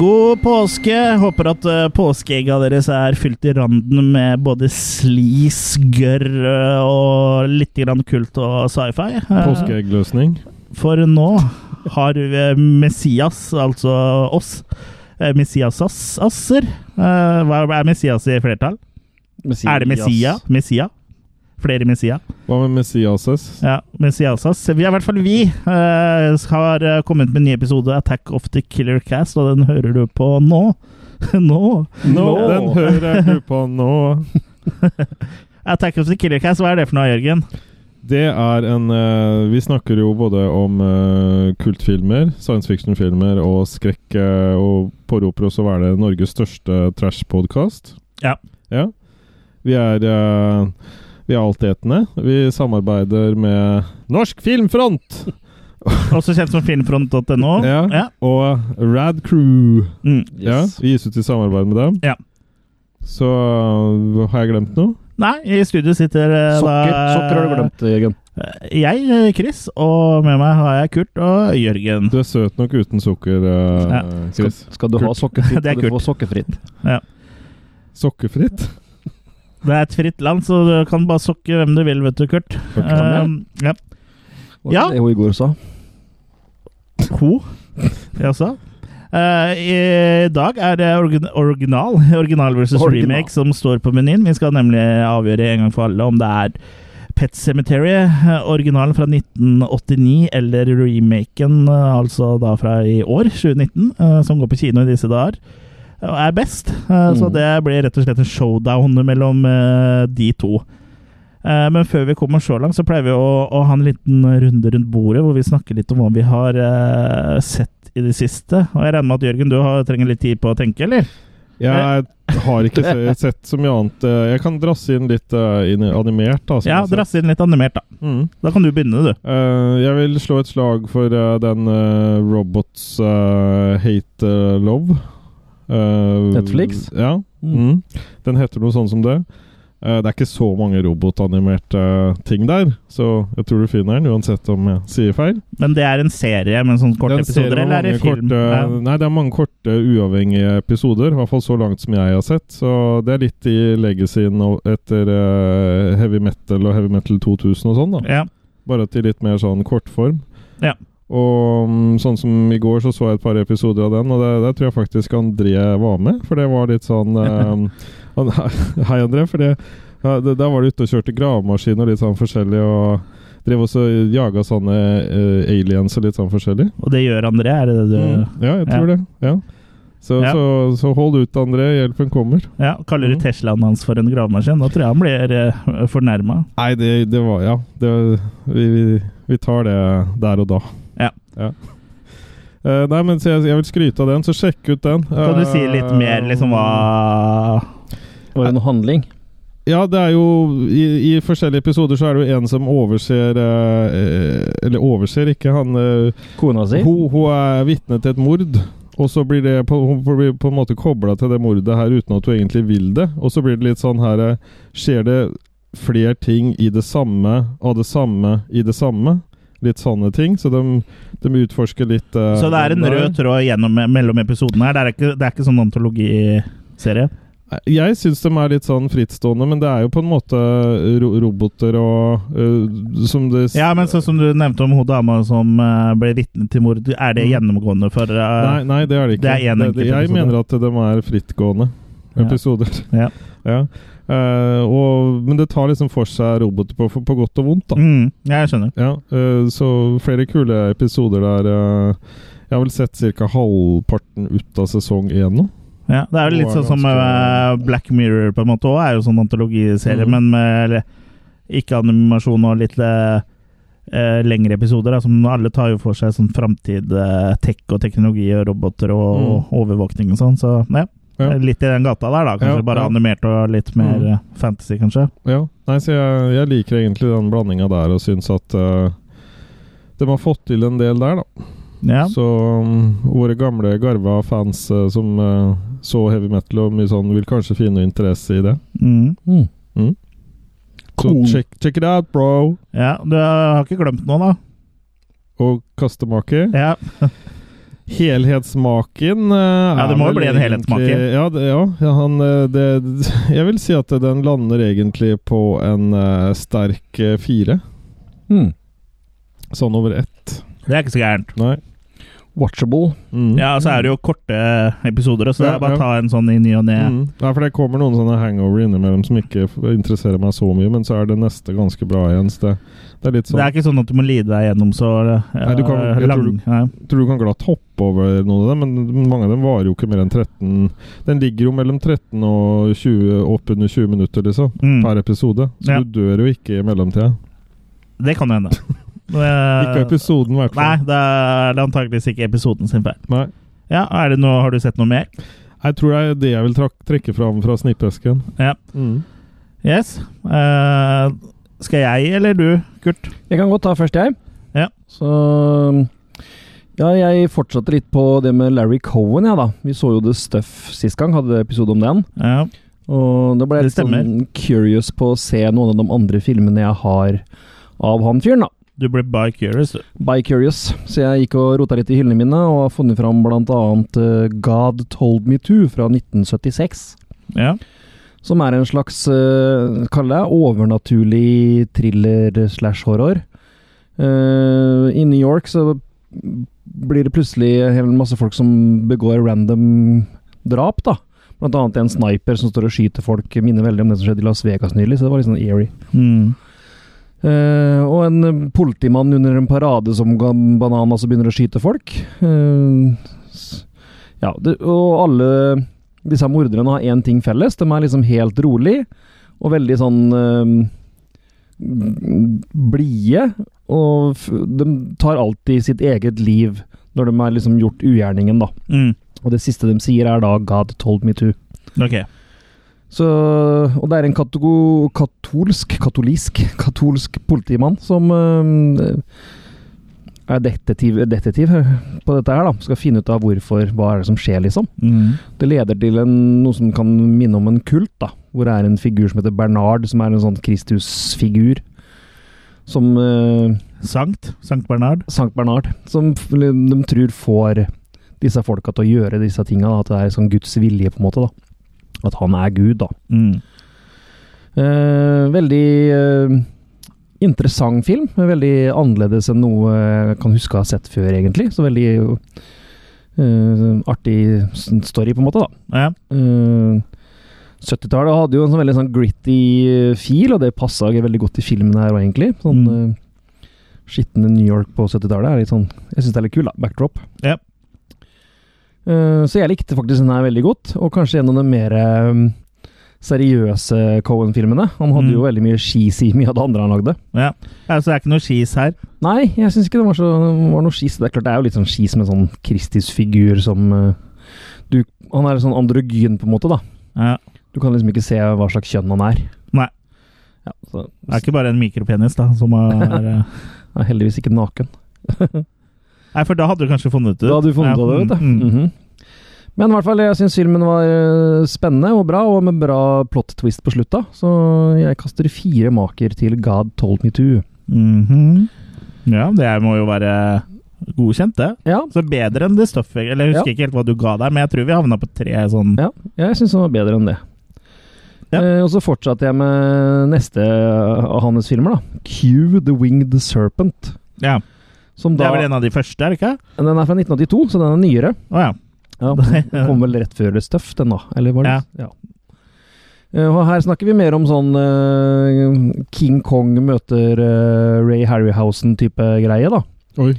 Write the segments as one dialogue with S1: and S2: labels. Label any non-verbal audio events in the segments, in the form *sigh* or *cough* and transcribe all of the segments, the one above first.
S1: God påske! Håper at eh, påskeegga deres er fylt i randen med både slis, gørr eh, og litt grann kult og sci-fi. Eh,
S2: Påskeeggløsning.
S1: For nå har eh, Messias, altså oss, eh, Messias-asser eh, Hva er Messias i flertall? Er det Messia? Messia? Flere Messia?
S2: Hva med Messiases?
S1: Ja, Messiasas. Vi er i hvert fall vi eh, har eh, kommet med en ny episode Attack of the Killer Cast, og den hører du på nå. *laughs* nå.
S2: Nå,
S3: Nå.
S2: Den hører du på nå.
S1: Attack of the Killer Cast, hva er det for noe, Jørgen?
S2: Det er en eh, Vi snakker jo både om eh, kultfilmer, science fiction-filmer og skrekk, eh, og påroper oss å være Norges største trash-podkast.
S1: Ja.
S2: ja. Vi er eh, Vi er altetende. Vi samarbeider med Norsk Filmfront
S1: Også kjent som filmfront.no.
S2: Ja. og Rad Crew.
S1: Mm.
S2: Ja,
S3: Yes.
S2: vi gis ut i samarbeid med dem.
S1: Ja.
S2: Så eh, har jeg glemt noe?
S1: Nei, i studio sitter eh,
S3: Sokker,
S1: da
S3: sokker har du glemt, Jørgen.
S1: Eh, Jeg, eh, Chris, og med meg har jeg Kurt og Jørgen.
S2: Du er søt nok uten sukker, eh,
S1: Ja.
S3: Skal,
S2: Chris.
S3: skal du ha
S2: Kult.
S3: sokkefritt,
S1: *laughs* Det er
S3: skal du få sokkefritt.
S2: Sokkefritt?
S1: Det er et fritt land, så du kan bare sokke hvem du vil, vet du, Kurt.
S2: Ok.
S1: Eh, ja.
S3: Var
S1: Ja.
S3: ikke Det hun i går sa.
S1: Ho. Jaså? Eh, I dag er det orgin original, *laughs* original versus
S3: Original.
S1: remake som står på menyen. Vi skal nemlig avgjøre en gang for alle om det er Pet Cemetery, eh, originalen fra 1989, eller remaken, eh, altså da fra i år, 2019, eh, som går på kino i disse dager, og er best. Eh, Så
S3: Mm.
S1: det blir rett og slett en showdown mellom eh, de to. Eh, Men før vi kommer så langt, så pleier vi å, å ha en liten runde rundt bordet, hvor vi snakker litt om hva vi har eh, sett i det siste. Og jeg regner med at Jørgen, du har, trenger litt tid på å tenke, eller?
S2: Jeg har
S1: *laughs*
S2: ikke se, sett så mye annet. eh, Jeg kan drasse inn litt eh, inn- animert. Da, som
S1: Ja,
S2: jeg ser.
S1: drasse inn litt animert, da.
S2: Mm.
S1: Da kan du begynne, du.
S2: Eh, jeg vil slå et slag for eh, den eh, Robots eh, Hate eh, Love. Eh,
S3: Netflix?
S2: Ja.
S3: Mm.
S2: Mm. Den heter noe sånn som det. Eh, det er ikke så mange robotanimerte eh, ting der, så jeg tror du finner den uansett om jeg sier feil.
S1: Men det er en serie med sånne korte
S2: Den serien
S1: episoder,
S2: har
S1: eller er det
S2: mange
S1: film?
S2: Korte,
S1: Ja.
S2: Nei, det er mange korte, uavhengige episoder. I hvert fall så langt som jeg har sett. Så det er litt i legacyen og- etter eh, heavy metal og heavy metal 2000 og sånn, da.
S1: Ja.
S2: Bare til litt mer sånn kortform.
S1: Ja.
S2: Og mm, sånn som i går så så jeg et par episoder av den, og der, der tror jeg faktisk André var med. For det var
S1: *laughs*
S2: litt sånn eh, han- *laughs* Hei, André. For det, ja, det, der var du ute og kjørte gravemaskin og litt sånn forskjellig. og Drev også og jaga sånne eh, aliens og litt sånn forskjellig.
S1: Og det gjør André, er det det du
S2: Mm. Ja, jeg tror det. Ja. Så,
S1: Ja.
S2: Så, så hold ut, André. Hjelpen kommer.
S1: Ja, Kaller du
S2: Mm.
S1: Teslaen hans for en gravemaskin? Da tror jeg han blir uh, fornærma.
S2: Nei, det, det var Ja. Det, vi, vi, vi tar det der og da.
S1: Ja.
S2: Eh, nei, men så jeg, jeg vil skryte av den, så sjekk ut den.
S1: Kan du si
S2: Eh,
S1: litt mer, liksom hva
S3: Var det noe handling?
S2: Ja, det er jo I, i forskjellige episoder så er det jo en som overser eh, eh, Eller overser ikke, han eh,
S3: Kona si?
S2: Hun, hun er vitne til et mord, og så blir det på, hun blir på en måte kobla til det mordet her uten at hun egentlig vil det. Og så blir det litt sånn her eh, Skjer det flere ting i det samme, av det samme, i det samme? Litt sånne ting. Så de, de utforsker litt eh,
S1: Så det er en
S2: den der.
S1: rød tråd gjennom mellom episodene her. Det er ikke, det er ikke sånn antologiserie.
S2: Jeg syns de er litt sånn frittstående, men det er jo på en måte ro roboter og eh, Som det s-
S1: Ja, men sånn som du nevnte om hun dama som eh, ble vitne til mord, er det
S2: Mm.
S1: gjennomgående for eh,
S2: Nei, nei, det er det ikke.
S1: Det er en enkelt
S2: jeg
S1: episode.
S2: mener at de er frittgående
S1: Ja.
S2: episoder.
S1: Ja.
S2: *laughs* Ja. Eh, og, men det tar liksom for seg roboter på, på godt og vondt, da.
S1: mm, Jeg skjønner.
S2: Ja, eh, så flere kule episoder der. eh, jeg har vel sett ca. halvparten ut av sesong én nå.
S1: Ja, det er jo
S2: Hun
S1: litt
S2: er
S1: sånn som
S2: ganske-
S1: eh, Black Mirror på en måte òg, er jo sånn antologiserie,
S2: Mm.
S1: men med eller, ikke animasjon og litt eh, eh, lengre episoder. Da, som alle tar jo for seg sånn framtid, eh, tech og teknologi og roboter og, og overvåkning og sånn. Så ja,
S2: Mm. Ja.
S1: litt i den gata der, da. Kanskje
S2: Ja,
S1: bare
S2: ja.
S1: animert og litt mer
S2: Mm.
S1: eh, fantasy, kanskje.
S2: Ja, nei, så jeg, jeg liker egentlig den blandinga der, og syns at eh, de har fått til en del der, da.
S1: Ja.
S2: Så um, våre gamle garva fans eh, som eh, så heavy metal og mye sånn, vil kanskje finne interesse i det.
S1: Mm.
S3: Mm.
S2: Så
S3: Cool.
S2: check, check it out, bro!
S1: Ja, du har ikke glemt noe, da?
S2: Mm. Og kastemaker.
S1: Ja.
S2: Helhetsmaken eh,
S1: Ja, det må jo bli en helhetsmake.
S2: Ja, det, ja ja, han, eh, det, *laughs* jeg vil si at den lander egentlig på en eh, sterk eh, fire.
S3: Hmm.
S2: Sånn over ett.
S1: Det er ikke så gærent.
S2: Nei.
S3: Watchable.
S2: Mm.
S1: Ja, og så er det jo korte episoder, så det
S2: Ja,
S1: er bare å
S2: ja.
S1: ta en sånn i ny og ne.
S2: Mm. Nei, for det kommer noen sånne hangover innimellom som ikke f- interesserer meg så mye, men så er det neste ganske bra igjen. Så det, det er litt
S1: Det
S2: sånn
S1: er ikke sånn at du må lide deg gjennom så eh,
S2: Nei, du kan- jeg tror
S1: lang
S2: du-
S1: Nei.
S2: tror du kan glatt hoppe over noen av dem, men mange av dem varer jo ikke mer enn 13 Den ligger jo mellom 13 og 20, opp under 20 minutter, liksom,
S1: Mm.
S2: per episode. Så
S1: Ja.
S2: du dør jo ikke i mellomtida.
S1: Det kan jo hende.
S2: Ikke episoden, i
S1: Eh,
S2: hvert
S1: Nei,
S2: fall.
S1: det er antakeligvis ikke episoden sin feil.
S2: Nei.
S1: Ja, er det noe, Har du sett noe mer?
S2: Jeg tror det er det jeg vil trak trekke fram fra snippesken.
S1: Ja.
S2: Mm.
S1: Yes. Eh, skal jeg eller du, Kurt?
S3: Jeg kan godt ta først, jeg.
S1: Ja.
S3: Så Ja, jeg fortsatte litt på det med Larry Cohen, jeg, ja, da. Vi så jo The Stuff sist gang, hadde episode om den.
S1: Ja.
S3: Og da ble jeg
S1: Det
S3: litt sånn curious på å se noen av de andre filmene jeg har av han fyren, da.
S1: Du ble bare curious, du.
S3: By Curious. Så jeg gikk og rota litt i hyllene mine, og har funnet fram blant annet eh, God Told Me To fra 1976.
S1: Ja.
S3: Som er en slags, uh, kall det, overnaturlig thriller slash horror. Eh, I New York så blir det plutselig en hel masse folk som begår random drap, da. Blant annet en sniper som står og skyter folk. Minner veldig om det som skjedde i Las Vegas nylig, så det var litt sånn eerie.
S1: Mm.
S3: Eh, og en eh, politimann under en parade som ga en banan, altså begynner å skyte folk. Eh, s- ja, det, og alle disse morderne har én ting felles. De er liksom helt rolig og veldig sånn eh, blide. Og f de tar alltid sitt eget liv når de har liksom gjort ugjerningen, da.
S1: Mm.
S3: Og det siste de sier, er da 'God told me to'.
S1: Ok.
S3: Så, og det er en katego, katolsk, katolisk, katolsk politimann som øhm, er detektiv, detektiv eh, på dette her, da. Skal finne ut av hvorfor, hva er det som skjer, liksom.
S1: Mm.
S3: Det leder til en, noe som kan minne om en kult, da. Hvor det er en figur som heter Bernard, som er en sånn Kristusfigur. Som øh,
S1: Sankt. Sankt Bernard.
S3: Sankt Bernard. Som f- de tror får disse folka til å gjøre disse tinga. da, At det er sånn Guds vilje, på en måte. da. At han er Gud, da.
S1: Mm.
S3: Eh, veldig eh, interessant film. Veldig annerledes enn noe jeg kan huske å ha sett før, egentlig. Så veldig eh, artig s- story, på en måte, da.
S1: Ja.
S3: Eh, 70-tallet hadde jo en sånn veldig sånn gritty eh, feel, og det passa veldig godt i filmen her òg, egentlig. Sånn
S1: Mm.
S3: eh, skitne New York på 70-tallet er litt sånn Jeg syns det er litt kul, da. Backdrop.
S1: Ja.
S3: Eh, så jeg likte faktisk den her veldig godt, og kanskje en av de mer eh, seriøse Cohen-filmene. Han hadde
S1: Mm.
S3: jo veldig mye skis i mye av det andre han lagde.
S1: ja. ja. Så det er ikke noe skis her.
S3: Nei, jeg syns ikke det var, så, det var noe skis. Det er klart det er jo litt sånn skis med sånn Kristus-figur som eh, du, Han er sånn androgyn, på en måte, da.
S1: Ja.
S3: Du kan liksom ikke se hva slags kjønn han er.
S1: Nei.
S3: Ja, så
S1: Det er ikke bare en mikropenis, da, som er eh,
S3: han er heldigvis ikke naken.
S1: Nei, for da hadde du kanskje funnet det ut.
S3: Da hadde du funnet
S1: Ja,
S3: det, vet du.
S1: mm, mm.
S3: Mhm. Men i hvert fall, jeg syns filmen var eh, spennende og bra, og med bra plot twist på slutta. Så jeg kaster fire maker til God Told Me To.
S1: Mhm. Ja, det må jo være godkjent, det.
S3: Ja,
S1: Så bedre enn det stoffet Eller jeg husker ikke helt hva du ga der, men jeg tror vi havna på tre sånn
S3: Ja. jeg syns den var bedre enn det.
S1: Ja.
S3: Eh, og så fortsatte jeg med neste eh, av hans filmer, da. Q The Winged Serpent.
S1: Ja.
S3: Som
S1: Det
S3: da,
S1: er vel en av de første, er det ikke?
S3: Den er fra 1982, så den er nyere.
S1: Å ja.
S3: *laughs* Ja, den kom vel rett før Stuff, den da? Eller var det? Ja. Eh, Og her snakker vi mer om sånn eh, King Kong møter eh, Ray Harryhausen-type greie, da.
S2: Oi.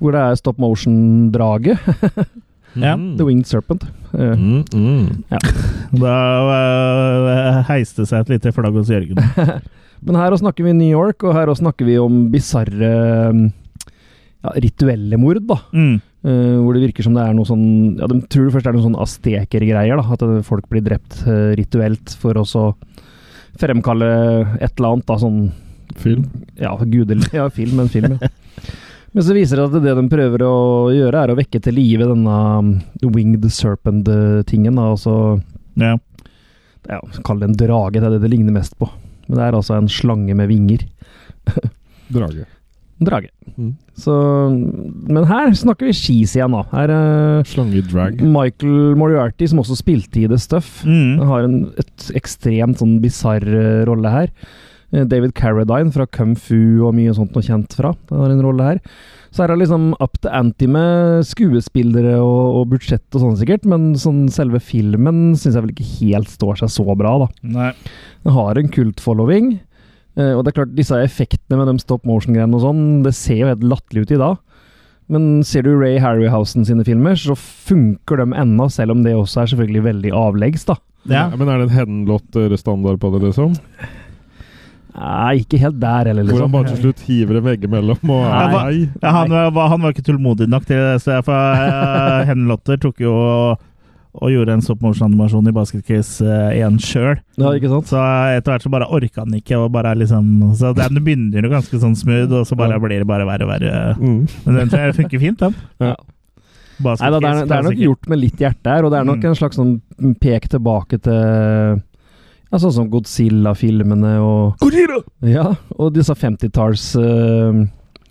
S3: Hvor det er stop motion-draget.
S1: Ja.
S2: Mm.
S3: The Winged Serpent. Eh,
S2: Mm, mm.
S1: *laughs* Da øh, heiste det seg et lite flagg hos Jørgen.
S3: Men her også snakker vi New York, og her også snakker vi om bisarre eh, ja, rituelle mord, da.
S1: Mm.
S3: Eh, hvor det virker som det er noe sånn Ja, de tror det først er noe sånn astekergreier, da. At eh, folk blir drept eh, rituelt for å så fremkalle et eller annet, da. Sånn
S2: Film.
S3: Ja, gudelig. Ja, film, en film, ja. Men så viser det seg at det de prøver å gjøre, er å vekke til live denne um, winged serpent-tingen. da, Altså,
S1: Ja.
S3: ja, kall det en drage, det er det det ligner mest på. Men det er altså en slange med vinger.
S2: Drage.
S3: drage.
S2: Mm.
S3: Så, men her snakker vi skis igjen, da. Her er
S2: Slangedrag.
S3: Mm. Michael Moriarty, som også spilte i The Stuff.
S1: Mm.
S3: Han har en et ekstremt sånn bisarr eh, rolle her. Eh, David Carradine fra Kung Fu og mye sånt noe kjent fra. Han har en rolle her. Så her er liksom up to ante med skuespillere og, og budsjett og sånn sikkert, men sånn selve filmen syns jeg vel ikke helt står seg så bra, da.
S1: Nei.
S3: Den har en kultfollowing. eh, Og det er klart, disse effektene med de stop motion-greiene og sånn, det ser jo helt latterlig ut i dag. Men ser du Ray Harryhausen sine filmer, så funker de ennå, selv om det også er selvfølgelig veldig avleggs, da.
S1: Ja.
S2: Ja, Men er det en Henlott-standard på det, liksom?
S3: Nei, ikke helt der heller,
S2: Hvor han
S3: liksom.
S2: bare til slutt hiver en veggimellom og er
S1: Nei.
S2: lei?
S1: Ja, han, var, han var ikke tålmodig nok til det, så jeg- for uh, Henlotter tok jo og, og gjorde en soppmorsanimasjon i eh, Basketquiz 1 sjøl.
S3: Ja, ikke sant?
S1: Så etter hvert så bare orka han ikke, og bare liksom Så den begynner jo ganske sånn smooth, og så bare blir det bare verre og verre.
S2: Mm.
S1: Men den tror jeg funker fint, den.
S2: Ja.
S1: Basket
S3: Nei, da, det, er,
S1: Case,
S3: det er nok
S1: klassiker.
S3: gjort med litt hjerte her, og det er nok
S1: Mm.
S3: en slags sånn pek tilbake til ja, Sånn som Godzilla-filmene og Ja, og disse 50-talls eh,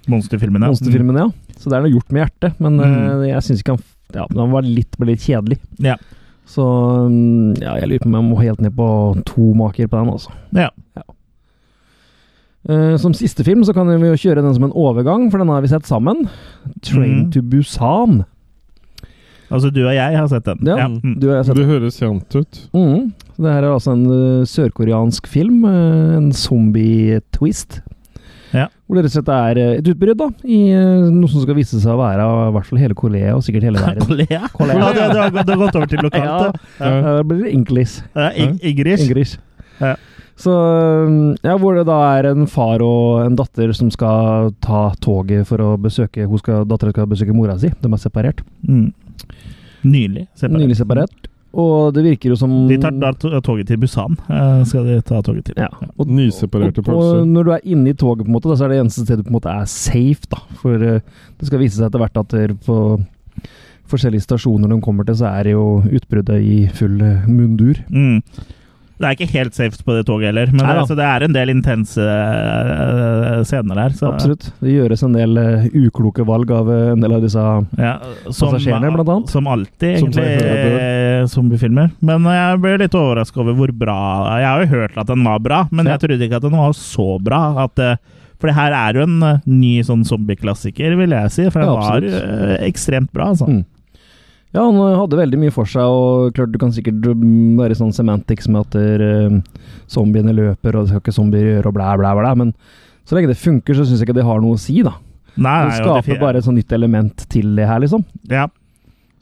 S1: Monsterfilmene.
S3: monsterfilmene, ja. Så det er noe gjort med hjertet, men
S1: Mm.
S3: eh, jeg syns ikke han f- ja, Han var litt, ble litt kjedelig.
S1: Ja.
S3: Så mm, ja, jeg lurer på om jeg må helt ned på to maker på den, altså.
S1: Ja.
S3: Eh, som siste film så kan vi jo kjøre den som en overgang, for den har vi sett sammen. 'Train
S1: Mm.
S3: to Busan'.
S1: Altså, du og jeg har sett den.
S3: Ja,
S1: Mm.
S3: Du har sett
S2: Det høres kjent ut.
S3: Mm. Så Det her er altså en ø, sørkoreansk film, ø, en zombie-twist.
S1: Ja.
S3: Hvor det rett og slett er ø, et utbrudd da, i ø, noe som skal vise seg å være av i hvert fall hele Korea, og
S1: *laughs*
S3: sikkert hele verden.
S1: Kolea?
S3: Kolea.
S1: Ja, du, du, har, du har gått over til lokalt, da.
S2: Ja.
S3: Ja, det blir English.
S1: Ja, Ing- Ingrid.
S3: English.
S1: Ja.
S3: Så ø, ja, Hvor det da er en far og en datter som skal ta toget for å besøke hun skal, Datteren skal besøke mora si. De er separert.
S1: Mm. Nylig. separat.
S3: Nylig separert. Og det virker jo som
S1: De tar da to- toget til Busan. eh, Skal de ta toget til.
S3: ja. Og
S2: Nyseparerte
S3: Og, og
S2: pølser.
S3: når du er inne i toget, på en måte, da, så er det eneste stedet du på en måte er safe. da. For eh, det skal vise seg etter hvert at der på forskjellige stasjoner de kommer til, så er det jo utbruddet i full eh, mundur.
S1: Mm. Det er ikke helt safe på det toget heller, men det,
S3: Nei da.
S1: altså, det er en del intense eh, scener der. Så,
S3: Absolutt. Det gjøres en del eh, ukloke valg av eh, en del av disse
S1: Ja, som,
S3: Passasjerene, blant annet.
S1: Som alltid,
S2: Som
S1: egentlig,
S2: seg hører
S1: eh, zombiefilmer. Men eh, jeg ble litt overraska over hvor bra Jeg har jo hørt at den var bra, men
S3: Ja.
S1: jeg trodde ikke at den var så bra. At, eh, for det her er jo en eh, ny sånn zombieklassiker, vil jeg si. For den
S3: Ja,
S1: var
S3: absolutt.
S1: eh, ekstremt bra, altså.
S3: Mm. Ja, han eh, hadde veldig mye for seg, og klart du kan sikkert mm, være sånn semantics med at der, eh, zombiene løper, og det skal ikke zombier gjøre, og blæ, blæ, blæ. Men så lenge det funker, så syns jeg ikke det har noe å si, da.
S1: Nei,
S3: Det
S1: nei, jo, det
S3: skaper
S1: fi-
S3: bare et sånt nytt element til det her, liksom.
S1: ja.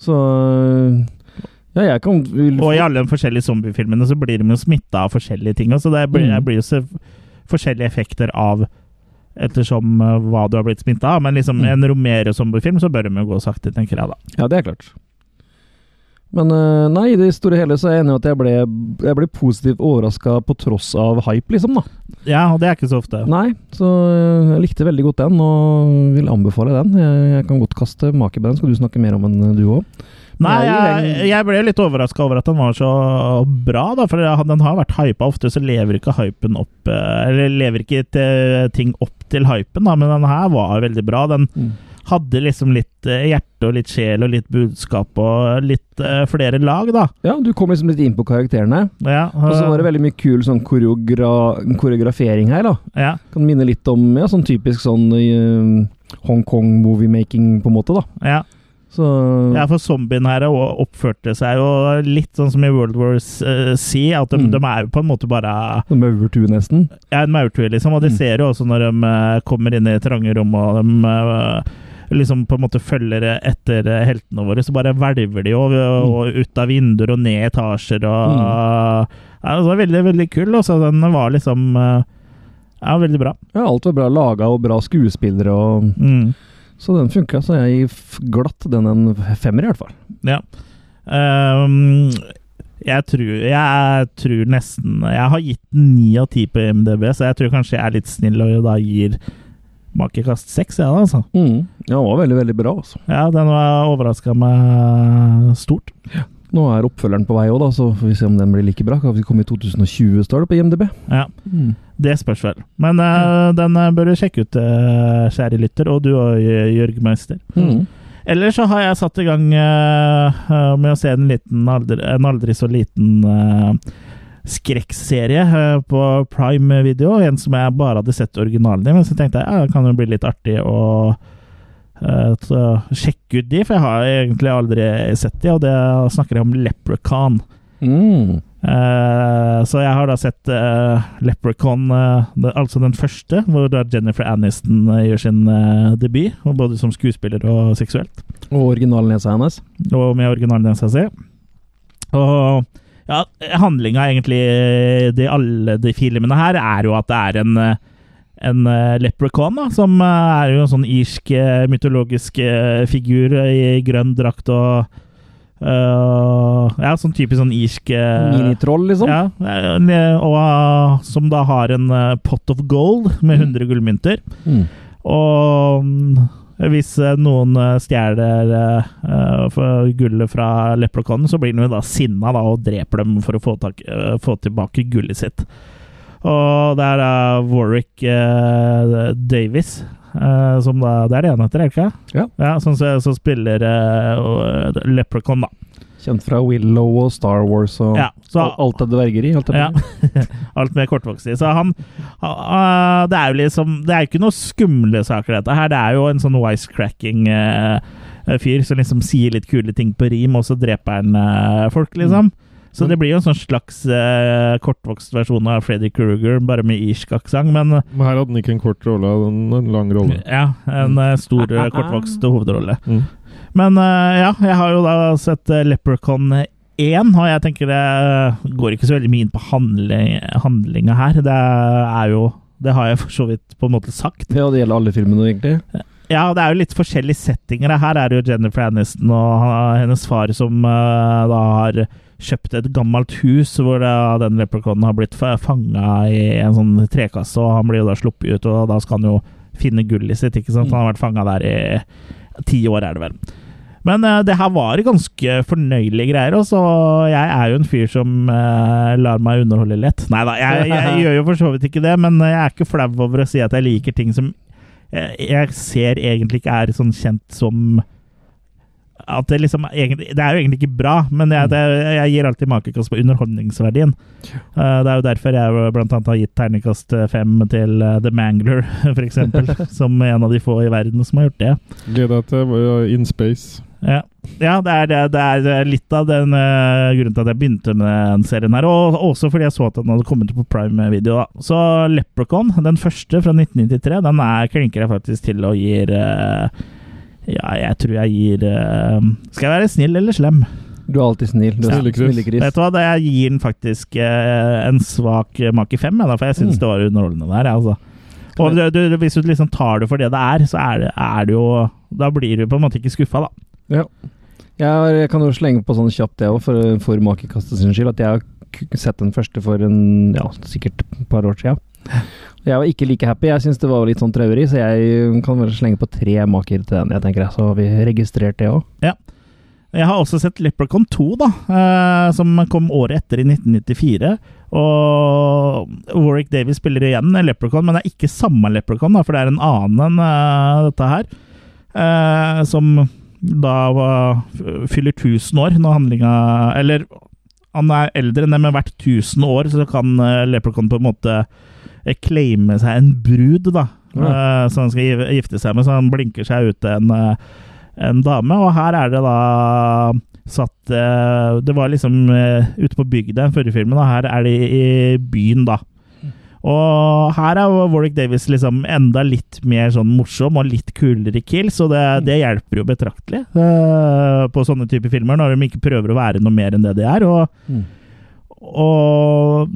S3: Så eh, Ja, jeg kan vil,
S1: Og i alle de forskjellige zombiefilmene så blir de jo smitta av forskjellige ting. Så det blir,
S3: Mm.
S1: blir jo så forskjellige effekter av Ettersom eh, hva du har blitt smitta av. Men liksom
S3: Mm.
S1: en Romero-zombiefilm, så bør de jo gå sakte, tenker jeg da.
S3: Ja, det er klart. Men eh, nei, i det store og hele så er jeg enig i at jeg ble, jeg ble positivt overraska på tross av hype, liksom, da.
S1: Ja, og det er ikke så ofte.
S3: Nei, så eh, jeg likte veldig godt den, og vil anbefale den. Jeg, jeg kan godt kaste make på den. Skal du snakke mer om den, eh, du òg?
S1: Nei, jeg,
S3: Nei, den-
S1: jeg ble litt overraska over at den var så bra, da, for han- den har vært hypa. Ofte så lever ikke hypen opp eh, Eller lever ikke til, eh, ting opp til hypen, da, men den her var veldig bra. Den hadde liksom litt eh, hjerte og litt sjel og litt budskap og litt eh, flere lag, da.
S3: Ja, du kom liksom litt inn på karakterene.
S1: Ja,
S3: Og så var det veldig mye kul sånn koreogra koreografering her, da.
S1: ja.
S3: Kan minne litt om ja, sånn typisk sånn eh, Hong Kong moviemaking, på en måte, da.
S1: Ja.
S3: Så
S1: ja, for zombien her og- oppførte seg jo litt sånn som i World War eh, C, at de,
S3: Mm.
S1: de er jo på en måte bare
S3: De overtur nesten.
S1: Ja, en maurtue, liksom. Og de
S3: Mm.
S1: ser jo også når de eh, kommer inn i trange rom og de eh, liksom på en måte følger etter eh, heltene våre, så bare hvelver de jo
S3: Mm.
S1: og, og ut av vinduer og ned etasjer og
S3: Mm.
S1: ja, Det var veldig, veldig kul. Også. Den var liksom eh, Ja, veldig bra.
S3: Ja, alt var bra laga og bra skuespillere, og,
S1: Mm.
S3: så den funka. Så jeg gir f- glatt den en femmer, i hvert fall.
S1: Ja. Ehm, jeg tror, jeg tror nesten Jeg har gitt den ni av ti på MDB, så jeg tror kanskje jeg er litt snill og da gir makekast seks, jeg, ja, da, altså.
S3: Ja, den var veldig, veldig bra, altså.
S1: Ja, den var overraska meg stort.
S3: Nå er oppfølgeren på vei òg, så får vi se om den blir like bra. Kan vi komme i 2020, står det på IMDb.
S1: Ja, det spørs vel. Men eh, den eh, bør du sjekke ut, eh, kjære lytter, og du òg, Jørg Meister.
S3: Mm.
S1: Ellers så har jeg satt i gang eh, eh, med å se en, liten, aldri, en aldri så liten eh, skrekkserie eh, på prime video. En som jeg bare hadde sett originalen i, men så tenkte jeg ja, det kan jo bli litt artig å eh, så sjekke ut de, for jeg har egentlig aldri sett de, og det snakker jeg om Leprechaun.
S3: Mm.
S1: Eh, så jeg har da sett eh, Leprechaun, eh, det- altså den første, hvor da Jennifer Aniston eh, gjør sin eh, debut, og både som skuespiller og seksuelt.
S3: Og originalnesa hennes.
S1: Og med originaldansa si. Og ja, handlinga egentlig eh, de alle de filmene her er jo at det er en eh, en eh, leprechaun, da, som eh, er jo en sånn irsk eh, mytologisk eh, figur i grønn drakt og eh, Ja, sånn typisk sånn irsk eh,
S3: Minitroll, liksom.
S1: ja, eh, og eh, som da har en eh, pot of gold med 100 gullmynter.
S3: Mm.
S1: Og mm, hvis eh, noen eh, stjeler eh, eh, for gullet fra leprekonen, så blir den jo da sinna da, og dreper dem for å få, tak, eh, få tilbake gullet sitt. Og det er da Warwick eh, Davis eh, som da, Det er det han heter, er det ikke?
S3: Ja.
S1: som, som spiller uh, leprekonen, da.
S3: Kjent fra Willow og Star Wars og
S1: Ja, så-
S3: al- alt av dvergeri. Alt av
S1: Ja. *laughs* Alt mer kortvokst. Så han ah, ah, Det er jo liksom Det er jo ikke noe skumle saker, dette her. Det er jo en sånn wisecracking eh, fyr som liksom sier litt kule ting på rim, og så dreper han eh, folk, liksom. Så det blir jo en sånn slags eh, kortvokst versjon av Freddy Kruger, bare med irsk aksent, men
S2: Men her hadde den ikke en kort rolle, den- en lang rolle.
S1: ja, en eh, stor, eh, kortvokst hovedrolle.
S2: Mm.
S1: Men eh, ja, jeg har jo da sett eh, Leprechaun 1, og jeg tenker det eh, går ikke så veldig mye inn på handling, handlinga her. Det er jo Det har jeg for så vidt på en måte sagt.
S3: Ja, det gjelder alle filmene, egentlig.
S1: Ja, det er jo litt forskjellige settinger. da. Her er det jo Jennifer Aniston og han- hennes far som eh, da har kjøpt et gammelt hus hvor da den leprechaunen har blitt fanga i en sånn trekasse, og han blir jo da sluppet ut, og da skal han jo finne gullet sitt, ikke sant? Han har vært fanga der i ti år, er det vel. Men eh, det her var ganske fornøyelige greier, og så jeg er jo en fyr som eh, lar meg underholde lett. Nei da, jeg, jeg gjør jo for så vidt ikke det, men eh, jeg er ikke flau over å si at jeg liker ting som jeg, jeg ser egentlig ikke er sånn kjent som at det liksom egentlig, Det er jo egentlig ikke bra, men jeg, det, jeg gir alltid makekast på underholdningsverdien. Eh, det er jo derfor jeg jo blant annet har gitt terningkast fem til eh, The Mangler, *laughs* f.eks., som en av de få i verden som har gjort det.
S2: Gleder deg til uh, In Space.
S1: Ja, ja det, er, det, det er litt av den eh, grunnen til at jeg begynte med den serien her. Og også fordi jeg så at den hadde kommet på prime video. da. Så Leprechaun, den første fra 1993, den er, klinker jeg faktisk til og gir eh, Ja, jeg tror jeg gir eh, Skal jeg være snill eller slem?
S3: Du er alltid snill. Du er
S2: Snille Chris.
S3: snille Chris.
S1: Vet du hva, det- Jeg gir den faktisk eh, en svak make fem, jeg, da, for jeg syns
S3: Mm.
S1: det var underholdende der. jeg, altså. Og du, du, hvis du liksom tar det for det det er, så er det, er det jo Da blir du på en måte ikke skuffa, da.
S3: Jeg, har, jeg kan jo slenge på sånn kjapt det òg, for, for makekastet sin skyld. At jeg har k- sett den første for en, ja, sikkert et par år siden. Jeg var ikke like happy. Jeg syns det var litt sånn traurig, så jeg kan vel slenge på tre maker til den. jeg tenker jeg. Så har vi registrert det òg.
S1: Jeg har også sett Leprechaun 2, da, eh, som kom året etter i 1994. Og Warwick Davis spiller igjen en Leprechaun, men det er ikke samme Leprechaun, da, for det er en annen enn eh, dette her. eh, som da var, fyller 1000 år når handlinga Eller han er eldre enn det, men hvert 1000 år så kan uh, Leprechaun på en måte eh, claime seg en brud, da. eh, som han skal gi- gifte seg med, så han blinker seg ut en eh, en dame, og her er det da satt eh, Det var liksom eh, ute på bygda i den forrige filmen, og her er det i byen, da. Og her er jo Warwick Davis liksom enda litt mer sånn morsom og litt kulere kill, så det, det hjelper jo betraktelig eh, på sånne typer filmer, når de ikke prøver å være noe mer enn det de er. og
S3: Mm.
S1: og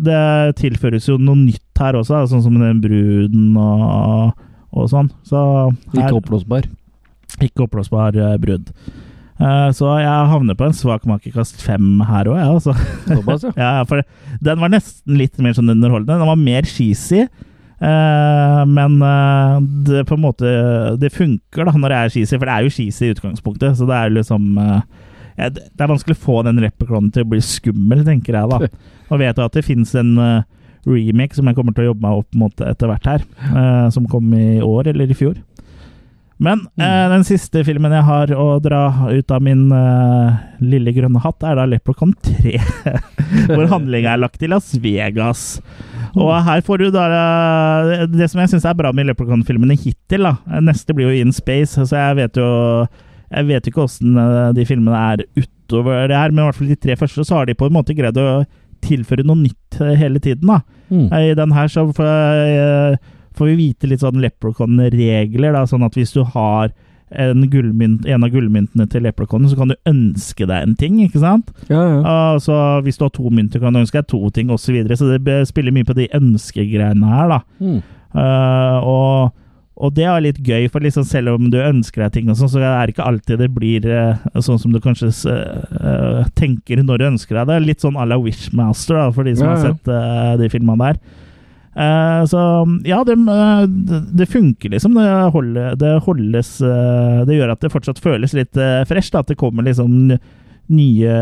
S1: det tilføres jo noe nytt her også, da, sånn som den bruden og, og sånn. Så her-
S3: Ikke oppblåsbar.
S1: ikke oppblåsbar eh, brudd. Eh, Så jeg havner på en svak makekast fem her òg, jeg, altså. *laughs*
S3: Såpass, *laughs* ja.
S1: Ja, for den var nesten litt mer sånn underholdende. Den var mer cheesy. eh, men eh, det på en måte Det funker da når det er cheesy, for det er jo cheesy i utgangspunktet. Så det er jo liksom eh, ja, det det er vanskelig å få den rappeklonen til å bli skummel, tenker jeg da. Og vet jo at det finnes en eh, remake som jeg kommer til å jobbe meg opp mot etter hvert her, eh, som kom i år eller i fjor. Men eh, den siste filmen jeg har å dra ut av min eh, lille grønne hatt, er da Leprechaun 3. *laughs* hvor handlinga er lagt til Las Vegas. Og her får du da eh, Det som jeg syns er bra med Leprechaun-filmene hittil, da Neste blir jo In Space, så jeg vet jo Jeg vet jo ikke åssen de filmene er utover det her, men i hvert fall de tre første, så har de på en måte greid å tilføre noe nytt eh, hele tiden, da.
S3: Mm.
S1: I den her så får, eh, får vi vite litt sånn leprechaun-regler, da, sånn at hvis du har en, gullmynt, en av gullmyntene til leprechaunen, så kan du ønske deg en ting, ikke sant?
S3: Ja, ja.
S1: Og så hvis du har to mynter, kan du ønske deg to ting, osv. Så, videre. så det be- spiller mye på de ønskegreiene her, da.
S3: Mm.
S1: Eh, og, og det er litt gøy, for liksom selv om du ønsker deg ting, og sånn, så er det ikke alltid det blir eh, sånn som du kanskje s- eh, tenker når du ønsker deg det. Litt sånn à la Wishmaster, da, for de som
S3: Ja,
S1: har
S3: ja.
S1: sett eh, de filmene der. Eh, så ja, det, eh, det- det funker liksom. Det, holder, det holdes eh, Det gjør at det fortsatt føles litt uh, fresh, da, at det kommer liksom nye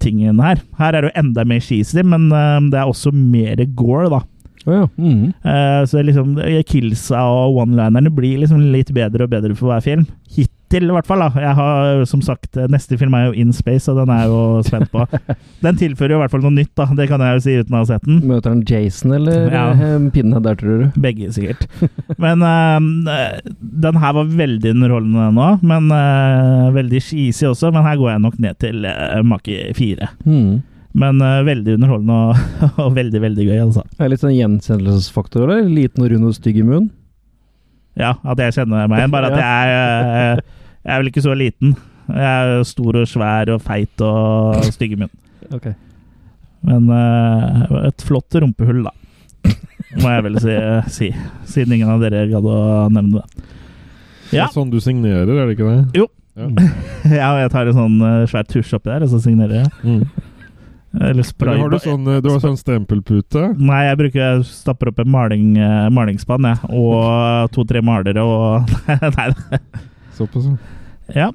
S1: ting inn her. Her er det jo enda mer cheesy, men eh, det er også mer gore, da.
S3: Ja, ja. Mm.
S1: Eh, så liksom, killsa og one-linerne blir liksom litt bedre og bedre for hver film. Hittil, i hvert fall. da. Jeg har som sagt, eh, Neste film er jo In Space, og den er jeg jo spent på. Den tilfører jo i hvert fall noe nytt, da. Det kan jeg jo si uten å ha sett den.
S3: Mm. Møter han Jason eller
S1: Ja.
S3: eh, Pinhead der, tror du?
S1: Begge, sikkert. Men eh, den her var veldig underholdende, den òg. Men eh, veldig cheesy også. Men her går jeg nok ned til eh, make fire.
S3: Mm.
S1: Men eh, veldig underholdende og, *laughs* og veldig, veldig gøy, altså.
S3: Er det litt sånn gjenkjennelsesfaktor, eller? Liten og rund og stygg i munnen?
S1: Ja, at jeg kjenner meg igjen. Bare at jeg, eh, jeg er vel ikke så liten. Jeg er stor og svær og feit og stygg i munnen.
S3: Ok.
S1: Men eh, et flott rumpehull, da. Må jeg vel si, si. Siden ingen av dere gadd å nevne det.
S2: Det
S1: Ja.
S2: er sånn du signerer, er det ikke det?
S1: Jo.
S2: Ja.
S1: *laughs* Ja, og jeg tar en sånn eh, svær tusj oppi der, og så signerer jeg.
S2: Mm.
S1: Eller spray.
S2: Eller har du sånn, eh, du har sånn stempelpute?
S1: Nei, jeg bruker jeg stapper opp en maling, eh, malingsspann, jeg. Og to-tre malere og *laughs* Nei da.
S2: Såpass, ja.
S1: Ja.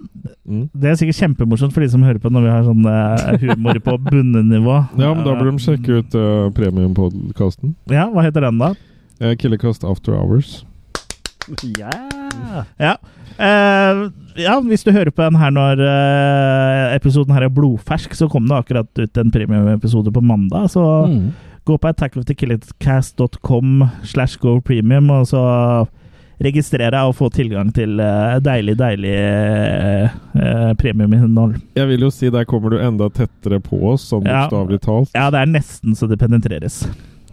S2: Mm.
S1: Det er sikkert kjempemorsomt for de som hører på når vi har sånn eh, humor
S2: *laughs*
S1: på bunnenivå.
S2: Ja, men da burde de sjekke ut uh, premiumpodkasten.
S1: Ja, hva heter den, da?
S2: Uh, Killercast After Hours.
S3: Yeah.
S1: Ja. Eh, ja, hvis du hører på den her når eh, episoden her er blodfersk, så kom det akkurat ut en premiumepisode på mandag. Så
S3: Mm.
S1: gå på attackofthekillercast.com slash go premium, og så registrer deg og få tilgang til eh, deilig, deilig eh, eh, premiuminnhold.
S2: Jeg vil jo si der kommer du enda tettere på oss, sånn
S1: Ja.
S2: bokstavelig talt.
S1: Ja, det er nesten så det penetreres.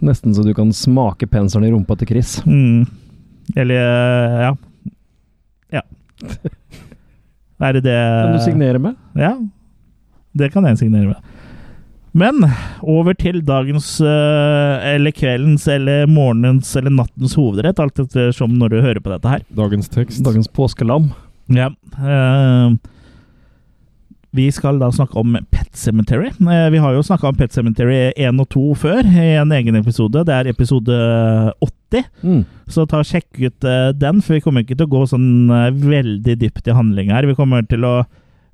S3: Nesten så du kan smake penselen i rumpa til Chris.
S1: Mm. Eller eh, ja.
S3: *laughs*
S1: Ja. Er det det
S3: Kan du signere med?
S1: Ja. Det kan jeg signere med. Men over til dagens, eh, eller kveldens, eller morgenens, eller nattens hovedrett. Alt ettersom når du hører på dette her.
S2: Dagens tekst.
S3: Dagens påskelam.
S1: Ja. eh, vi skal da snakke om Pet Cemetery. Eh, vi har jo snakka om Pet Cemetery 1 og 2 før, i en egen episode. Det er episode 80.
S3: Mm.
S1: Så ta og sjekk ut eh, den, for vi kommer ikke til å gå sånn eh, veldig dypt i handling her. Vi kommer til å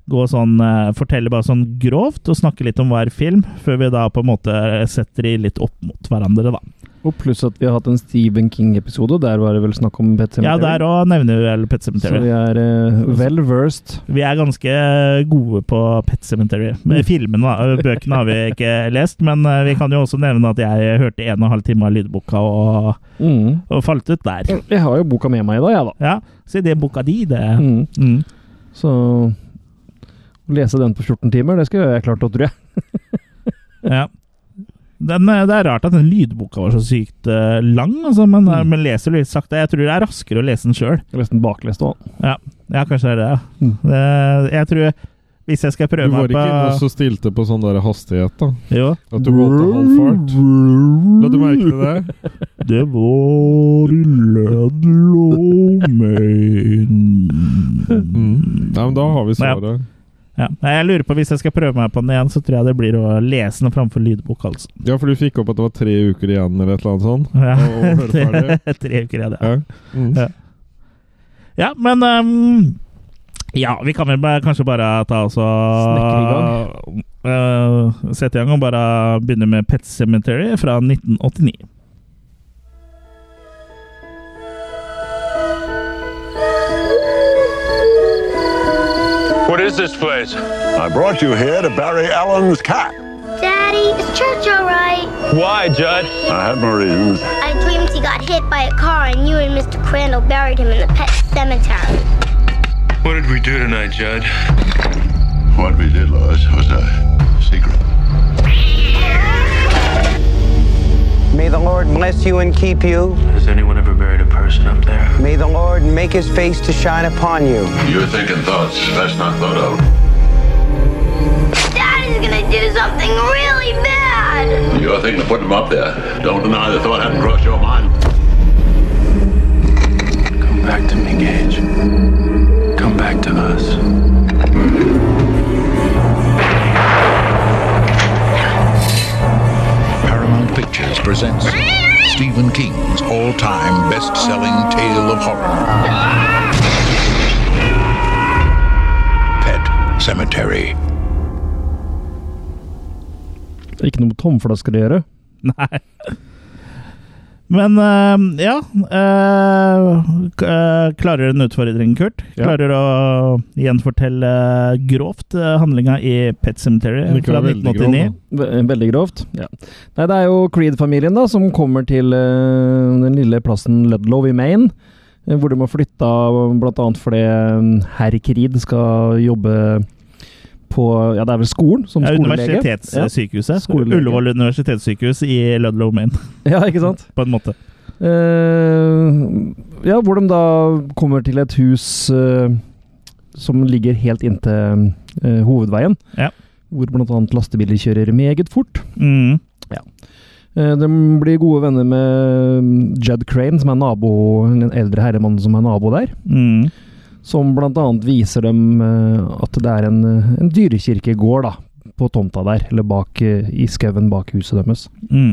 S1: gå sånn, eh, fortelle bare sånn grovt og snakke litt om hver film, før vi da på en måte eh, setter de litt opp mot hverandre, da.
S3: Og pluss at vi har hatt en Stephen King-episode, og der var det vel snakk om Pet
S1: Ja, der
S3: Sematary.
S1: òg nevner vi vel Pet
S3: så
S1: Cemetery.
S3: vi Mm, er eh, well versed.
S1: Vi er ganske gode på Pet Cemetery. Men
S3: Mm.
S1: Filmene, da. Eh, Bøkene har vi ikke
S3: *laughs*
S1: lest, men eh, vi kan jo også nevne at jeg hørte en og en halv time av lydboka og,
S3: Mm.
S1: og falt ut der.
S3: Jeg har jo boka med meg i dag, jeg, da.
S1: Ja, så det er boka di, det.
S3: Mm.
S1: Mm.
S3: Så å lese den på 14 timer, det skulle jeg klart å, tror jeg.
S1: Ja. Den, eh, det er rart at den lydboka var så sykt eh, lang, altså, men, eh,
S3: Mm.
S1: men leser du litt sakte. Jeg tror det er raskere å lese den sjøl.
S3: Jeg leste den baklest òg.
S1: Ja, kanskje det er det. ja.
S3: Mm.
S1: Eh, jeg tror Hvis jeg skal prøve
S2: Du var
S1: meg
S2: ikke inne og
S1: på
S2: så stilte på sånn der hastighet, da?
S1: Jo.
S2: At du går til halv fart? La du merke til det?
S1: Det var i Ludlow Maine
S2: Mm. Nei, men da har vi svaret.
S1: ja. Nei, Jeg lurer på Hvis jeg skal prøve meg på den igjen, så tror jeg det blir å lese den framfor lydbok. altså.
S2: Ja, for du fikk opp at det var tre uker igjen, eller et eller annet sånt?
S1: Ja.
S2: Og høre
S1: *laughs*
S2: ferdig.
S1: Tre uker, ja. det er.
S2: Ja. Mm.
S1: Ja, men ehm, Ja, vi kan vel bare, kanskje bare ta oss og Eh, Sette i gang og bare begynne med Pet Cemetery fra 1989.
S4: What is this place?
S5: I brought you here to bury Alan's cat.
S6: Daddy, is church all right?
S4: Why, Judd?
S5: I had my reasons.
S6: I dreamed he got hit by a car and you and Mr. Crandall buried him in the pet cemetery.
S4: What did we do tonight, Judd?
S5: What we did, Lois, was a secret.
S7: May the Lord bless you and keep you.
S4: Has anyone ever buried a person up there?
S7: May the Lord make his face to shine upon you.
S5: You're thinking thoughts that's not thought of.
S6: Daddy's gonna do something really bad!
S5: You're thinking of putting them up there. Don't deny the thought hadn't crossed your mind.
S4: Come back to me, Gage. Come back to us.
S8: Paramount Pictures presents Stephen King's all-time best-selling tale of horror. Pet Cemetery.
S3: Ikke noe med tomflasker å gjøre.
S1: Nei. Men eh, ja eh, k- eh, Klarer du en utfordring, Kurt?
S2: Ja.
S1: Klarer du å gjenfortelle grovt eh, handlinga i Pet Cemetery
S2: Den ikke
S1: fra
S2: var veldig
S1: 1989?
S2: grov,
S3: Ve- Veldig grovt. Ja. Nei, det er jo Creed-familien da, som kommer til eh, den lille plassen Ludlow i Maine. eh, Hvor de har flytta bl.a. fordi eh, herr Creed skal jobbe på Ja, det er vel skolen? Som
S1: Ja,
S3: skolelege.
S1: universitetssykehuset.
S3: Skolelege.
S1: Ullevål universitetssykehus i Ludlow, Maine, *laughs*
S3: Ja, ikke sant?
S1: på en måte.
S3: Eh, ja, hvor de da kommer til et hus eh, som ligger helt inntil eh, hovedveien.
S1: Ja.
S3: Hvor bl.a. lastebiler kjører meget fort.
S1: Mm.
S3: Eh, De blir gode venner med mm, Jed Crane, som er nabo, en eldre herremann som er nabo der.
S1: Mm.
S3: Som bl.a. viser dem eh, at det er en, eh, en dyrekirkegård da, på tomta der, eller bak, eh, i skauen bak huset deres.
S1: Mm.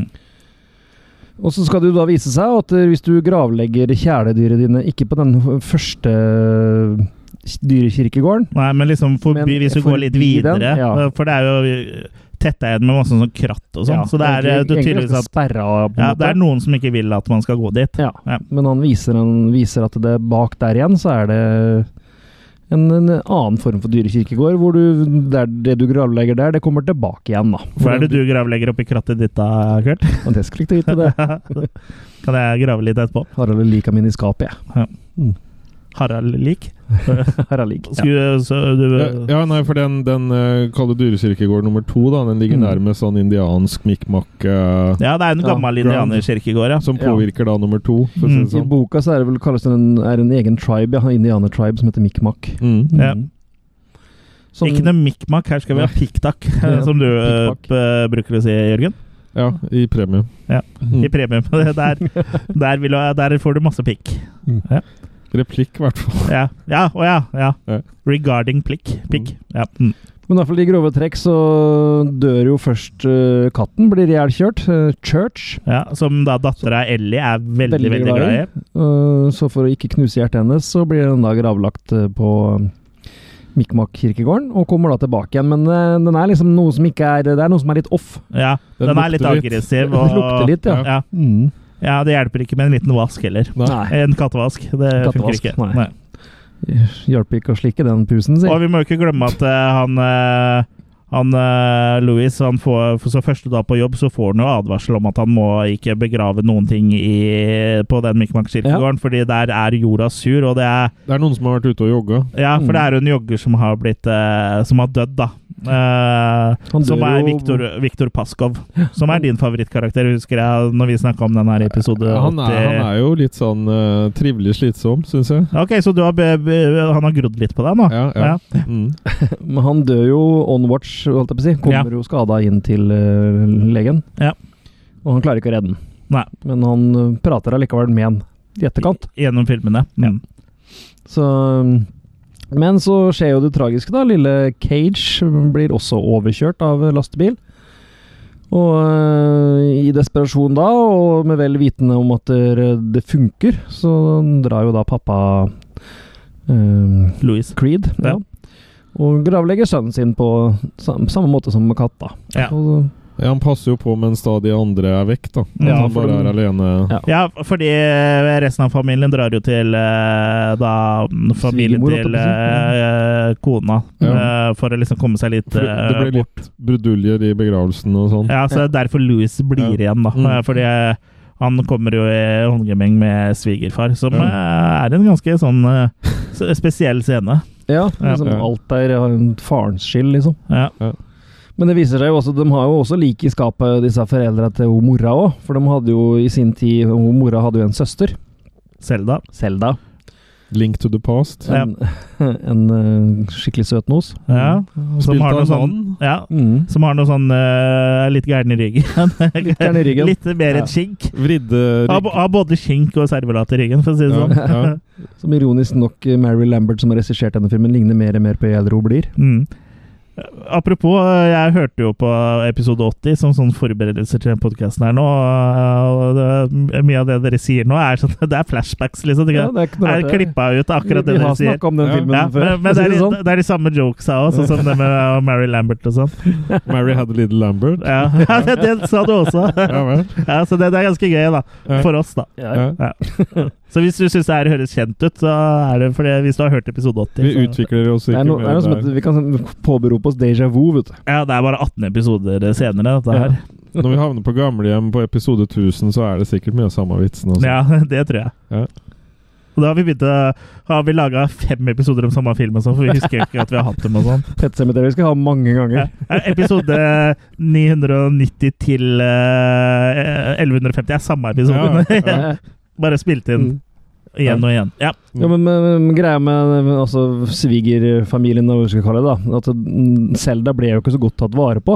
S3: Og så skal det jo da vise seg at eh, hvis du gravlegger kjæledyra dine ikke på den f- første eh, dyrekirkegården
S1: Nei, men liksom forbi,
S3: Men
S1: hvis du går litt
S3: forbi den,
S1: videre eh,
S3: ja.
S1: For det er jo tetta igjen med masse sånn kratt og sånn.
S3: ja,
S1: så det er
S3: egentlig-
S1: eh, du
S3: egentlig
S1: tydeligvis
S3: ganske
S1: at
S3: sperra, på en
S1: ja, det
S3: måte.
S1: er noen som ikke vil at man skal gå dit.
S3: Ja,
S1: Ja.
S3: men han viser, en, viser at det bak der igjen så er det en, en annen form for dyrekirkegård, hvor du, der, det du gravlegger der, det kommer tilbake igjen, da.
S1: For er det du gravlegger oppi krattet ditt da,
S3: *laughs*
S1: Kurt? *laughs*
S3: Og det skulle ikke vite, det.
S1: kan jeg grave litt etterpå?
S3: Har alle lika mine i skapet,
S1: *laughs*
S3: jeg.
S1: Harald lik?
S3: Her er lik. Ja.
S1: Skulle så du
S2: Ja, ja, nei, for den, den eh, kalde dyrekirkegård nummer to, da, den ligger
S3: Mm.
S2: nærmest sånn indiansk mikmak eh,
S1: Ja, det er en
S3: Ja,
S1: gammel
S2: grand.
S1: indianerkirkegård, ja.
S2: som
S3: Ja.
S2: påvirker da nummer to, for å si
S1: Mm,
S2: det
S3: I
S2: sånn.
S3: boka så er det vel kalles det en, er en egen tribe, ja, indianertribe, som heter Sånn- Mikmak.
S2: Mm.
S1: Ja.
S3: Som-
S1: Ikke noe mikmak, her skal vi ha piktak, *laughs*
S3: Ja,
S1: som du eh,
S3: piktak.
S1: p- bruker å si, Jørgen.
S2: Ja, i premie.
S1: Ja.
S2: Mm.
S1: I premie på det. *laughs* Der, der, vil, du- der får du masse pikk.
S2: Replikk, i hvert fall.
S1: Ja, ja, og ja, ja.
S2: Ja.
S1: Regarding plikk. Pikk. Ja. Mm.
S3: *laughs* Men i hvert fall i grove trekk så dør jo først eh, katten, blir ihjelkjørt. eh, Church.
S1: ja. Som da dattera Ellie er veldig, veldig, glad i.
S3: Eh, Så for å ikke knuse hjertet hennes, så blir den da gravlagt eh, på Mikmak-kirkegården, og kommer da tilbake igjen. Men eh, den er liksom noe som ikke er Det er noe som er litt off.
S1: Ja,
S2: Den
S1: den, er litt
S2: lukter litt.
S1: aggressiv.
S3: Den
S1: Og,
S3: lukter litt, ja.
S1: Ah, ja.
S3: Mm.
S1: Ja, det hjelper ikke med en liten vask heller.
S3: Nei.
S1: En kattevask. Det funker
S3: Kattevask,
S1: ikke.
S3: nei.
S1: Nei.
S3: Hjelper ikke å slikke den pusen,
S1: Og
S3: si.
S1: vi må jo ikke glemme at eh, han eh, han eh, Louis, han får, for så første dag på jobb, så får han jo advarsel om at han må ikke begrave noen ting i, på den Mikmak-kirkegården, fordi der er jorda sur, og det er
S2: Det er noen som har vært ute og jogga.
S1: Ja, for det
S3: Mm.
S1: er jo en jogger som har blitt eh, Som har dødd, da. Eh,
S3: Han dør
S1: som er
S3: jo-
S1: Viktor, Viktor Paskov. Som er din favorittkarakter, husker jeg, når vi snakka om den her i episode
S2: Han
S1: 80.
S2: er, han er jo litt sånn eh, trivelig slitsom, syns jeg.
S1: Ok, så du har be, be, han har grodd litt på deg nå?
S2: Ja, ja. Mm.
S3: Men han dør jo on watch, holdt jeg på å si. Kommer jo skada inn til eh, legen.
S1: Ja.
S3: Og han klarer ikke å redde den.
S1: Nei.
S3: Men han eh, prater allikevel med han i etterkant.
S1: Gjennom filmene. Mm.
S3: Så, um, men så skjer jo det tragiske, da. Lille Cage blir også overkjørt av lastebil. Og øh, i desperasjon da, og med vel vitende om at det det funker, så drar jo da pappa eh,
S1: Louise.
S3: Creed.
S1: Ja.
S3: Ja. Og gravlegger sønnen sin på sam samme måte som med katta.
S1: Ja.
S3: Og,
S2: Ja, han passer jo på mens da de andre er vekk, da. At
S1: Ja,
S2: han
S3: for
S2: bare er alene.
S3: Ja.
S1: Ja, fordi resten av familien drar jo til eh, da mm, familien
S3: Svigermor, holdt
S1: til
S3: jeg på å si.
S1: eh, kona
S2: Ja.
S1: eh, for å liksom komme seg litt
S2: For det- det
S1: eh,
S2: ble litt bruduljer i begravelsen og sånn.
S1: Ja, så det er derfor Louis blir igjen, da.
S2: Mm.
S1: Eh, Fordi eh, han kommer jo i håndgemeng med svigerfar, som
S2: Ja.
S1: eh, er en ganske sånn eh, s- spesiell scene.
S3: ja, liksom
S2: Ja.
S3: alt der har en farens skyld, liksom.
S1: Ja.
S3: Men det viser seg jo også, de har jo også lik i skapet, disse foreldra til hun mora òg. For de hadde jo i sin tid Hun mora hadde jo en søster,
S1: Selda.
S3: Selda.
S2: Link to the past.
S1: Ja.
S3: En, *laughs* en eh, skikkelig søt nos.
S1: Ja, som
S2: Spilt
S1: har noe
S2: av en
S1: sånn
S2: mann.
S1: ja,
S3: Mm.
S1: som har noe sånn eh, litt gæren i ryggen.
S3: Litt gæren i
S1: *laughs*
S3: ryggen.
S1: Litt mer
S3: Ja.
S1: enn skink.
S2: Vridde
S1: Har
S2: rygg.
S1: bo- har både skink og servelat i ryggen, for å si det
S2: Ja,
S1: sånn.
S2: ja.
S3: Som ironisk nok eh, Mary Lambert, som har regissert denne filmen, ligner mer og mer på jo eldre hun blir.
S1: Mm. Apropos, eh, jeg hørte jo på episode 80 som sånn forberedelser til den podkasten her nå, eh, og det, mye av det dere sier nå, er sånn *laughs* Det er flashbacks, liksom. Det,
S3: det er ikke
S1: er klippa ut akkurat det
S3: vi, vi
S1: dere
S3: har
S1: sier.
S3: snakka om den
S2: Ja.
S3: filmen
S1: Ja,
S3: før.
S1: men, men
S3: for
S1: det,
S3: å si
S1: er,
S3: det sånn.
S1: det er de samme jokesa òg, sånn som det med Mary Lambert og sånn.
S3: *laughs*
S2: Mary had a little Lambert. Ja,
S1: Ja, *laughs* ja det, det sa du også.
S2: vel.
S1: *laughs* Ja, så det, det er ganske gøy, da.
S2: Ja.
S1: For oss, da.
S2: Ja.
S1: Så hvis du syns det her høres kjent ut, så er det fordi hvis du har hørt episode 80
S2: Vi
S1: så-
S2: utvikler oss
S3: Det
S2: ikke
S3: er noe, det er
S2: mer
S3: noe som
S2: der.
S3: heter, vi kan sånn påberope oss déjà vu, vet du.
S1: Ja, det er bare 18 episoder senere, dette her.
S2: Når vi havner på gamlehjem på episode 1000, så er det sikkert mye av samme vitsen.
S3: Sånn
S2: altså. Også.
S1: Ja, *laughs* det tror jeg.
S2: Ja.
S1: Og da har vi begynt å Har vi laga fem episoder om samme film og sånn, for vi husker jo ikke at vi har hatt dem og sånn.
S3: *laughs* Pet Cemetery skal ha mange
S1: Ja.
S3: ganger.
S1: Episode 990 til eh, 1150 er sånn. samme
S2: Ja,
S1: episode.
S2: ja.
S1: *laughs* Bare spilt inn
S3: Mm.
S1: igjen og igjen. Ja.
S3: Ja, men, men, men greia med altså, svigerfamilien, og hva vi skal kalle det, da, at mm, Selda ble jo ikke så godt tatt vare på.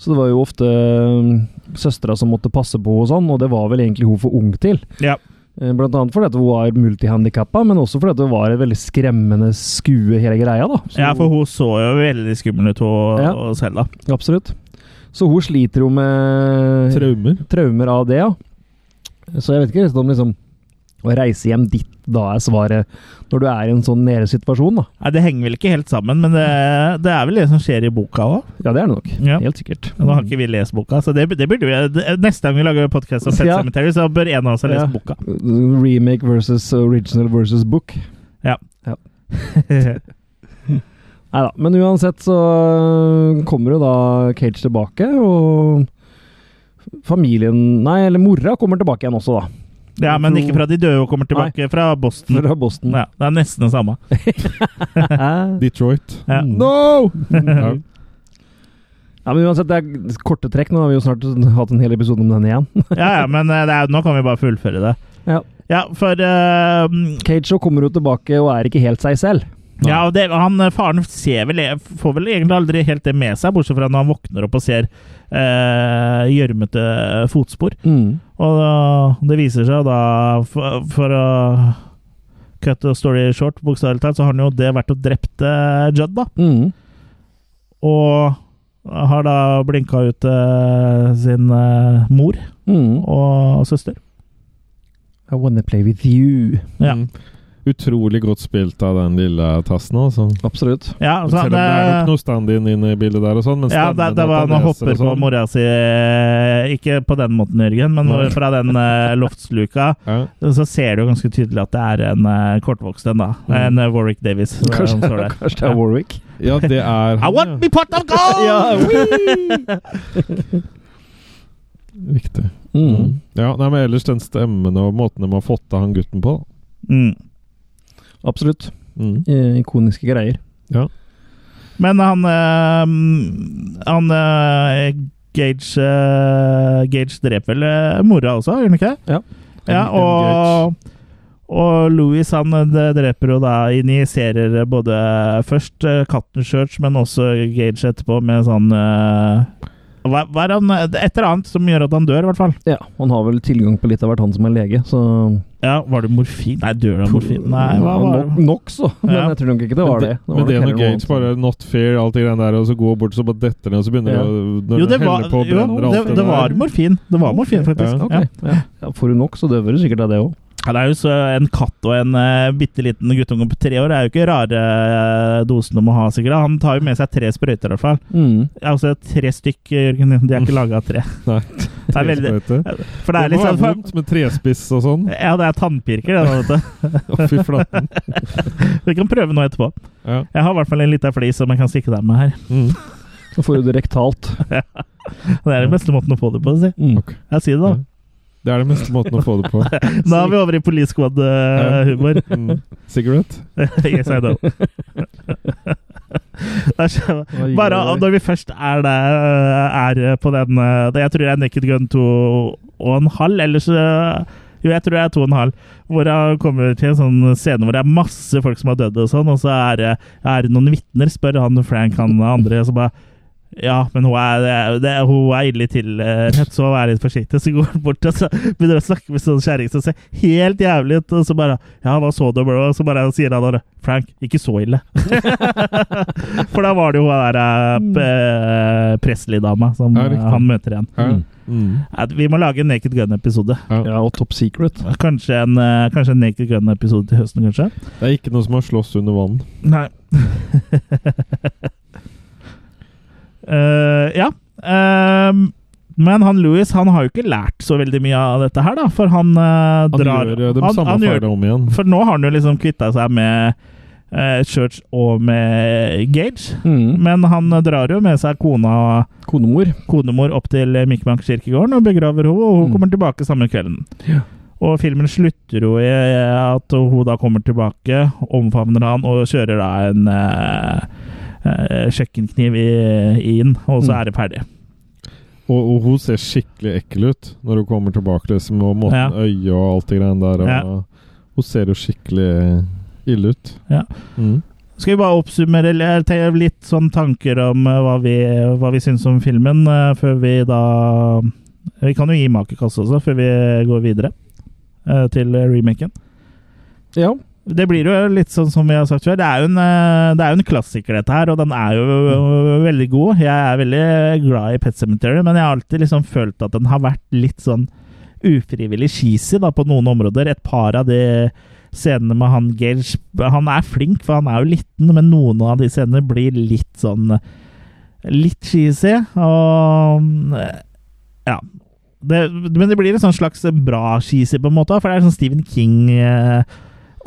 S3: Så det var jo ofte mm, søstera som måtte passe på og sånn, og det var vel egentlig hun for ung til.
S1: Ja.
S3: Eh, Blant annet fordi at hun var multihandikappa, men også fordi at det var et veldig skremmende skue, hele greia. da. Så
S1: ja, for hun så jo veldig skummel ut, hun
S3: Ja.
S1: og Selda.
S3: Absolutt. Så hun sliter jo med
S2: Traumer.
S3: traumer av det, ja. Så jeg vet ikke om liksom å reise hjem dit da er svaret, når du er i en sånn nede situasjon, da.
S1: Nei, det henger vel ikke helt sammen, men det, det er vel det som skjer i boka òg.
S3: Ja, det er det nok.
S1: Ja.
S3: Helt sikkert.
S1: Nå har ikke vi lest boka, så det, det burde vi det- Neste gang vi lager podkast om Pet
S3: *laughs* Ja.
S1: Cemetery, så bør en av oss ha lest
S3: Ja.
S1: boka.
S3: Remake versus original versus book. *laughs* Nei da. Men uansett så øh, kommer jo da Cage tilbake, og familien Nei, eller mora kommer tilbake igjen også, da.
S1: Ja, men ikke fra de døde og kommer tilbake fra Boston.
S3: Fra Boston.
S1: Ja, det er nesten det samme.
S2: Detroit.
S1: Ja.
S3: Mm.
S2: No! Ja.
S3: *laughs*
S1: Mhm.
S3: Ja, men uansett, det er korte trekk. Nå har vi jo snart hatt en hel episode om denne igjen.
S1: Ja, ja, men eh, det er, nå kan vi bare fullføre det.
S3: Ja.
S1: Ja, for eh,
S3: Cage så kommer jo tilbake og er ikke helt seg selv.
S1: ja, og det, han, eh, Faren ser vel, får vel egentlig aldri helt det med seg, bortsett fra når han våkner opp og ser eh, gjørmete fotspor.
S3: Mm.
S1: Og da- det viser seg da, for, for å cut the story short, bokstavelig talt, så har han jo det vært og drept eh, Judd, da.
S3: Mm.
S1: Og har da blinka ut eh, sin eh, mor
S3: Mm.
S1: og søster.
S3: I wanna play with you.
S1: Ja.
S2: Mm. Utrolig godt spilt av den lille tassen, altså.
S3: Absolutt.
S1: Ja,
S2: Men
S1: så han,
S2: Selv om det er nok
S1: eh,
S2: noe stand-in inne i bildet der og sånn, men
S1: Ja,
S2: stemmen
S1: det, det
S2: at
S1: var han
S2: leser
S1: hopper
S2: og
S1: på
S2: sånn.
S1: mora si eh, Ikke på den måten, Jørgen, men
S2: Nei.
S1: fra den eh, loftsluka
S2: Ja.
S1: så ser du jo ganske tydelig at det er en eh, kortvokst en, da.
S2: Mm.
S1: En eh, Warwick Davis. eh, som
S3: *laughs*
S1: står der.
S3: kanskje det er Warwick.
S2: ja, det er
S1: I want me pot of gold!
S2: *laughs* Riktig.
S3: Mm.
S2: Ja, nei, men ellers den stemmen og måten de har fått av han gutten på.
S1: Mm.
S3: Absolutt.
S2: Mm.
S3: Eh, Ikoniske greier.
S2: Ja.
S1: Men han eh, Han eh, Gage eh, Gage dreper vel eh, mora også, gjør han ikke?
S3: Ja.
S1: ja og og Louis han eh, dreper jo da injiserer eh, både først eh, katten Church, men også Gage etterpå med sånn eh, hva, hva er han, eh, Et eller annet som gjør at han dør, i hvert fall.
S3: Ja, Han har vel tilgang på litt av hvert, han som er lege, så
S1: Ja, Var det morfin? Nei, dør det av morfin? Nei, hva var
S3: Nok,
S1: det?
S3: nok så. Men
S1: Ja.
S3: jeg tror nok ikke det var det. var
S2: Men
S3: nok
S2: det er
S3: heller
S2: når
S3: noe
S2: Gates bare
S3: annet.
S2: 'not fair', alt det greiene der, og så går bort, så bare detter ned, og så begynner det
S3: Ja.
S2: å- når
S1: Jo,
S2: det
S1: det var,
S2: heller på,
S1: jo
S2: brenner alt
S1: det, det
S2: der.
S1: var morfin. Det var morfin,
S2: Ja.
S1: faktisk.
S3: Ok, ja. Ja, Får du nok, så døver du sikkert av det òg.
S1: Ja, det er jo så En katt og en uh, bitte liten guttunge på tre år er jo ikke rare eh, dosen de må ha. sikkert. da. Han tar jo med seg tre sprøyter, i hvert fall.
S3: Mm.
S1: Ja, altså tre stykk, Jørgen. De er ikke laga av tre.
S2: Nei.
S1: Det er veldig,
S2: Tresprøyte.
S1: for det er
S2: det
S1: litt
S2: må være
S1: sånn for,
S2: vondt med trespiss og sånn.
S1: Ja, det er tannpirker, det. da, vet
S2: Å, fy flaten.
S1: du. Vi kan prøve noe etterpå.
S2: Ja.
S1: Jeg har i hvert fall en liten flis som jeg kan stikke deg med her.
S2: Mm.
S3: Da får du det rektalt.
S1: Det er den beste måten å få det på. Si.
S3: Mm.
S2: Ok.
S1: Jeg sier det, da.
S2: Det er den beste måten å
S1: *laughs*
S2: få det på.
S1: Da er vi over i Police Squad-humor.
S2: Mm. Cigarette?
S1: *laughs* yes, I know. *laughs* Det er så-
S3: Oi,
S1: Bare
S3: oi, oi.
S1: når vi først er der, øh, er på den eh, det- Jeg tror det er Naked Gun 2 og en halv, ellers eh, Jo, jeg tror det er to og en halv. Hvor han kommer til en sånn scene hvor det er masse folk som har dødd, og sånn, og så er, det- er det noen vitner, spør han Frank han andre, og så bare ja, men hun er, det, er- det, er- hun er ille tilrett, så vær litt forsiktig. Så går hun bort og så begynner hun å snakke med sånn kjerring som ser helt jævlig ut. Og så bare Ja, hva så du, bro? Og så bare sier han bare Frank, ikke så ille. *laughs* For da var det jo hun der Presley-dama som
S2: Ja,
S1: eh,
S2: riktig.
S1: han møter igjen.
S2: Ja. Mm.
S1: Nei, Vi må lage en Naked Gun-episode.
S3: Ja, og Top Secret.
S1: Kanskje en, eh, kanskje en Naked Gun-episode til høsten, kanskje?
S2: Det er ikke noe som har slåss under vann.
S1: Nei. *laughs* Eh, ja. Ehm, men han Louis han har jo ikke lært så veldig mye av dette her, da. For han eh,
S2: Han
S1: drar
S2: gjør eh, de
S1: han-
S2: samme
S1: han gjør-
S2: feilene om igjen.
S1: For nå har han jo liksom kvitta seg med eh, Church og med Gage.
S3: Mm.
S1: Men han eh, drar jo med seg kona og
S3: Konemor.
S1: konemor opp til eh, Mikmank kirkegården og begraver henne, og hun
S3: Mm.
S1: kommer tilbake samme kvelden.
S3: Ja.
S1: Og filmen slutter jo i at hun da kommer tilbake, omfavner han og kjører da en eh, eh, kjøkkenkniv i, inn, og så
S3: Mm.
S1: er det ferdig.
S2: Og, og hun ser skikkelig ekkel ut når hun kommer tilbake, liksom, og måten
S1: Ja.
S2: øyet og alt det greiene der. Og, Hun ser jo skikkelig ille ut.
S1: Ja.
S2: Mm.
S1: Skal vi bare oppsummere eller te- litt sånn tanker om eh, hva vi, hva vi syns om filmen, eh, før vi da Vi kan jo gi makekast også, før vi går videre eh, til remaken.
S3: Ja.
S1: Det blir jo litt sånn som vi har sagt før. Det er jo en, eh, det er jo en klassiker, dette her, og den er jo eh, veldig god. Jeg er veldig glad i Pet Cemetery, men jeg har alltid liksom følt at den har vært litt sånn ufrivillig cheesy da, på noen områder. Et par av de scenene med han Gage Han er flink, for han er jo liten, men noen av de scenene blir litt sånn Litt cheesy, og eh, Ja. Det, men det blir en sånn slags bra cheesy, på en måte, for det er sånn Stephen King eh,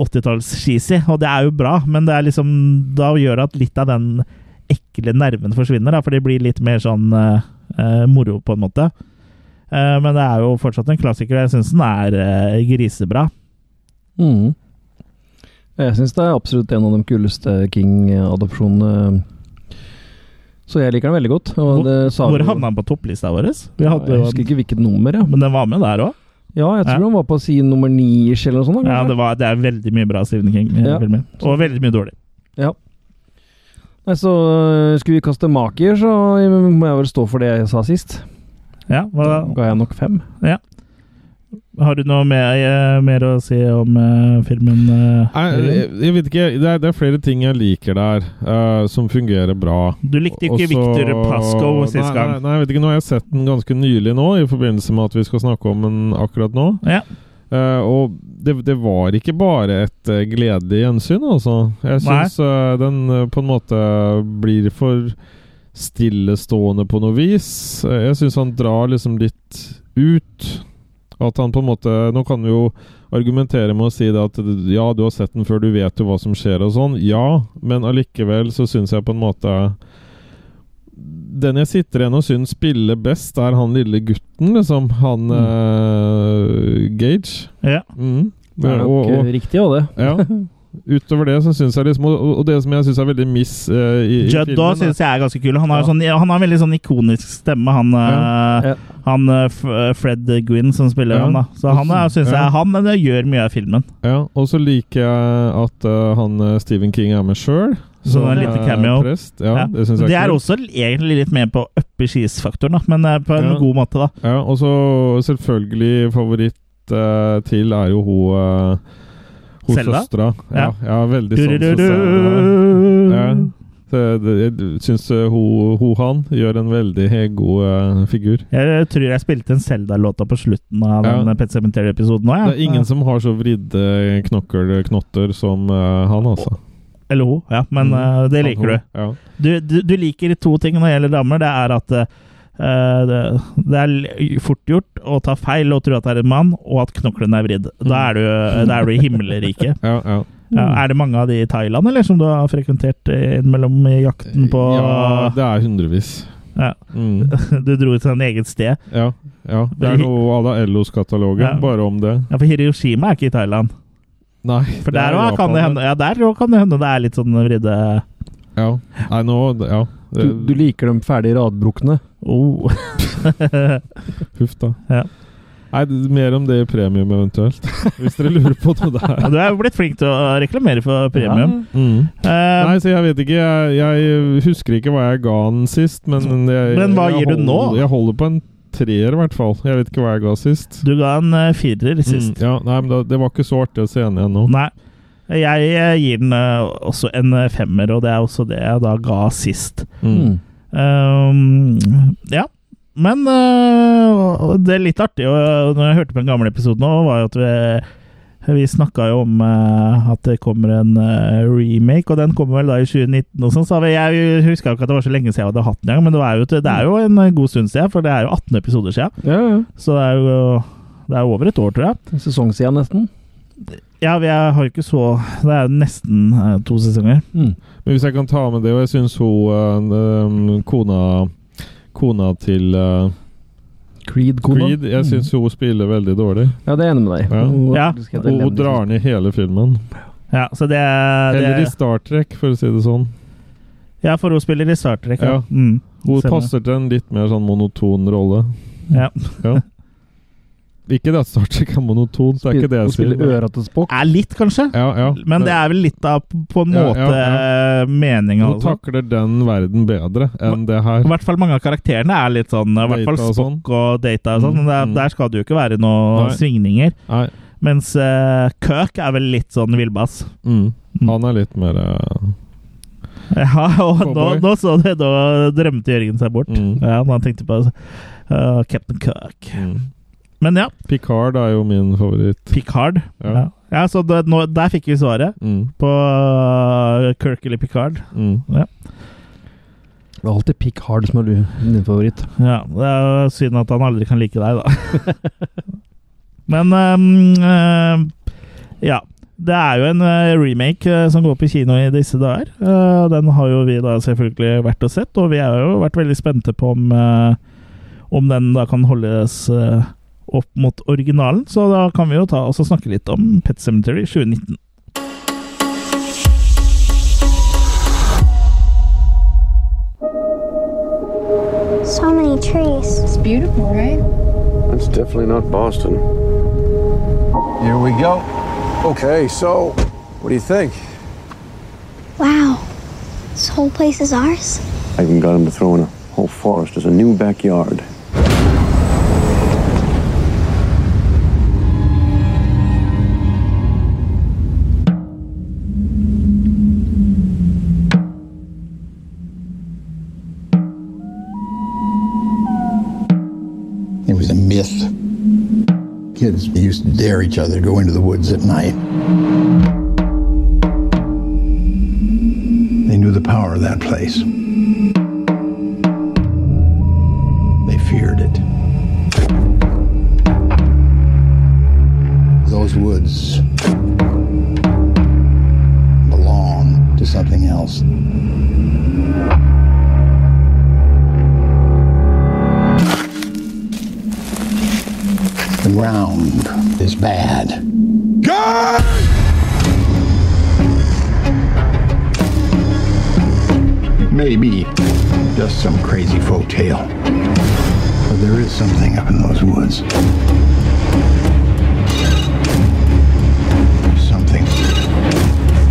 S1: 80-talls-cheesy, og det er jo bra, men det er liksom da gjør det at litt av den ekle nerven forsvinner, da, for det blir litt mer sånn eh, eh, moro, på en måte. Eh, men det er jo fortsatt en klassiker. Jeg syns den er eh, grisebra.
S3: Mm. Jeg syns det er absolutt en av de kuleste King-adopsjonene. Så jeg liker den veldig godt. Og
S1: Hvor-
S3: det sa
S1: Hvor
S3: vi jo-
S1: havna den på topplista vår? Vi hadde
S3: jeg
S1: jo
S3: husker
S1: den,
S3: ikke hvilket nummer, ja.
S1: men den var med der òg.
S3: Ja, jeg tror
S1: Ja.
S3: han var på side nummer ni-ish eller noe sånt. da,
S1: Ja,
S3: kanskje?
S1: det, var- det er veldig mye bra Stephen
S3: Ja.
S1: King-filmer. Og veldig mye dårlig.
S3: Nei, så øh, skulle vi kaste maker, så eh, må jeg vel stå for det jeg sa sist.
S1: Ja,
S3: Da
S1: hva,
S3: ga jeg nok fem.
S1: har du noe mer, eh, mer å si om eh, filmen? eh,
S2: Nei, jeg,
S1: Jørgen?
S2: jeg vet ikke, det er, det er flere ting jeg liker der, eh, som fungerer bra.
S1: du likte
S2: Og
S1: ikke
S2: så-
S1: Victor Pasco sist
S2: Nei,
S1: gang.
S2: nei, jeg vet ikke, nå har jeg sett den ganske nylig nå, i forbindelse med at vi skal snakke om den akkurat nå.
S1: Ja.
S2: Eh, og det, det var ikke bare et eh, gledelig gjensyn, altså. Jeg
S1: Nei.
S2: syns den eh, på en måte blir for stillestående på noe vis. Eh, jeg syns han drar liksom litt ut. At han på en måte Nå kan vi jo argumentere med å si det at ja, du har sett den før, du vet jo hva som skjer og sånn. Ja, men allikevel så syns jeg på en måte den jeg sitter igjen og syns spiller best, er han lille gutten, liksom. Han
S1: Mm.
S2: eh, Gage.
S1: Ja.
S2: Mm.
S3: Det er nok
S2: og, og,
S1: eh,
S3: øh, riktig, også det.
S1: *laughs*
S2: ja. Utover det så syns jeg liksom Og, og det som jeg syns er veldig miss eh, i, i
S1: Judd da
S2: filmen er-
S1: syns jeg er ganske kul. Han har,
S2: Ja.
S1: sånn, han har en veldig sånn ikonisk stemme, han, eh,
S3: ja.
S1: han eh, F- eh, Fred Gwynn som spiller
S2: Ja.
S1: ham. da. Så han er- syns
S2: Ja.
S1: jeg han eh, gjør mye av filmen.
S2: Ja, og så liker jeg at eh, han eh, Stephen King er med sjøl.
S1: Så det er litt cameo.
S2: Prest. Ja,
S1: Ja.
S2: Det syns jeg
S1: Det er
S2: kult.
S1: også egentlig litt med på upper cheese-faktoren, da, men eh, på en
S2: Ja.
S1: god måte, da.
S2: Ja, og så selvfølgelig favoritt eh, til er jo hun eh, Hun
S1: Selda?
S2: søstera. Ja,
S1: Ja.
S2: ja. veldig sånn som Selda.
S1: Du-du-du-du.
S2: Ja. Så jeg jeg syns eh, hun, hun han gjør en veldig god eh, figur.
S1: Jeg tror jeg spilte en Zelda-låta på slutten av
S2: Ja.
S1: den Pet Cemetery-episoden òg.
S2: Det er ingen som har så vridde knokkelknotter som eh, han, altså.
S1: Eller hun, ja. Men
S2: Mm.
S1: eh, det
S2: Han,
S1: liker
S2: hun.
S1: du.
S2: Ja.
S1: Du, du. Du liker to ting når det gjelder damer. Det er at eh, det, det er l- fort gjort å ta feil og tro at det er en mann, og at knoklene er vridd. Da er du, da er du i
S2: *laughs*
S1: himmelriket.
S2: Ja, ja.
S1: Ja, er det mange av de i Thailand eller, som du har frekventert eh, innimellom i jakten på
S2: ja, det er hundrevis.
S1: Ja.
S2: Mm.
S1: *laughs* Du dro til et eget sted.
S2: Ja, ja. Det er noe à la Ellos-katalogen,
S1: Ja.
S2: bare om det.
S1: Ja, For Hiroshima er ikke i Thailand.
S2: Nei,
S1: For
S2: er
S1: der òg kan
S2: Japan,
S1: det hende Ja, der også kan det hende det er litt sånn vridde
S2: Ja. Nei, nå Ja.
S3: Du, du liker dem ferdig radbrukne.
S1: oh. *laughs*
S2: Huff, da.
S1: Ja.
S2: Nei, det- mer om det i premium eventuelt, *laughs* hvis dere lurer på noe
S1: Ja,
S2: der.
S1: Du er jo blitt flink til å reklamere for premium.
S2: Mm.
S1: Eh,
S2: Nei, så jeg vet ikke. Jeg, jeg husker ikke hva jeg ga den sist, men jeg,
S1: Men hva
S2: jeg
S1: gir du nå?
S2: Jeg holder på en treer, i hvert fall. Jeg vet ikke hva jeg ga sist.
S1: du ga en eh, firer sist.
S2: Mm, ja, nei, men da, Det var ikke så artig å se henne igjen nå.
S1: Nei. Jeg eh, gir den eh, også en eh, femmer, og det er også det jeg da ga sist.
S2: Mm.
S1: Um, ja. Men eh, det er litt artig, og eh, når jeg hørte på den gamle episoden nå, var jo at vi eh, vi snakka jo om eh, at det kommer en eh, remake, og den kommer vel da i 2019 og sånn. Så har vi- jeg huska ikke at det var så lenge siden jeg hadde hatt den engang, men det, var jo, det er jo en eh, god stund siden, for det er jo 18 episoder siden.
S3: Ja, ja.
S1: Så det er jo det er jo over et år, tror jeg.
S3: Sesong siden, nesten.
S1: Ja, vi er- har jo ikke så Det er jo nesten eh, to sesonger.
S3: Mm.
S2: Men hvis jeg kan ta med det, og jeg syns hun eh, eh, kona Kona til eh,
S3: Creed-kona.
S2: Creed Jeg
S1: Mm.
S2: syns hun spiller veldig dårlig.
S3: Ja, det er jeg enig med deg.
S2: Ja.
S3: Hun-
S1: Ja,
S3: faktisk helt
S2: Hun, hun
S3: elendig.
S2: drar ned hele filmen.
S1: Ja, så det, er-
S2: Eller i
S1: det
S2: Star Trek, for å si det sånn.
S1: Ja, for hun spiller i Star Trek.
S2: Ja.
S1: Mm,
S2: Hun
S1: stemmer.
S2: passer til en litt mer sånn monoton rolle.
S1: Ja.
S2: Ja. Ikke det at Star Trek er monotont, det er ikke det
S3: Hun
S2: jeg sier.
S3: spiller øra til Spock.
S1: Er litt, kanskje.
S2: Ja, ja.
S1: Men det er vel litt av på en
S2: Ja, ja,
S1: måte eh,
S2: ja.
S1: meninga.
S2: Hun takler den verden bedre enn det
S1: I
S2: her.
S1: hvert fall mange av karakterene er litt sånn I hvert fall
S2: Data og sånn.
S1: Spock og Data og sånn. Men der,
S2: Mm.
S1: der skal det jo ikke være noen
S2: Nei.
S1: svingninger.
S2: Nei.
S1: Mens eh, Kirk er vel litt sånn villbass. *laughs*
S2: Mm.
S1: Mm.
S2: Han er litt mer eh,
S1: Ja, og nå,
S2: Cowboy.
S1: nå så det, da drømte Jørgen seg bort.
S2: Mm.
S1: Ja, når han tenkte på eh, Captain Kirk.
S2: mm.
S1: Men ja,
S2: Picard er jo min favoritt.
S1: Picard.
S2: Ja.
S1: Ja, ja så det, nå, der fikk vi svaret
S2: Mm.
S1: på øh, Kirk eller Picard.
S2: Mm.
S3: Det er alltid Pick Hard som er du, din favoritt.
S1: Ja, det er jo synd at han aldri kan like deg, da. *laughs* Men øhm, øhm, ja. Det er jo en øh, remake øh, som går på kino i disse dager. Øh, den har jo vi da selvfølgelig vært og sett, og vi har jo vært veldig spente på om, øh, om den da kan holdes øh, opp mot originalen. Så da kan vi jo ta oss og snakke litt om Pet Cemetery 2019.
S6: So many trees.
S9: It's beautiful, right?
S10: It's definitely not Boston.
S4: Here we go. Okay, so what do you think?
S6: Wow. This whole place is ours?
S10: I even got him to throw in a whole forest as a new backyard.
S5: It was a myth. Kids used to dare each other to go into the woods at night. They knew the power of that place. They feared it. Those woods belong to something else. The ground is bad. Maybe just some crazy folk tale. But there is something up in those woods. Something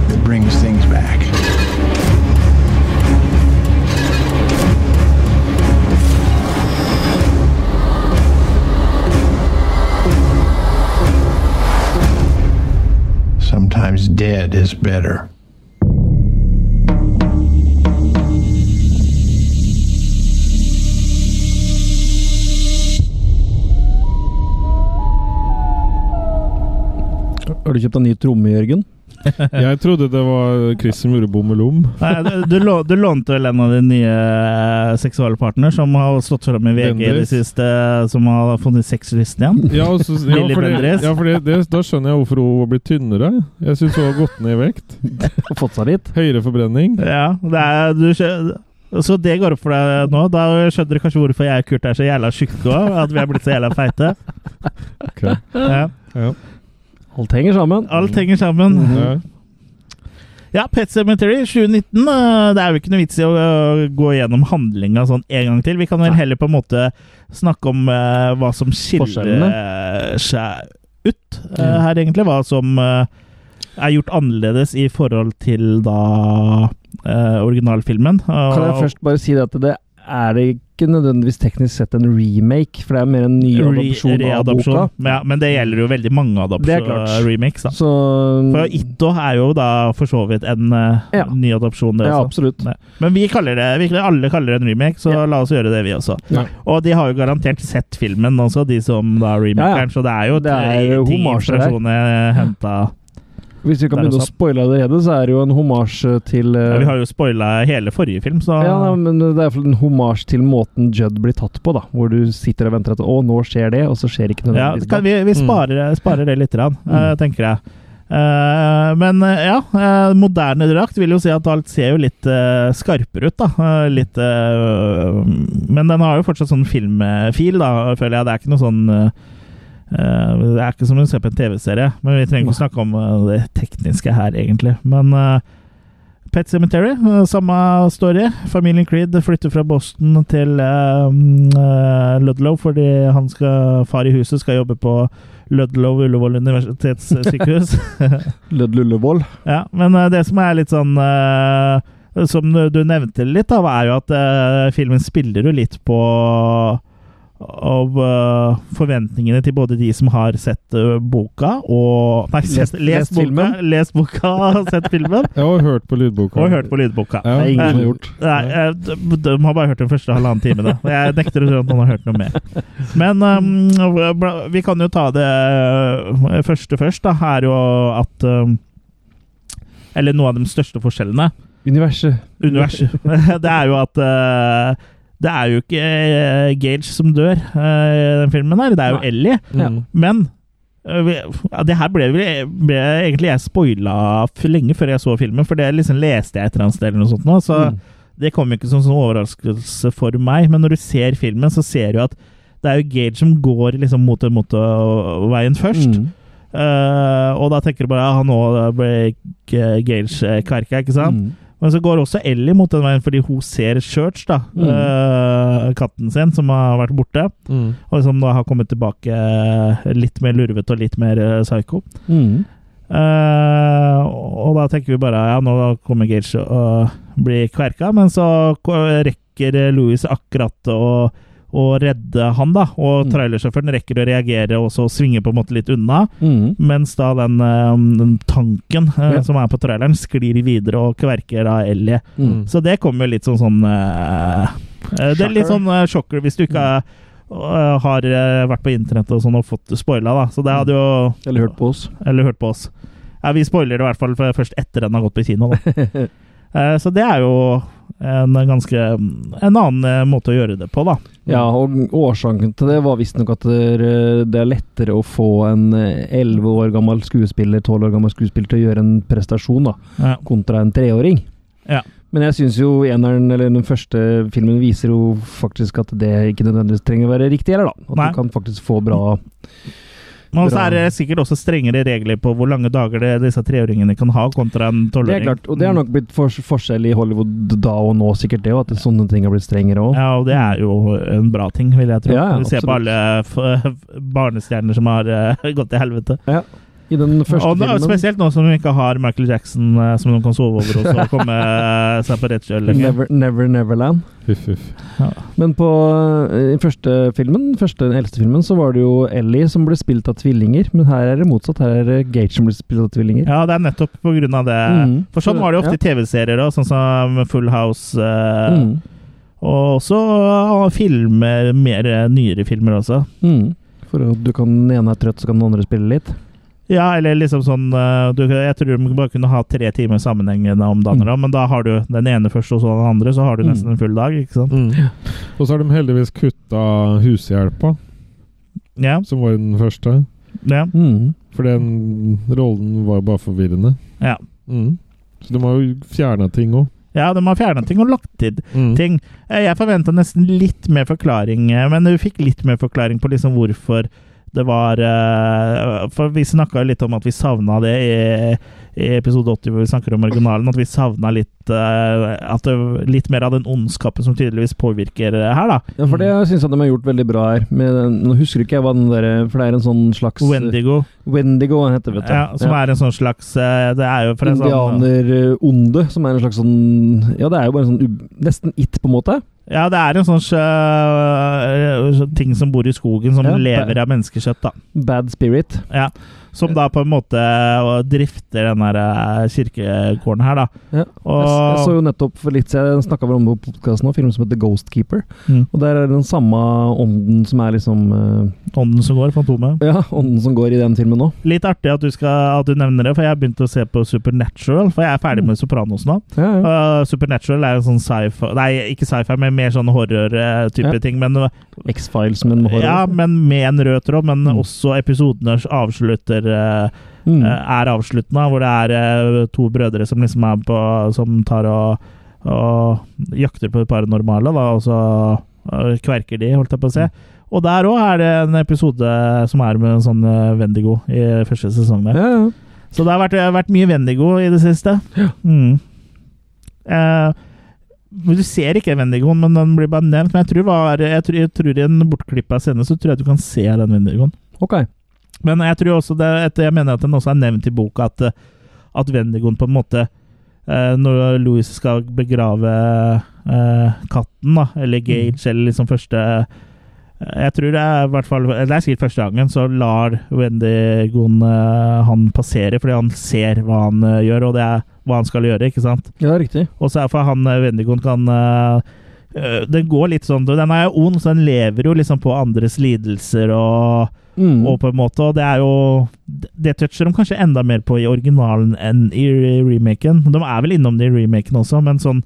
S5: that brings things back. Sometimes dead is better.
S3: Har du kjøpt deg ny tromme, Jørgen? *laughs*
S2: Jeg trodde det var Chris som gjorde bommelom.
S1: Nei, du, du, lå- du lånte vel en av dine nye eh, seksualpartner som har stått fram i VG i det
S2: Bendriss.
S1: siste, eh, som har funnet sexlysten igjen?
S2: Ja, og så- ja,
S1: Lille
S2: fordi,
S1: Bendriss.
S2: ja fordi det, da skjønner jeg hvorfor hun har blitt tynnere. Jeg syns hun har gått ned i vekt.
S3: Har fått seg litt?
S2: Høyere forbrenning.
S1: Ja, det er, du, skjø- så det går opp for deg nå? Da skjønner du kanskje hvorfor jeg og Kurt er så jævla tjukke òg? At vi er blitt så jævla feite?
S2: Ok.
S1: Ja.
S2: Ja.
S3: Alt henger sammen.
S1: Alt henger sammen.
S3: Mm.
S2: Ja.
S1: Ja, Pet Cemetery 2019. øh, Det er jo ikke noe vits i å øh, gå gjennom handlinga sånn en gang til. Vi kan vel heller på en måte snakke om øh, hva som skiller øh, seg ut øh,
S3: Ja.
S1: her, egentlig. Hva som øh, er gjort annerledes i forhold til da øh, originalfilmen. eh,
S3: Kan jeg først bare si det at det er det ikke nødvendigvis teknisk sett en remake, for det er mer en ny adopsjon av boka.
S1: Ja, men det gjelder jo veldig mange
S3: Det er klart.
S1: adopsjon-remakes, da.
S3: Så
S1: For Itto er jo da for så vidt en øh,
S3: Ja.
S1: ny adopsjon, det altså.
S3: Ja,
S1: også.
S3: absolutt.
S1: Nei. Men vi kaller det, virkelig alle kaller det en remake, så
S3: Ja.
S1: la oss gjøre det, vi også.
S3: Ja.
S1: Og de har jo garantert sett filmen også, de som da
S3: Ja,
S1: remakeren,
S3: ja.
S1: så det er jo
S3: Det er
S1: tre-
S3: jo
S1: ti
S3: homasjer der.
S1: inspirasjoner henta.
S3: Hvis vi kan
S1: Der
S3: begynne å
S1: også.
S3: spoile allerede, så er det jo en homasj til eh,
S1: Ja, vi har jo spoila hele forrige film, så
S3: Ja, nei, men det er i hvert fall en homasj til måten Judd blir tatt på, da. Hvor du sitter og venter at 'Å, nå skjer det', og så skjer det ikke
S1: Ja,
S3: nødvendigvis.
S1: kan vi, vi sparer, sparer det litt, grann, eh, tenker jeg. Eh, men eh, ja, eh, moderne drakt vil jo si at alt ser jo litt eh, skarpere ut, da. Eh, litt eh, Men den har jo fortsatt sånn filmfil, da, føler jeg. Det er ikke noe sånn eh, eh, Det er ikke som å se på en TV-serie, men vi trenger ikke å snakke om eh, det tekniske her, egentlig. Men eh, Pet Cemetery, eh, samme story. Familien Creed flytter fra Boston til eh, eh, Ludlow fordi han skal, far i huset skal jobbe på Ludlow Ullevål universitetssykehus.
S3: Lødd Lullevold.
S1: ja, men eh, det som er litt sånn eh, Som du du nevnte litt, da, er jo at eh, filmen spiller jo litt på av eh, forventningene til både de som har sett eh, boka og Nei,
S3: Lest-
S1: sett,
S3: lest
S1: lest, boka, *laughs*
S3: filmen.
S1: lest boka og sett filmen,
S2: Jeg har hørt på lydboka.
S1: og hørt på lydboka.
S2: Ja.
S3: Det er ingen som har
S1: Eh,
S3: gjort.
S1: Nei, eh, de, de har bare hørt den første halvannen time. Da. Jeg nekter å tro at noen har hørt noe mer. Men um, bla- vi kan jo ta det eh, første først. Da, er jo at um, Eller noe av de største forskjellene.
S3: Universet. *laughs*
S1: Universet. *laughs* Det er jo at eh, Det er jo ikke eh, Gage som dør eh, i den filmen her. Det er jo
S3: Nei.
S1: Ellie.
S3: Ja.
S1: Men øh, vi- ja, det her ble, vel- ble egentlig jeg spoila f- lenge før jeg så filmen, for det liksom leste jeg et eller annet sted, eller noe sånt nå, så
S3: Mm.
S1: det kom jo ikke som sånn overraskelse for meg. Men når du ser filmen, så ser du at det er jo Gage som går liksom mot den motorveien først.
S3: Mm.
S1: Eh, og da tenker du bare ja, nå ble G- Gage eh, kverka, ikke sant?
S3: Mm.
S1: Men så går også Ellie mot den veien fordi hun ser Church, da.
S3: Mm.
S1: eh, katten sin, som har vært borte.
S2: Mm.
S1: Og som da har kommet tilbake eh, litt mer lurvete og litt mer eh, psycho.
S3: Mm.
S1: Eh, og da tenker vi bare ja, nå kommer Gage og blir kverka, men så ko- rekker Louis akkurat å, å redde han, da. Og
S3: Mm.
S1: trailersjåføren rekker å reagere og så svinge på en måte litt unna.
S3: Mm.
S1: Mens da den, eh, den tanken eh,
S3: Ja.
S1: som er på traileren, sklir videre og kverker da Ellie.
S3: Mm.
S1: Så det kommer jo litt sånn sånn eh, eh, Det er litt sånn uh, sjokker hvis du ikke eh,
S3: Mm.
S1: eh, har eh, vært på internett og sånn og fått det spoila, da. Så det hadde jo
S3: Eller hørt på *laughs* oss.
S1: Eller hørt på oss. Ja, vi spoiler det i hvert fall for- først etter den har gått på kino,
S3: *laughs*
S1: da. Eh, så det er jo en ganske En annen eh, måte å gjøre det på, da.
S3: Ja, og
S1: Mm.
S3: årsaken til det var visstnok at det det er lettere å få en eh, elleve år gammel skuespiller, tolv år gammel skuespiller til å gjøre en prestasjon, da,
S1: Ja.
S3: kontra en treåring.
S1: Ja.
S3: Men jeg syns jo eneren, eller den første filmen, viser jo faktisk at det ikke nødvendigvis trenger å være riktig heller, da. At
S1: Nei. Mm.
S3: du kan faktisk få bra
S1: Men så
S3: Bra.
S1: er det sikkert også strengere regler på hvor lange dager det, disse treåringene kan ha kontra en
S3: Det er
S1: tolvåring.
S3: klart, og det er nok blitt fors- forskjell i Hollywood da og nå, sikkert det, og at sånne ting har blitt strengere
S1: Mm.
S3: òg.
S1: Ja, og det er jo en bra ting, vil jeg tro.
S3: Ja, ja,
S1: Vi ser på
S3: absolutt.
S1: alle f barnestjerner som har eh, *laughs* gått til helvete.
S3: I den første
S1: Og da,
S3: filmen
S1: spesielt nå som hun ikke har Michael Jackson eh, som hun kan sove over og så komme eh, seg på rett kjøl. lenger.
S3: *laughs* Never, Never Neverland.
S2: Huff, huff.
S3: Men på eh, i første filmen, første den eldste filmen, så var det jo Ellie som ble spilt av tvillinger, men her er det motsatt. Her er det Gage som blir spilt av tvillinger.
S1: Ja, det er nettopp på grunn av det.
S3: Mhm.
S1: For sånn var det jo ofte i TV-serier òg, sånn som Full House. eh,
S3: Mm.
S1: Og også eh, filmer, mer eh, nyere filmer også.
S3: Mm. For at du kan, den ene er trøtt, så kan den andre spille litt.
S1: Ja, eller liksom sånn eh, du, Jeg tror de bare kunne ha tre timer sammenhengende om dagen,
S3: Mm.
S1: da, men da har du den ene først, og så den andre, så har du
S3: Mm.
S1: nesten en full dag, ikke sant?
S2: Mm. Og så har de heldigvis kutta hushjelpa,
S1: Ja.
S2: som var den første.
S1: ja.
S3: Mm.
S2: For den rollen var bare forvirrende.
S1: Ja.
S2: Mm. Så de har jo fjerna ting òg.
S1: ja, de har fjerna ting og lagt til
S2: Mm.
S1: ting. Eh, Jeg forventa nesten litt mer forklaring, eh, men du fikk litt mer forklaring på liksom hvorfor det var eh, For vi snakka jo litt om at vi savna det i, i episode 80, hvor vi snakker om originalen, at vi savna litt eh, at det, litt mer av den ondskapen som tydeligvis påvirker eh, her, da.
S3: Ja, for det syns jeg de har gjort veldig bra her. Med den, nå husker ikke jeg hva den der For det er en sånn slags
S1: Wendigo,
S3: Wendigo heter det, vet du.
S1: ja, som er en sånn slags eh, Det er jo fra en sånn
S3: Indianeronde, som er en slags sånn Ja, det er jo bare en sånn ub- Nesten it, på en måte.
S1: Ja, det er en sånn øh, øh, ting som bor i skogen, som
S3: Ja, det-
S1: lever av menneskekjøtt, da.
S3: Bad spirit.
S1: Ja. Som da på en måte øh, drifter den der øh, kirkegården her, da.
S3: Ja. Jeg, s- jeg så
S1: Og
S3: jo nettopp for litt siden, jeg snakka vel om det på podkasten, en film som heter Ghost Keeper.
S1: Mm.
S3: Og der er det den samme ånden som er liksom eh, *laughs*
S1: ånden som går, Fantomet.
S3: Ja, ånden som går i den filmen nå.
S1: Litt artig at du, skal, at du nevner det, for jeg har begynt å se på Supernatural. For jeg er ferdig med Sopranos nå.
S3: Ja, Mm. ja.
S1: Øh, Supernatural er jo sånn sci-fi Nei, ikke sci-fi, men mer sånn horror-type
S3: Ja.
S1: ting. Men
S3: X-Files, men med horror.
S1: Ja, men med en rød tråd, men
S3: Mm.
S1: også episodene avslutter eh,
S3: Mm.
S1: eh, er avsluttende, hvor det er eh, to brødre som liksom er på Som tar og, og jakter på det paranormale, da, og så eh, kverker de, holdt jeg på å
S3: Mm.
S1: si. Og der òg er det en episode som er med en sånn eh, Wendigo i første sesong. Der.
S3: ja, ja.
S1: Så det har vært, eh, vært mye Wendigo i det siste. Mm. Eh, men du ser ikke Wendigoen, men den blir bare nevnt. Men jeg tror, var, jeg tror, jeg tror i en bortklippa scene så tror jeg du kan se den Wendigoen.
S3: Ok.
S1: Men jeg tror også det, at jeg mener at den også er nevnt i boka, at, eh, at Wendigoen på en måte eh, Når Louis skal begrave eh, katten, da, eller Gage, eller liksom første jeg tror det er i hvert fall eh, Det er sikkert første gangen, så lar Wendigoen eh, han passere, fordi han ser hva han eh, gjør, og det er hva han skal gjøre, ikke sant?
S3: Ja, riktig.
S1: Og så er det for han eh, Wendigoen kan eh, eh, Den går litt sånn Den er jo ond, så den lever jo liksom på andres lidelser og
S3: Mm.
S1: og på en måte, og det er jo Det toucher de kanskje enda mer på i originalen enn i re- remaken. De er vel innom det i remaken også, men sånn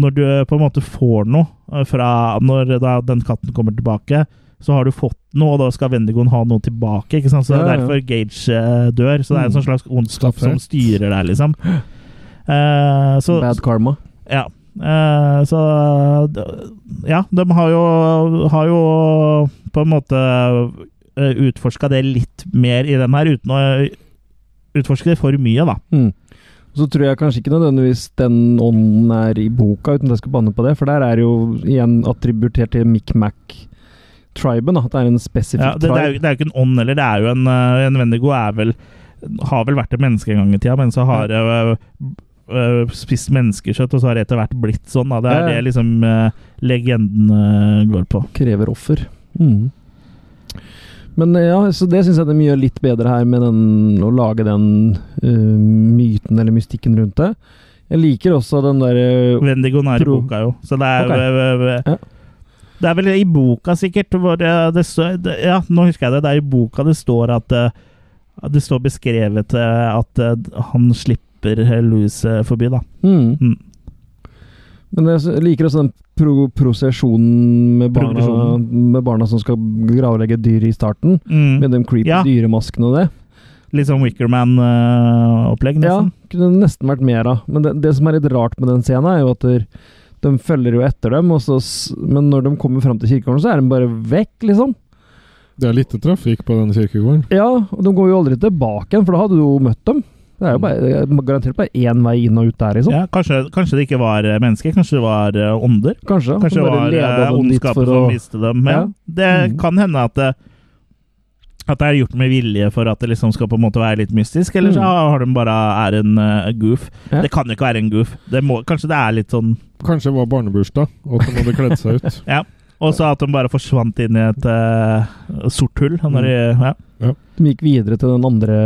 S1: Når du på en måte får noe eh, fra Når da den katten kommer tilbake, så har du fått noe, og da skal Wendigoen ha noe tilbake, ikke sant? Så det
S3: Ja,
S1: er
S3: ja. Mm.
S1: derfor Gage eh, dør. Så det er en sånn slags ondskap
S2: Straffer.
S1: som styrer der, liksom. Eh, så,
S3: Bad karma.
S1: ja. Eh, så d- Ja, de har jo, har jo på en måte utforska det litt mer i den her, uten å utforske det for mye, da.
S3: Mm. Så tror jeg kanskje ikke nødvendigvis den ånden er i boka, uten at jeg skal banne på det, for der er jo igjen attributert til Micmac-triben. da, At det er en spesifikk
S1: Ja, det, det, er jo,
S3: tribe.
S1: det er jo ikke en ånd heller, det er jo en, eh, en Wendigo er vel Har vel vært et menneske en gang i tida, men så har det eh, eh, spist menneskekjøtt, og så har det etter hvert blitt sånn. Da. Det
S3: Ja,
S1: er
S3: ja.
S1: det liksom eh, legenden eh, går på.
S3: Krever offer. Mm. Men eh, ja, så det syns jeg de gjør litt bedre her, med den, å lage den eh, myten eller mystikken rundt det. Jeg liker også den eh, derre
S1: Wendigoen er i
S3: Pro-
S1: boka, jo. Så det er
S3: Ok.
S1: v- v- v-
S3: Ja.
S1: Det er vel i boka, sikkert. Hvor eh, det står, det, ja, nå husker jeg det. Det er i boka det står at eh, Det står beskrevet eh, at eh, han slipper eh, Louis eh, forbi, da.
S3: mm.
S1: Mm.
S3: Men jeg s- liker også den pro prosesjonen med barna,
S1: Progresjonen.
S3: med barna som skal gravlegge dyr i starten. Med
S1: Mm.
S3: de creepy
S1: Ja.
S3: dyremaskene og det.
S1: Litt sånn Wickerman-opplegg,
S3: Ja,
S1: nesten.
S3: liksom. kunne det nesten vært mer av. Men det, det som er litt rart med den scenen, er jo at der, de følger jo etter dem, og så, s- men når de kommer fram til kirkegården, så er de bare vekk, liksom.
S2: Det er lite trafikk på den kirkegården.
S3: Ja, og de går jo aldri tilbake igjen, for da hadde du jo møtt dem. Det er jo bare, det er garantert bare én vei inn og ut der, liksom.
S1: Ja, kanskje, kanskje det ikke var eh, mennesker, kanskje det var eh, ånder?
S3: Kanskje.
S1: Kanskje det
S3: de bare
S1: var
S3: leder
S1: eh,
S3: dem dit
S1: ondskapen
S3: for
S1: som
S3: å-
S1: viste dem. Ja.
S3: Ja.
S1: Det
S3: Mm.
S1: kan hende at det, at det er gjort med vilje for at det liksom skal på en måte være litt mystisk, eller
S3: Mm.
S1: så har de bare er en eh, goof.
S3: Ja.
S1: Det kan jo ikke være en goof. Det må, kanskje det er litt sånn
S2: Kanskje det var barnebursdag, og at de hadde kledd seg ut.
S1: *laughs* Og så at de bare forsvant inn i et eh, sort hull. Når de,
S3: Mm.
S1: ja.
S3: De gikk videre til den andre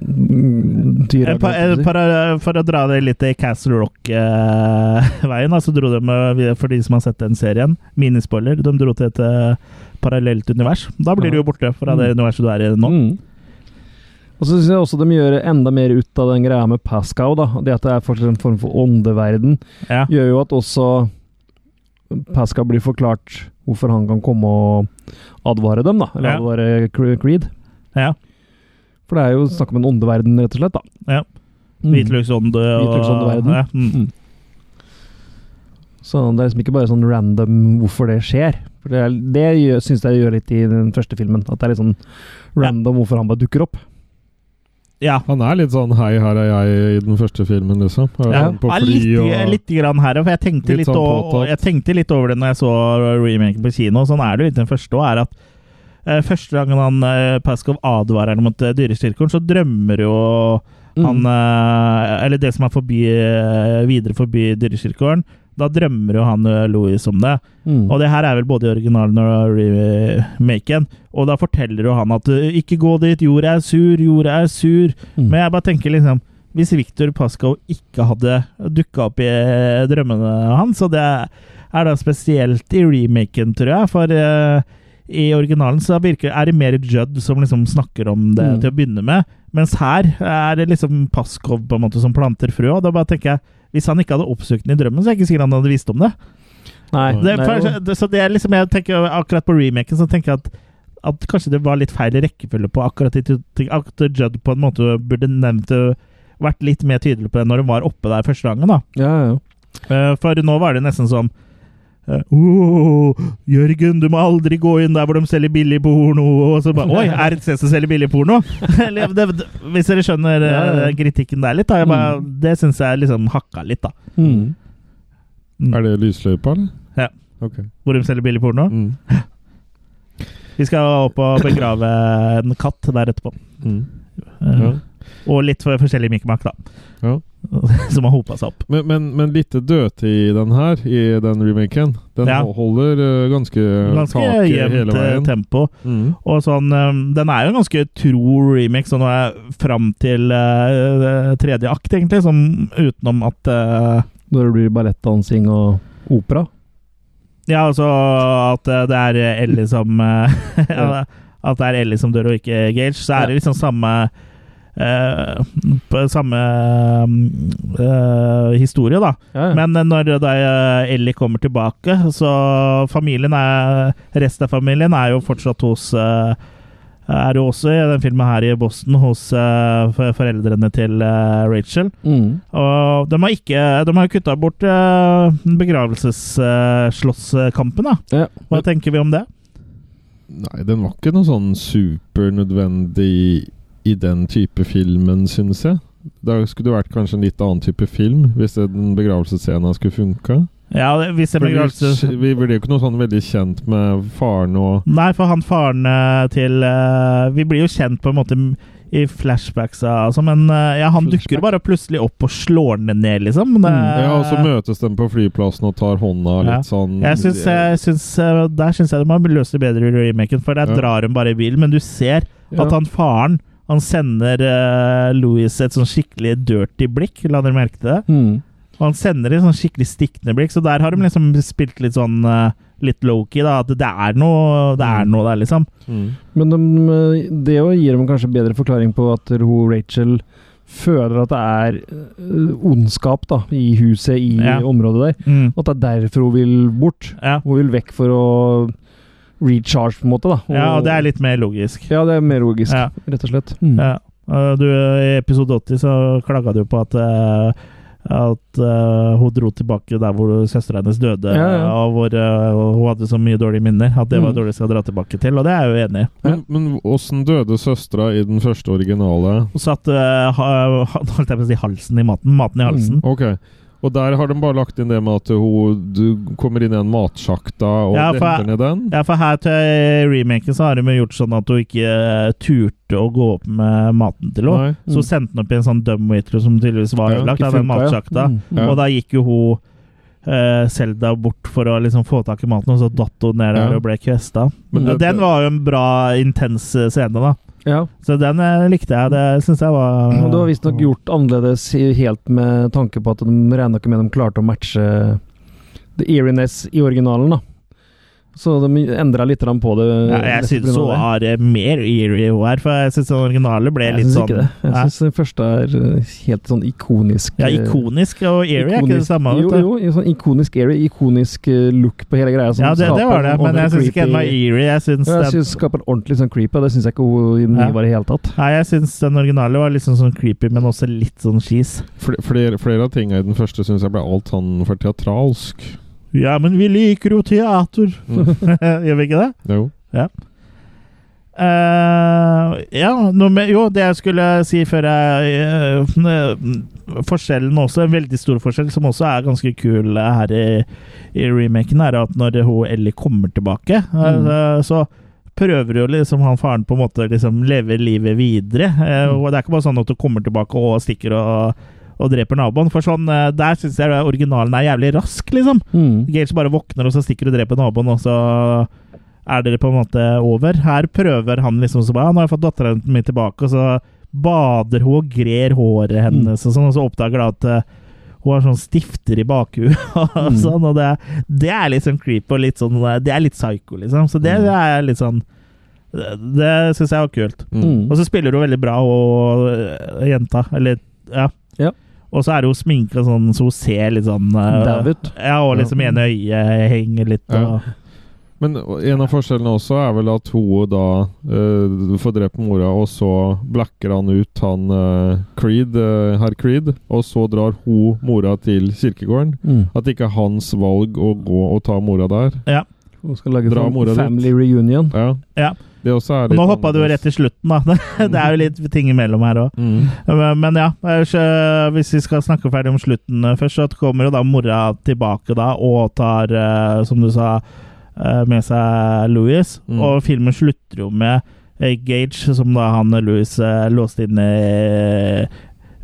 S3: mm, dyra.
S1: Eh, pa- eh, para- For å dra det litt i Castle *laughs* Rock-veien, så dro de, eh, for de som har sett den serien, minispoiler, de dro til et eh, parallelt univers. Da blir du jo borte fra det universet du er i nå.
S3: Mm. Og så syns jeg også de gjør enda mer ut av den greia med Pascal, da. Det at det er faktisk en form for åndeverden,
S1: Ja.
S3: gjør jo at også Pascal blir forklart hvorfor han kan komme og advare dem, da. Eller
S1: Ja.
S3: advare Cre- Creed.
S1: ja.
S3: For det er jo snakk om en åndeverden, rett og slett, da.
S1: Ja.
S3: Mm.
S1: Hvitløksånde og
S3: Hvitløksåndeverden.
S1: Ja, mm.
S3: Mm. Så det er liksom ikke bare sånn random hvorfor det skjer. For Det, er- det gjør- syns jeg gjør litt i den første filmen. At det er litt sånn random hvorfor han bare dukker opp.
S1: ja.
S2: Han er litt sånn 'hei, her er jeg' i den første filmen, liksom. Er
S1: Ja,
S2: sånn på
S1: ja,
S2: fly
S1: litt,
S2: og-
S1: litt grann her, for jeg tenkte litt,
S2: Litt sånn
S1: over-
S2: påtatt.
S1: jeg tenkte litt over det når jeg så remaken på kino. Sånn er det jo litt den første òg, er at eh, første gangen han eh, Paskov advarer mot eh, dyrestyrkeren, så drømmer jo
S3: Mm.
S1: han eh, Eller det som er forbi, eh, videre forbi dyrestyrkeren, da drømmer jo han eh, Louis om det.
S3: Mm.
S1: Og det her er vel både i originalen og remaken. Og da forteller jo han at eh, 'ikke gå dit, jorda er sur, jorda er sur'.
S3: Mm.
S1: Men jeg bare tenker liksom Hvis Viktor Pascoe ikke hadde dukka opp i eh, drømmene hans, og det er da spesielt i remaken, tror jeg, for eh, i originalen så virker, er det mer Judd som liksom snakker om det
S3: Mm.
S1: til å begynne med, mens her er det liksom Pascoe på en måte som planter frø, og da bare tenker jeg hvis han ikke hadde oppsøkt den i drømmen, så er jeg ikke sikker han hadde visst om det.
S3: Nei,
S1: det,
S3: nei,
S1: for,
S3: jo.
S1: det så det er liksom, jeg tenker Akkurat på remaken så tenker jeg at, at kanskje det var litt feil rekkefølge på akkurat de to ting. At Judd på en måte burde nevnt det, vært litt mer tydelig på det når hun var oppe der første gangen. da.
S3: ja, ja, ja.
S1: Eh, For nå var det nesten som eh, «Åh, Jørgen, du må aldri gå inn der hvor de selger billig porno! Og så bare Oi, er det et sted som selger billig porno? *laughs* Eller, det, det, hvis dere skjønner
S3: Ja, ja, Mm. ja.
S1: eh, kritikken der litt, da. Jeg bare, det syns jeg liksom hakka litt, da.
S3: Mm.
S2: Er det lysløypa, eller?
S1: Ja.
S2: Ok.
S1: Hvor de selger billig porno.
S2: Mm.
S1: Vi skal opp
S2: *laughs*
S1: og begrave en katt der etterpå.
S2: Mm.
S1: Eh,
S2: Ja.
S1: Og litt for forskjellig mikkemakk, da.
S2: Ja.
S1: *laughs* Som har hopa seg opp.
S2: Men, men, men lite dødtid i den her, i den remaken. Den
S1: Ja.
S2: holder eh, ganske,
S1: Ganske
S2: taket hele
S1: jevnt eh,
S2: veien.
S1: tempo.
S2: Mm.
S1: Og sånn, eh, Den er jo en ganske tro remix, og nå er jeg fram til eh, tredje akt, egentlig, som utenom at eh,
S3: Når det blir ballettdansing og opera.
S1: Ja, altså at eh, det er eh, Ellie som eh, *laughs* ja, At det er Ellie som dør, og ikke Gage, så er det liksom samme eh, på Samme eh, historie, da.
S3: Ja, ja.
S1: Men eh, når da eh, Ellie kommer tilbake, så familien er Resten av familien er jo fortsatt hos eh, Er jo også i den filmen her i Boston hos eh, for- foreldrene til eh, Rachel.
S3: mm.
S1: Og de har ikke De har jo kutta bort uh, begravelsesslåsskampen, da.
S3: ja.
S1: Hva tenker vi om det?
S2: Nei, den var ikke noe sånn supernødvendig i den type filmen, syns jeg. Da skulle det vært kanskje en litt annen type film, hvis den begravelsesscenen skulle funka.
S1: Ja, hvis det
S2: For
S1: blir
S2: Vi
S1: begravelse...
S2: vi ble jo ikke noe sånn veldig kjent med faren og
S1: Nei, for han faren eh, til eh, Vi blir jo kjent på en måte m- i flashbacks, altså, men eh, ja, han dukker bare plutselig opp og slår den ned, liksom. Det,
S2: Mm. ja, Og så møtes de på flyplassen og tar hånda
S1: Ja.
S2: litt sånn
S1: jeg syns, jeg syns, eh, Der syns jeg de har løst det bedre i remaken, for der
S2: Ja.
S1: drar hun bare i bilen, men du ser
S3: Ja.
S1: at han faren han sender eh, Louis et sånn skikkelig dirty blikk, la dere merke til det.
S3: Mm.
S1: Og han sender et sånn skikkelig stikkende blikk, så der har de
S2: Mm.
S1: liksom spilt litt sånn eh, Litt low-key, da. At det er noe, det er noe der, liksom.
S2: Mm.
S3: Men de, det jo gir dem kanskje bedre forklaring på at hun Rachel føler at det er øh, ondskap da, i huset, i
S1: Ja.
S3: området der.
S1: Mm.
S3: Og at det er derfor hun vil bort.
S1: Ja.
S3: Hun vil vekk for å recharge, på en måte. da.
S1: ja, og det er litt mer logisk.
S3: Ja, det er mer logisk,
S1: Ja.
S3: rett og slett. Mm.
S1: Ja. Og Du, I episode 80 så klaga du på at eh, at eh, hun dro tilbake der hvor søstera hennes døde,
S3: Ja, ja.
S1: og hvor eh, hun hadde så mye dårlige minner. At det var
S3: Mm.
S1: dårlig jeg skal dra tilbake til, og det er jeg jo enig i.
S2: Men, men åssen døde søstera i den første originale?
S1: Hun satt eh, ha, ha- *laughs* holdt jeg på å si halsen i maten. Maten i halsen.
S3: Mm.
S2: Ok. Og der har de bare lagt inn det med at hun du kommer inn i en matsjakta og
S1: Ja, for-
S2: detter ned den.
S1: Ja, for her til remaken så har de gjort sånn at hun ikke eh, turte å gå opp med maten til henne.
S2: Nei.
S1: Så hun sendte hun opp i en sånn dumb waiter som tydeligvis var
S2: Ja,
S1: ødelagt,
S3: ikke
S1: av den
S3: funka, Mm. ja.
S1: matsjakta.
S3: Mm.
S2: Ja.
S1: Og da gikk jo hun eh, Selda bort for å liksom få tak i maten, og så datt hun ned der
S2: Ja.
S1: og ble kvesta.
S2: Men
S1: Og
S2: det-
S1: den var jo en bra, intens eh, scene, da.
S3: Ja.
S1: Så den eh, likte jeg. Det syns jeg var
S3: Mm. Og det var visstnok gjort annerledes i- helt med tanke på at de regna ikke med de klarte å matche the eeriness i originalen, da. Så de endra litt grann på det.
S1: Ja, jeg syns hun har eh, mer eerie hun her, for jeg syns den originale ble
S3: Jeg
S1: litt
S3: synes
S1: sånn
S3: ikke det. Jeg
S1: Nei.
S3: syns den første er eh, helt sånn ikonisk.
S1: Ja,
S3: eh,
S1: ikonisk og eerie er ikke det
S3: ikonisk-
S1: samme.
S3: Jo,
S1: vet du.
S3: jo, i sånn ikonisk area, ikonisk eh, look på hele greia. som
S1: Ja, det, det
S3: skaper
S1: var det,
S3: en
S1: men jeg
S3: ordentlig
S1: syns ikke den var
S3: creepy-
S1: eerie. Jeg syns
S3: Ja, Jeg
S1: den,
S3: synes det skaper en ordentlig sånn creepy, og det syns jeg ikke hun i den
S1: Ja.
S3: nye var i det hele tatt.
S1: nei, jeg synes den originale var litt sånn, sånn creepy, men også litt sånn skis.
S2: Fl- Flere, flere av tingene i den første syns jeg ble alt sånn for teatralsk.
S1: Ja, men vi liker jo teater! *laughs*
S2: Mm.
S1: Gjør vi ikke det?
S2: Jo.
S1: Eh, ja, noe med, jo, det jeg skulle si før jeg eh, Forskjellen også, en veldig stor forskjell, som også er ganske kul eh, her i, i remaken, er at når hun Ellie kommer tilbake, eh,
S3: Mm.
S1: så prøver jo liksom han faren på en måte liksom leve livet videre. Eh, og Det er ikke bare sånn at hun kommer tilbake og stikker og, og dreper naboen. For sånn, eh, der syns jeg originalen er jævlig rask, liksom.
S3: Mm.
S1: Gage bare våkner, og så stikker og dreper naboen, og så er dere på en måte over. Her prøver han liksom så bare, «Ja, Nå har jeg fått datteren min tilbake, og så bader hun og grer håret
S3: Mm.
S1: hennes, og sånn, og så oppdager hun at eh, hun har sånn stifter i bakhuet *laughs* og
S3: Mm.
S1: sånn, og det, det er litt sånn creepy og litt sånn eh, Det er litt psycho, liksom. Så det, det er litt sånn Det, det syns jeg var kult.
S3: Mm.
S1: Og så spiller hun veldig bra, og eh, jenta, eller Ja.
S3: Ja.
S1: Og så er hun sminka sånn, så hun ser litt sånn eh,
S3: David.
S1: ja, og liksom
S3: Ja.
S1: ene øyet henger litt.
S2: Ja.
S1: Og,
S2: Men en av forskjellene også er vel at hun da eh, får drept mora, og så blacker han ut han eh, Creed, eh, herr Creed, og så drar hun mora til kirkegården.
S3: Mm.
S2: At det ikke er hans valg å gå og ta mora der.
S3: Hun skal lage
S2: Dra mora
S3: sånn
S2: dit.
S3: family reunion.
S2: Ja.
S1: Ja.
S2: Det også er
S1: og
S2: litt
S1: nå hoppa du jo rett til slutten, da. *laughs* Det er jo litt ting imellom her òg.
S2: Mm.
S1: Men ja, så hvis vi skal snakke ferdig om slutten eh, først, så kommer jo da mora tilbake da og tar, eh, som du sa, eh, med seg Louis.
S2: Mm.
S1: Og filmen slutter jo med eh, Gage, som da han eh, Louis eh, låste inn i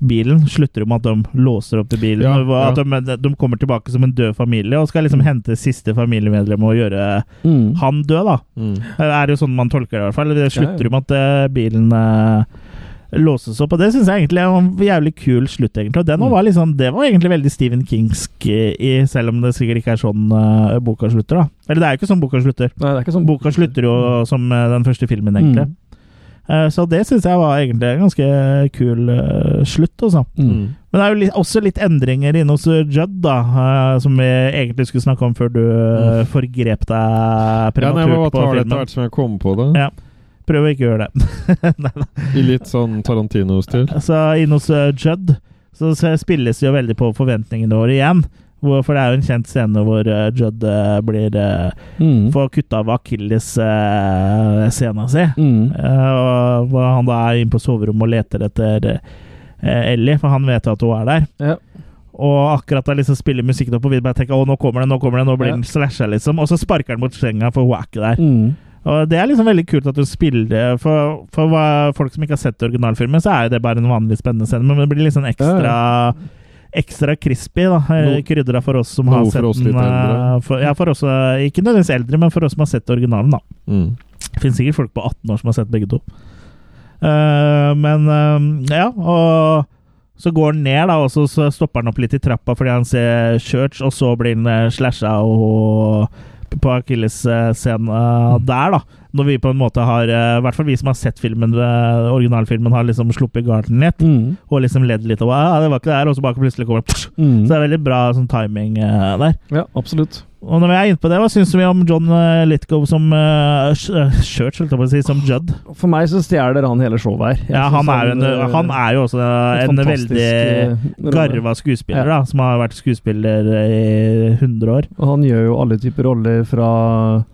S1: bilen, slutter jo med at de låser opp i bilen.
S2: Ja,
S1: og at de, de kommer tilbake som en død familie og skal liksom hente siste familiemedlem og gjøre
S3: Mm.
S1: han død, da.
S2: Mm.
S1: Det er jo sånn man tolker det, i hvert fall. Det
S3: Ja, ja.
S1: slutter jo med at eh, bilen eh, låses opp, og det syns jeg egentlig er en jævlig kul slutt, egentlig. Og den
S2: Mm.
S1: var liksom, det var egentlig veldig Stephen Kingsk i, selv om det sikkert ikke er sånn eh, boka slutter, da. Eller det er jo ikke sånn boka slutter.
S3: Nei, det er ikke sånn
S1: Boka slutter jo som eh, den første filmen, egentlig.
S3: Mm.
S1: Eh, Så det syns jeg var egentlig en ganske kul eh, slutt, altså.
S3: Mm.
S1: Men det er jo litt, også litt endringer inne hos eh, Judd, da, eh, som vi egentlig skulle snakke om før du eh, forgrep deg
S2: Ja, nei, jeg
S1: prematurt på
S2: må bare ta det etter
S1: filmen.
S2: hvert som jeg kommer på det.
S1: Ja. Prøv å ikke gjøre det. *laughs* Nei, da.
S2: I litt sånn Tarantino-stil.
S1: så inne hos eh, Judd så så spilles det jo veldig på forventningene våre igjen. Hvor, for det er jo en kjent scene hvor eh, Judd eh, blir eh,
S3: Mm.
S1: får kutta av akilles-scena si.
S3: Mm.
S1: Eh, og hvor han da er inne på soverommet og leter etter eh, Ellie, for han vet jo at hun er der.
S3: Ja.
S1: Og akkurat da liksom spiller musikken opp, og vi bare tenker 'Å, nå kommer det, nå kommer det', nå blir
S3: Ja.
S1: den slasha, liksom. Og så sparker han mot senga, for hun er ikke der.
S3: Mm.
S1: Og Det er liksom veldig kult at du spiller det. For, for hva, folk som ikke har sett originalfilmen, så er jo det bare en vanlig spennende scene, men det blir liksom ekstra Ekstra crispy, da. eh,
S2: Noe-
S1: Krydra for oss som
S2: noe
S1: har
S2: for
S1: sett
S2: oss
S1: den.
S2: litt eldre.
S1: eh, For, ja, for oss, eh, ikke nødvendigvis eldre, men for oss som har sett originalen, da.
S2: Mm.
S1: Det finnes sikkert folk på 18 år som har sett begge to. Eh, men eh, ja, og så går han ned, da, og så, så stopper han opp litt i trappa fordi han ser Church, og så blir han eh, slasha og, på akilles-scenen eh, der, da. Når vi på en måte har, eh, i hvert fall vi som har sett filmen, eh, originalfilmen, har liksom sluppet garden litt,
S3: Mm.
S1: og liksom ledd litt og ah, det var ikke der, og så bare plutselig kommer det
S3: Mm.
S1: Så det er veldig bra sånn timing eh, der.
S3: Ja, absolutt.
S1: Og når vi er inne på det, hva syns vi om John eh, Lithgow som eh, Sh- eh, Church, holdt jeg på å si, som Judd?
S3: For meg så stjeler han hele showet her. Jeg
S1: Ja,
S3: synes
S1: han er jo, en,
S3: eh,
S1: han er jo også
S3: et
S1: en
S3: fantastisk,
S1: veldig
S3: eh, rolle.
S1: garva skuespiller, da, som har vært skuespiller i 100 år.
S3: Og han gjør jo alle typer roller fra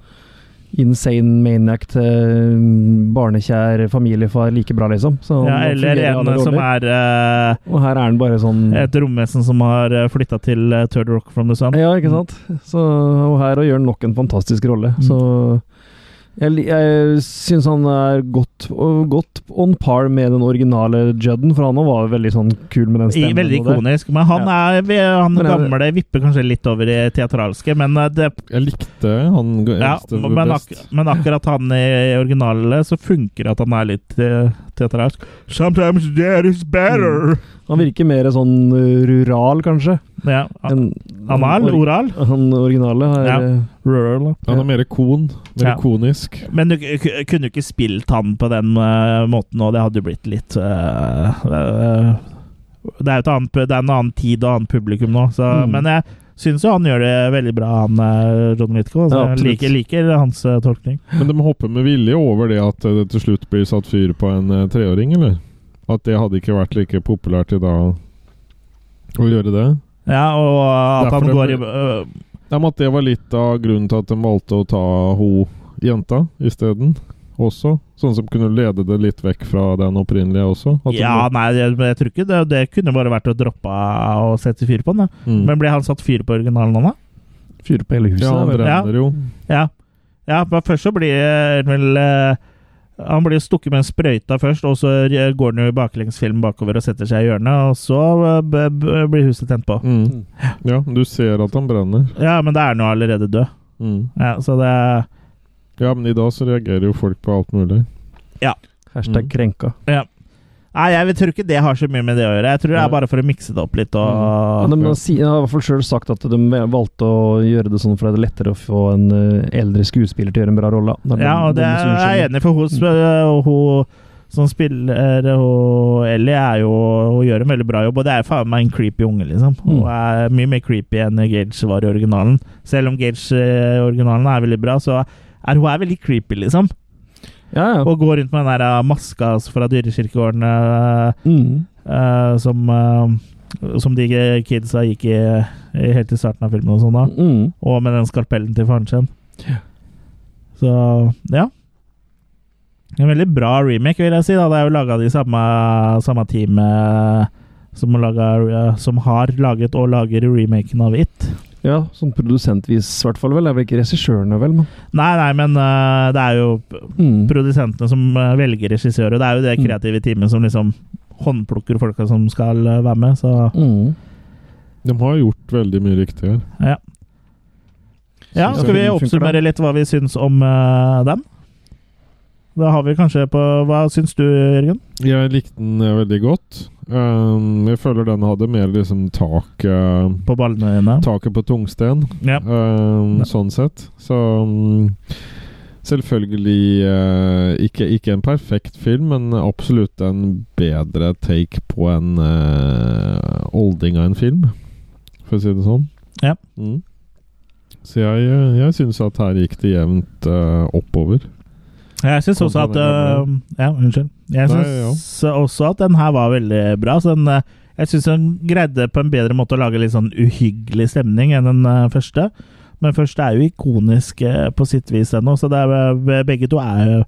S3: insane maniac til mm, barnekjær familiefar like bra, liksom. Så han
S1: Ja, eller
S3: fungerer i
S1: en
S3: alle
S1: som
S3: roller.
S1: er eh,
S3: Og her er han bare sånn
S1: et romvesen som har flytta til eh, Third Rock from the Sun.
S3: Ja, ikke sant? Så, og her gjør han nok en fantastisk rolle.
S1: Mm.
S3: Så jeg, li- jeg syns han er godt, og godt on par med den originale Judden, for han også var veldig sånn kul med den
S1: I,
S3: stemmen.
S1: veldig
S3: og det.
S1: ikonisk. Men han, er, vi- han
S3: Men er det-
S1: gamle vipper kanskje litt over i teatralske, men eh, det
S2: Jeg likte han g-
S1: ja,
S2: eldste
S1: men, ak
S2: best.
S1: men akkurat han i originalen så funker det at han er litt eh, teatralsk. Sometimes there is better!
S3: Han virker mer sånn eh, rural, kanskje.
S1: Ja,
S3: En,
S1: Anal? Oral?
S3: Han originale har
S1: Ja.
S3: eh,
S1: Rural.
S2: Han er mer kon. Mer
S1: Ja.
S2: konisk.
S1: Men du k- k- kunne jo ikke spilt han på den eh, måten, og det hadde jo blitt litt eh, eh, det, er jo et annet, pu- det er en annen tid og annet publikum nå, så,
S3: Mm.
S1: men jeg syns jo han gjør det veldig bra, han eh, John Whitcoe.
S3: Ja,
S1: så jeg
S3: absolutt.
S1: liker, liker hans eh, tolkning.
S2: Men de hopper med vilje over det at eh, det til slutt blir satt fyr på en eh, treåring, eller? At det hadde ikke vært like populært i dag å gjøre det?
S1: Ja, og at
S2: Derfor
S1: han
S2: det
S1: går i eh,
S2: Nei, men at det var litt av grunnen til at de valgte å ta ho jenta isteden. Også. Sånn som kunne lede det litt vekk fra den opprinnelige også. At de-
S1: Ja, nei, jeg, men jeg tror ikke det, det kunne bare vært å droppe å sette fyr på den. Da.
S2: mm.
S1: Men ble han satt fyr på originalen nå, da?
S3: fyrer på hele huset.
S2: ja, han
S3: vel.
S1: Ja.
S2: brenner jo.
S1: Ja. ja, men først så blir vel eh, Han blir jo stukket med en sprøyta først, og så eh, går han jo i baklengsfilm bakover og setter seg i hjørnet, og så eh, b b blir huset tent på.
S2: Mm. Ja, du ser at han brenner.
S1: Ja, men da er han jo allerede død.
S2: Mm.
S1: Ja, så det
S2: Ja, men i dag så reagerer jo folk på alt mulig. Mm.
S3: Hashtag krenka.
S1: Nei, jeg tror ikke det har så mye med det å gjøre. Jeg tror det er bare for å mikse det opp litt.
S3: Men
S1: Og,
S3: de, har si- de har i hvert fall sjøl sagt at de valgte å gjøre det sånn for det er lettere å få en eh, eldre skuespiller til å gjøre en bra rolle. Det er
S1: Ja, og
S3: de-
S1: det er
S3: deres
S1: jeg er
S3: unnskyldning.
S1: enig i, for hun, sp- hun som spiller hun Ellie, er jo, hun gjør en veldig bra jobb. Og det er faen meg en creepy unge, liksom. Hun er mye mer creepy enn Gage var i originalen. Selv om Gage eh, i originalen er veldig bra, så er hun er veldig creepy, liksom.
S3: Ja, ja.
S1: Og går rundt med den der eh, maska altså, fra dyrekirkegården eh,
S3: Mm.
S1: eh, som eh, som de kidsa gikk i, i helt i starten av filmen og sånn da.
S3: Mm.
S1: Og med den skalpellen til faren sin.
S3: Ja.
S1: Så ja. En veldig bra remake, vil jeg si. da Det er jo laga de samme, samme teamet som, har laget- som har laget og lager remaken av It.
S3: ja, sånn produsentvis i hvert fall. vel. Jeg vet ikke regissørene, vel, men
S1: Nei, nei, men øh, det er jo
S3: mm.
S1: produsentene som øh, velger regissør, og det er jo det kreative teamet som liksom håndplukker folka som skal øh, være med, så
S3: Mm.
S2: De har gjort veldig mye riktig her.
S1: ja. Ja,
S3: Så
S1: skal vi
S3: funker det.
S1: oppsummere litt hva vi syns om øh, den? Da har vi kanskje på Hva syns du, Jørgen?
S2: Jeg likte den eh, veldig godt. Um, jeg føler den hadde mer liksom tak eh,
S1: På ballene dine?
S2: Taket på tungsten.
S1: Ja.
S2: Um,
S1: Ja.
S2: Sånn sett. Så um, Selvfølgelig eh, ikke, ikke en perfekt film, men absolutt en bedre take på en eh, olding av en film, for å si det sånn.
S1: Ja.
S2: Mm. Så jeg, eh, jeg syns at her gikk det jevnt eh, oppover.
S1: Jeg syns også at øh, Ja, unnskyld. Jeg
S2: Nei,
S1: syns også at den her var veldig bra. Så den, øh, jeg syns den greide på en bedre måte å lage litt sånn uhyggelig stemning enn den øh, første. Men første er jo ikonisk øh, på sitt vis ennå, så det er, øh, begge to er jo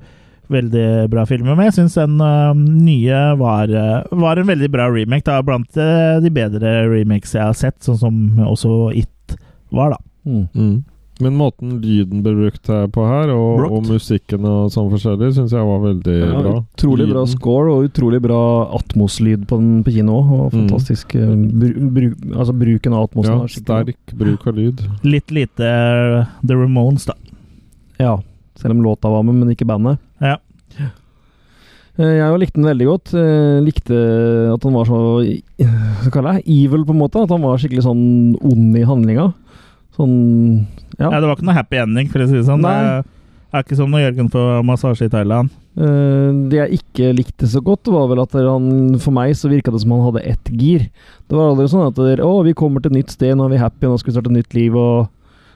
S1: veldig bra filmer. Men jeg syns den øh, nye var, øh, var en veldig bra remake. Da, blant øh, de bedre remakes jeg har sett, sånn som også It var, da.
S3: Mm.
S2: Men måten lyden ble brukt her på her, og,
S1: Brukt.
S2: og musikken og sånn forskjellig, syns jeg var veldig
S3: Ja,
S2: bra.
S3: Utrolig bra
S2: Lyden.
S3: score og utrolig bra Atmos-lyd på, den- på kino. også, Og
S2: Mm.
S3: fantastisk eh, bru, bru, altså bruken av Atmosen.
S2: Ja,
S3: var skikkelig bra.
S2: sterk bruk av lyd.
S1: Litt lite øh, The Ramones, da.
S3: Ja, selv om låta var med, men ikke bandet.
S1: Ja.
S3: Eh, Jeg jo likte den veldig godt. Eh, Likte at han var så i- Hva kaller jeg det? evil, på en måte. At han var skikkelig sånn ond i handlinga. Sånn Ja.
S1: Ja, det var ikke noe happy ending, for å si det sånn.
S3: Nei.
S1: Det er ikke som når Jørgen får massasje i Thailand.
S3: Eh, Det jeg ikke likte så godt, var vel at han, for meg så virka det som han hadde ett gir. Det var aldri sånn at det, 'Å, vi kommer til et nytt sted, nå er vi happy, nå skal vi starte et nytt liv', og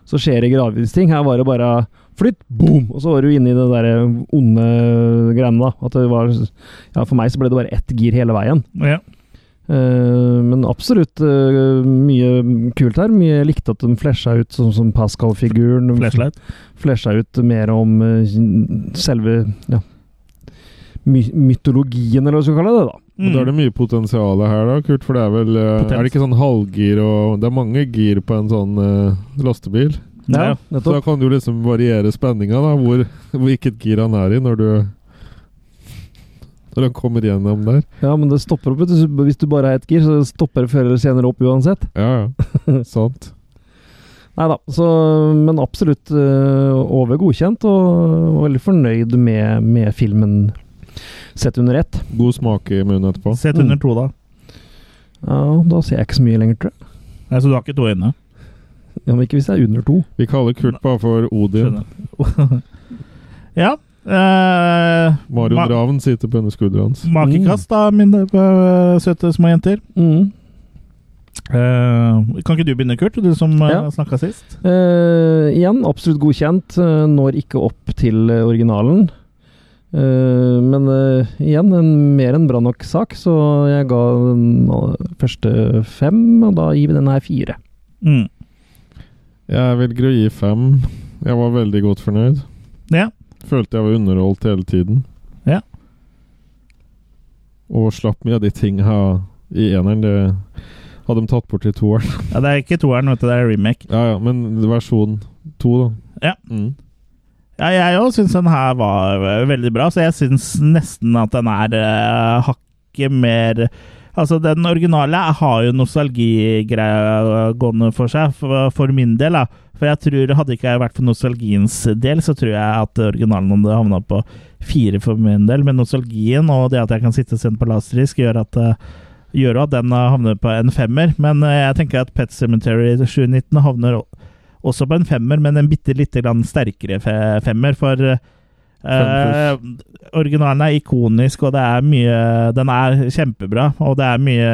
S3: så skjer det gradvis ting. Her var det bare flytt, boom! Og så var du inne i det der eh, onde greiene, da. At det var Ja, for meg så ble det bare ett gir hele veien.
S1: Ja.
S3: Eh, men absolutt eh, mye kult her. Mye jeg likte at de flesha ut sånn som Pascal-figuren.
S1: Flashlight.
S3: flesja ut mer om eh, selve ja, my mytologien, eller hva vi skal kalle det. da.
S2: Men Da
S1: Mm.
S2: er det mye potensial her, da, Kurt. For det er vel eh,
S1: Potens.
S2: Er det ikke sånn halvgir og Det er mange gir på en sånn eh, lastebil.
S1: Ja.
S3: Ja,
S2: Så da
S3: nettopp.
S2: kan du liksom variere spenninga, da. Hvor, *laughs* hvilket gir han er i når du Når han kommer gjennom der.
S3: Ja, Men det stopper opp. vet du. Hvis du bare har ett gir, så stopper det før eller senere opp uansett.
S2: Ja,
S1: *laughs*
S2: ja. Sant.
S3: Nei da. Så, men absolutt eh, over godkjent, og, og veldig fornøyd med, med filmen sett under ett.
S2: God smak i munnen etterpå.
S1: Sett under to, da.
S3: Ja, da ser jeg ikke så mye lenger, tror jeg.
S1: Nei, så du har ikke to øyne?
S3: Ja, men ikke hvis det er under to.
S2: Vi kaller Kurt bare for Odin.
S1: Skjønner. *laughs* ja. eh,
S2: Marion
S1: ma-
S2: Ravn sitter på underskulderen hans.
S1: makekast, da, mine eh, søte små jenter.
S3: Mm.
S1: Eh, kan ikke du begynne, Kurt? Du som uh,
S3: Ja.
S1: snakka sist.
S3: Eh, igjen, absolutt godkjent. eh, når ikke opp til eh, originalen. Eh, men eh, igjen, en mer enn bra nok sak, så jeg ga den eh, første fem, og da gir vi denne her fire.
S1: Mm.
S2: Jeg velger å gi fem. Jeg var veldig godt fornøyd.
S1: Ja.
S2: Følte jeg var underholdt hele tiden.
S1: Ja.
S2: Og slapp mye av de tinga i eneren. Det hadde de tatt bort i toeren. *laughs*
S1: ja, det er ikke toeren, vet du. Det er remake.
S2: Ja, ja, men versjon to, da.
S1: Ja.
S2: Mm.
S1: Ja, jeg òg syns den her var eh, veldig bra, så jeg syns nesten at den er eh, hakket mer Altså, den originale har jo nostalgigreia gående for seg, for, for min del. da. For jeg tror, hadde ikke jeg vært for nostalgiens del, så tror jeg at originalen hadde havna på fire for min del. Men nostalgien og det at jeg kan sitte og se den på laserdisk, gjør at eh, gjør jo at den eh, havner på en femmer. Men eh, jeg tenker at Pet Cemetery 2019 havner o- også på en femmer, men en bitte lite grann sterkere fe femmer. For eh,
S2: Fem
S1: originalen er ikonisk, og det er mye Den er kjempebra, og det er mye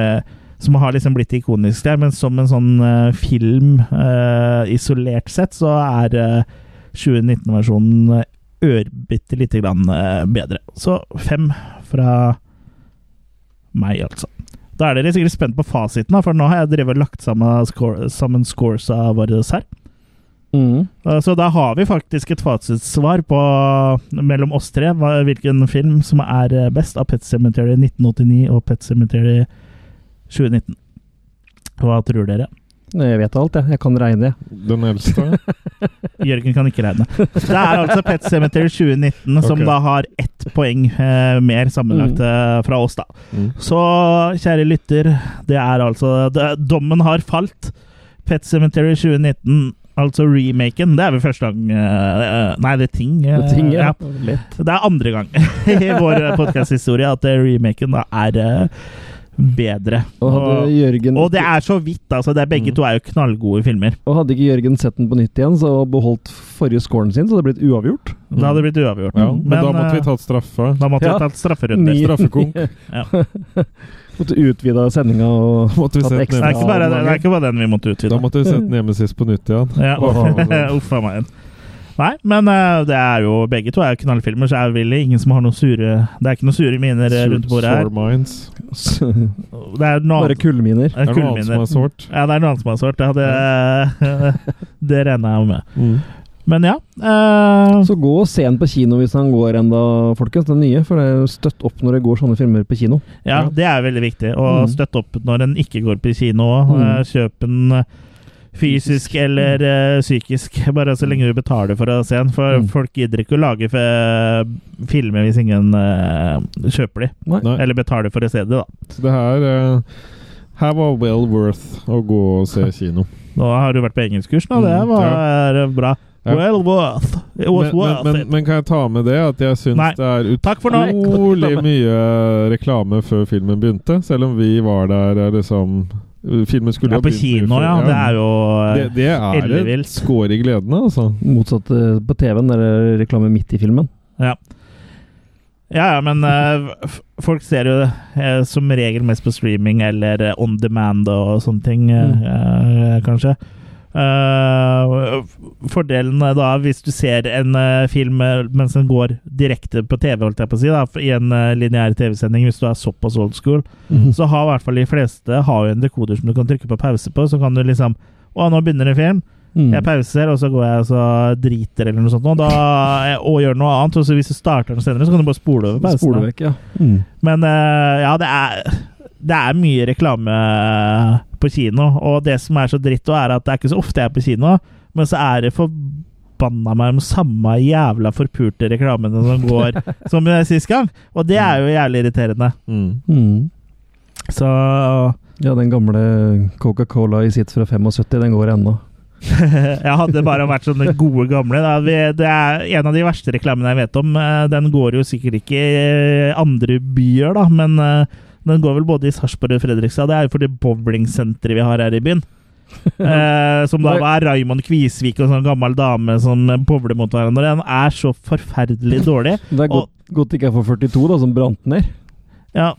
S1: som har liksom blitt ikonisk der, men som en sånn eh, film eh, isolert sett, så er eh, 2019-versjonen ørbitte lite grann eh, bedre. Så fem fra meg, altså. Da er dere sikkert spent på fasiten, da, for nå har jeg drevet og lagt sammen, score, sammen scoresa våre her.
S3: Mm.
S1: Eh, Så da har vi faktisk et fasitsvar på, mellom oss tre, hva- hvilken film som er eh, best av Pet Cemetery 1989 og Pet Cemetery 2019. Hva tror dere?
S3: Eh, Jeg vet alt, jeg. Jeg kan regne. jeg.
S1: *laughs*
S2: Den eldste.
S1: Jørgen kan ikke regne. Det er altså Pet Cemetery 2019 som
S2: Ok.
S1: da har ett poeng eh, mer sammenlagt eh, fra oss, da.
S2: Mm.
S1: Så kjære lytter, det er altså det, Dommen har falt. Pet Cemetery 2019, altså remaken. Det er vel første gang eh, eh, Nei, det er ting. eh,
S3: Det ting, ja.
S1: ja.
S3: Lett.
S1: Det er andre gang *laughs* i vår podkasthistorie at eh, remaken da er eh, bedre.
S3: Og hadde,
S1: Og,
S3: Jørgen,
S1: og det er så vidt, altså. Det er begge
S2: Mm.
S1: to er jo knallgode filmer.
S3: og hadde ikke Jørgen sett den på nytt igjen, så beholdt forrige scoren sin, så hadde det blitt uavgjort.
S1: Da hadde det blitt uavgjort.
S2: Ja, men, da måtte vi
S1: eh,
S2: tatt straffa.
S1: da måtte vi
S3: Ja.
S1: ha tatt strafferunde.
S3: Ni-
S2: Straffekonk.
S1: *laughs* Ja.
S3: Måtte utvida sendinga og
S2: Måtte vi
S3: Tatt
S2: sett
S3: ekstra.
S1: Det er,
S2: den
S1: ikke bare, det er ikke bare den vi måtte
S2: Da
S1: utvide.
S2: måtte vi sett den hjemme sist på nytt igjen.
S1: Ja. *laughs*
S2: Åh.
S1: Uff a meg. Nei, men eh, det er jo begge to er jo knallfilmer, så er det vel ingen som har noen sure Det er ikke noen sure miner eh, rundt bordet her.
S2: Sore minds.
S1: Det er noe
S3: bare
S1: annet,
S3: kullminer.
S1: det
S2: Er
S1: er
S2: det noe annet som
S1: kullminer.
S2: er sårt?
S1: Ja, det er noe annet som er sårt. Det, hadde, *laughs* det regner jeg jo med.
S2: Mm.
S1: Men ja. eh,
S3: Så gå og se den på kino hvis den går enda, folkens. Den nye. For det er jo støtt opp når det går sånne filmer på kino.
S1: ja, det er veldig viktig. Og
S3: Mm.
S1: støtte opp når en ikke går på kino. eh, Kjøp den eh, fysisk eller eh, psykisk, *laughs* bare så lenge du betaler for å se den. For
S3: Mm.
S1: folk gidder ikke å lage eh, filmer hvis ingen eh, kjøper de.
S2: Nei.
S1: Eller betaler for å se det, da.
S2: Så det her eh, Her var well worth å gå og se kino.
S1: Nå har du vært på engelskkurs, nå. Det
S2: Mm,
S1: var eh, bra.
S2: Ja.
S1: Well worth. *laughs* It was
S2: Men, men,
S1: worth
S2: men,
S1: it.
S2: men kan jeg ta med det at jeg syns
S1: Nei.
S2: det er
S1: Takk for nå.
S2: utrolig mye reklame før filmen begynte? Selv om vi var der eh, liksom Filmen skulle
S1: Ja,
S2: ha
S1: på
S2: begynt mye
S1: kino,
S2: før,
S1: ja. Det er jo
S2: Det,
S1: eh,
S2: det er
S1: ellevilt.
S2: et skår i gledene, altså.
S3: Motsatt eh, på TV-en, der er det reklame midt i filmen.
S1: Ja, ja, men eh, f- folk ser jo eh, som regel mest på streaming eller eh, on demand og sånne ting, eh,
S2: Mm.
S1: eh, kanskje. Eh, f- fordelen er da, hvis du ser en eh, film eh, mens den går direkte på TV, holdt jeg på å si, da, f- i en uh, lineær TV-sending, hvis du er såpass old school,
S3: Mm.
S1: så har i hvert fall de fleste har jo en dekoder som du kan trykke på pause på, så kan du liksom Å, nå begynner en film.
S3: Mm.
S1: Jeg pauser, og så går jeg og så driter eller noe sånt, og, da, og gjør noe annet. Og så hvis du starter den senere, så kan du bare spole over pausen.
S3: Spole
S1: da.
S3: vekk, ja. Mm.
S1: Men eh, ja, det er, det er mye reklame eh, på kino, og det som er så dritt, også er at det er ikke så ofte jeg er på kino, men så er det forbanna meg de samme jævla forpulte reklamene som
S3: *laughs*
S1: går *laughs* som sist gang, og det er jo jævlig irriterende.
S2: Mm.
S3: Mm.
S1: Så
S3: Ja, den gamle Coca-Cola i sitt fra 75, den går ennå.
S1: *laughs* jeg hadde bare vært sånne gode gamle. Da. Vi, det er en av de verste reklamene jeg vet om. Eh, Den går jo sikkert ikke i eh, andre byer, da, men eh, den går vel både i Sarpsborg og Fredrikstad. Det er jo for det bowlingsenteret vi har her i byen. Eh, som da var Raymond Kvisvik og en sånn gammel dame som bowler mot hverandre. Den er så forferdelig dårlig.
S3: Det er godt, godt ikke jeg får 42, da, som brant ned.
S1: Ja.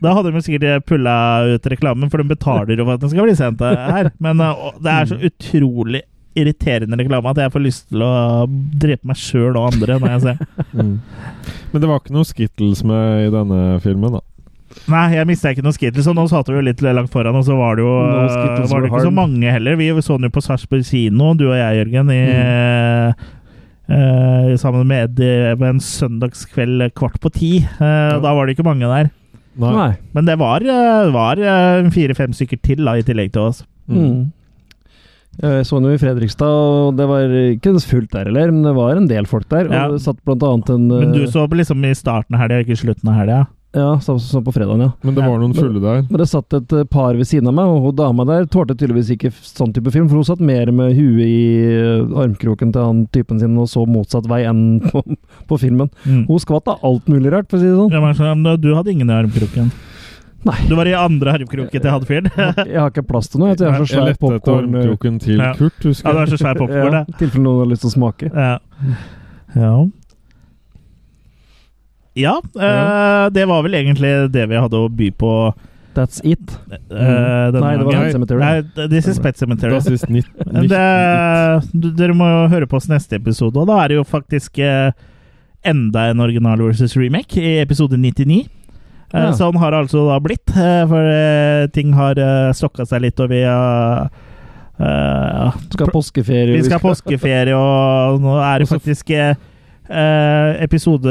S1: Da hadde de sikkert pulla ut reklamen, for de betaler jo for at den skal bli sendt her. Men eh, å, det er så utrolig irriterende reklame at jeg får lyst til å drepe meg sjøl og andre når jeg ser.
S2: Mm. Men det var ikke noe Skittles med i denne filmen, da.
S1: Nei, jeg mista ikke noe Skittles, og nå satt vi jo litt langt foran, og så var det jo
S3: No
S1: eh,
S3: Skittles
S1: var
S3: were
S1: det ikke så
S3: harmed.
S1: mange heller. Vi så den jo på Sarpsborg kino, du og jeg, Jørgen, i eh, sammen med Eddie på en søndagskveld kvart på ti. Eh, og Da var det ikke mange der.
S3: Nei.
S1: Men det var, eh, var eh, fire-fem stykker til da, i tillegg til oss.
S3: Mm. Eh, Jeg så den jo i Fredrikstad, og det var ikke fullt der heller, men det var en del folk der.
S1: Ja.
S3: Og det satt blant annet en
S1: Men du
S3: eh,
S1: så liksom i starten av helga, ikke i slutten av helga.
S3: Ja, så, så på fredagen, ja.
S2: Men det var noen fulle der.
S3: Men det satt et eh, par ved siden av meg, og hun dama der tålte tydeligvis ikke f- sånn type film, for hun satt mer med huet i eh, armkroken til han typen sin og så motsatt vei enn *laughs* på, på filmen.
S1: Mm.
S3: Hun skvatt av alt mulig rart, for å si det sånn.
S1: Jeg var sånn, "Men Du hadde ingen i armkroken.
S3: Nei.
S1: Du var i andre armkroken til
S3: *laughs*
S1: Hadfield.
S3: Jeg har- Jeg har ikke plass til noe. Jeg, vet du, jeg
S2: Jeg
S3: har så svær
S2: lette etter
S3: popcorn
S2: armkroken til
S1: Ja.
S2: Kurt,
S1: *laughs* Ja, det
S2: husker
S1: var
S2: jeg.
S1: så svær popkorn,
S3: Ja,
S1: det.
S3: I tilfelle noen har lyst til å smake.
S1: Ja. Ja. Ja, eh, det var vel egentlig det vi hadde å by på
S3: That's it.
S1: eh, denne
S3: Mm. Nei, det var
S1: gangen.
S3: Pet Sematary.
S1: Nei, This is Pet Cemetery.
S2: Da sist nitt- nitt-
S1: Det, du- dere må jo høre på oss neste episode, og da er det jo faktisk eh, enda en original versus remake i episode 99. Eh,
S3: Ja.
S1: Sånn har det altså da blitt, eh, for eh, ting har uh, stokka seg litt, og vi har eh,
S3: Skal ha påskeferie.
S1: vi skal ha påskeferie, og nå er det
S2: Og så-
S1: faktisk eh, eh, episode